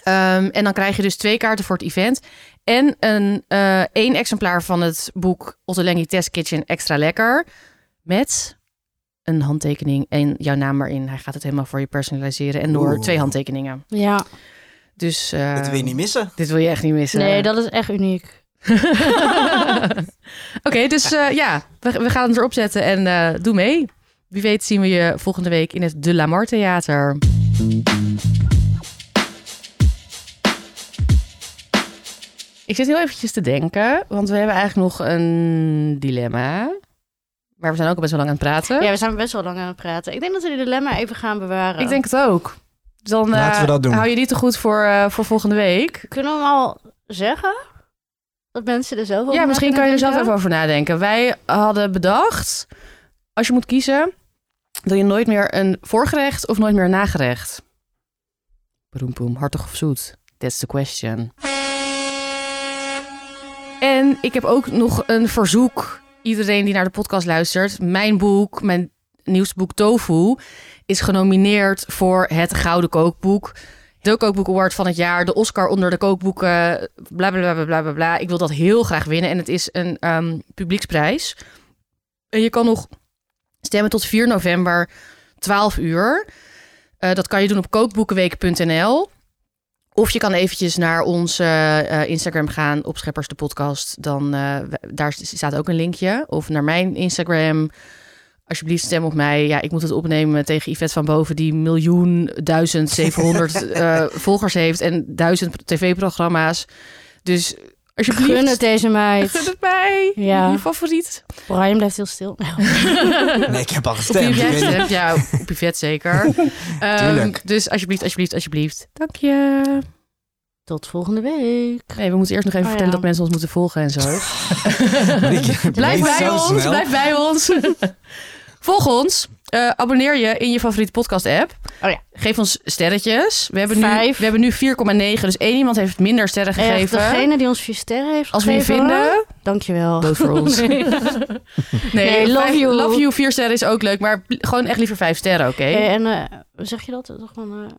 [SPEAKER 3] Ehm, en dan krijg je dus twee kaarten voor het event en een, eh, één exemplaar van het boek Ottolengi Test Kitchen Extra Lekker met een handtekening en jouw naam erin. Hij gaat het helemaal voor je personaliseren en door
[SPEAKER 1] Oeh.
[SPEAKER 3] twee handtekeningen.
[SPEAKER 2] Ja.
[SPEAKER 3] Dus eh,
[SPEAKER 1] Dat wil je niet missen.
[SPEAKER 3] dit wil je echt niet missen.
[SPEAKER 2] Nee, dat is echt uniek.
[SPEAKER 3] [laughs] Oké, dus eh, ja, we, we gaan het erop zetten en eh, doe mee. Wie weet zien we je volgende week in het De La Mar Theater. Ik zit heel eventjes te denken, want we hebben eigenlijk nog een dilemma. Maar we zijn ook al best wel lang aan het praten.
[SPEAKER 2] Ja, we zijn best wel lang aan het praten. Ik denk dat we dit dilemma even gaan bewaren.
[SPEAKER 3] Ik denk het ook. Dus dan eh,
[SPEAKER 1] Laten we dat doen.
[SPEAKER 3] hou je die te goed voor, eh, voor volgende week.
[SPEAKER 2] Kunnen we hem al zeggen? Dat mensen er zelf over
[SPEAKER 3] Ja,
[SPEAKER 2] na
[SPEAKER 3] misschien kan
[SPEAKER 2] kunnen
[SPEAKER 3] je er zelf
[SPEAKER 2] denken?
[SPEAKER 3] even over nadenken. Wij hadden bedacht, als je moet kiezen, wil je nooit meer een voorgerecht of nooit meer een nagerecht? Broem, broem, hartig of zoet? That's the question. En ik heb ook nog een verzoek. Iedereen die naar de podcast luistert, mijn boek, mijn nieuwsboek Tofu, is genomineerd voor het Gouden Kookboek. De Kookboek Award van het jaar, de Oscar onder de kookboeken, bla bla bla bla bla bla. Ik wil dat heel graag winnen en het is een ehm, publieksprijs. En je kan nog stemmen tot 4 november, 12 uur. Eh, dat kan je doen op kookboekenweek.nl. Of je kan eventjes naar onze eh, Instagram gaan, op Scheppers de podcast. Dan, eh, we- daar staat ook een linkje. Of naar mijn Instagram. Alsjeblieft stem op mij. Ja, ik moet het opnemen tegen Yvette van Boven... die miljoen duizend zevenhonderd
[SPEAKER 2] [laughs]
[SPEAKER 3] eh, volgers heeft... en duizend tv-programma's. Dus alsjeblieft...
[SPEAKER 2] Gun het deze
[SPEAKER 3] Gun [laughs]
[SPEAKER 2] meid.
[SPEAKER 3] het mij.
[SPEAKER 2] Ja.
[SPEAKER 3] Je
[SPEAKER 2] [laughs]
[SPEAKER 3] favoriet.
[SPEAKER 2] Brian blijft heel stil. Nou,
[SPEAKER 1] Nee, ik heb al
[SPEAKER 3] Op je
[SPEAKER 1] gestemd. Ik
[SPEAKER 3] vet,
[SPEAKER 1] weet niet.
[SPEAKER 3] hè? ja, op je vet zeker. [laughs] Ehm,
[SPEAKER 1] Tuurlijk.
[SPEAKER 3] dus alsjeblieft, alsjeblieft, alsjeblieft. Dank je.
[SPEAKER 2] Tot volgende week.
[SPEAKER 3] Nee, we moeten eerst nog even
[SPEAKER 2] Oh,
[SPEAKER 3] vertellen
[SPEAKER 2] ja.
[SPEAKER 3] dat mensen ons moeten volgen [laughs] en zo.
[SPEAKER 1] Ik
[SPEAKER 3] Blijf
[SPEAKER 1] weet
[SPEAKER 3] bij
[SPEAKER 1] zo
[SPEAKER 3] ons,
[SPEAKER 1] snel.
[SPEAKER 3] blijf bij ons. [laughs] Volg ons. Eh, abonneer je in je favoriete podcast app.
[SPEAKER 2] Oh ja.
[SPEAKER 3] Geef ons sterretjes. We hebben nu,
[SPEAKER 2] Vijf.
[SPEAKER 3] we hebben nu 4,9. Dus één iemand heeft minder sterren
[SPEAKER 2] Echt,
[SPEAKER 3] gegeven.
[SPEAKER 2] degene die ons vier sterren heeft
[SPEAKER 3] Als we je
[SPEAKER 2] gegeven.
[SPEAKER 3] vinden,
[SPEAKER 2] Dankjewel.
[SPEAKER 3] both for ons.
[SPEAKER 2] [laughs] Nee.
[SPEAKER 3] [laughs] Nee,
[SPEAKER 2] Nee, love
[SPEAKER 3] vijf-
[SPEAKER 2] you.
[SPEAKER 3] Love you, vier sterren is ook leuk. Maar pl- gewoon echt liever vijf sterren, oké?
[SPEAKER 2] Eh, en eh, hoe zeg je dat? Dat is Gewoon, eh,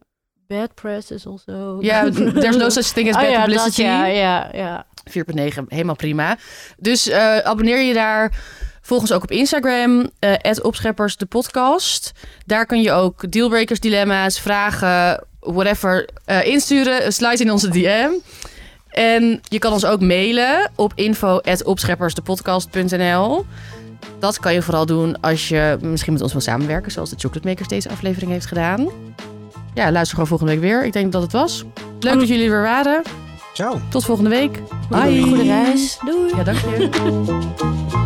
[SPEAKER 2] bad press is also... [laughs]
[SPEAKER 3] Ja, there's no such thing as
[SPEAKER 2] Oh
[SPEAKER 3] bad
[SPEAKER 2] ja, dat,
[SPEAKER 3] publicity.
[SPEAKER 2] ja, ja, ja.
[SPEAKER 3] 4.9, helemaal prima. Dus eh, abonneer je daar. Volg ons ook op Instagram, eh opscheppers de podcast. Daar kun je ook dealbreakers, dilemma's, vragen, whatever eh, insturen. Sluit in onze DM. En je kan ons ook mailen op info.opscheppersdepodcast.nl. Dat kan je vooral doen als je misschien met ons wil samenwerken, zoals de Chocolate Makers deze aflevering heeft gedaan. Ja, luister gewoon volgende week weer. Ik denk dat het was. Leuk dat jullie er weer waren.
[SPEAKER 1] Ciao.
[SPEAKER 3] Tot volgende week.
[SPEAKER 2] Goede reis. Doei.
[SPEAKER 3] Ja, dank je.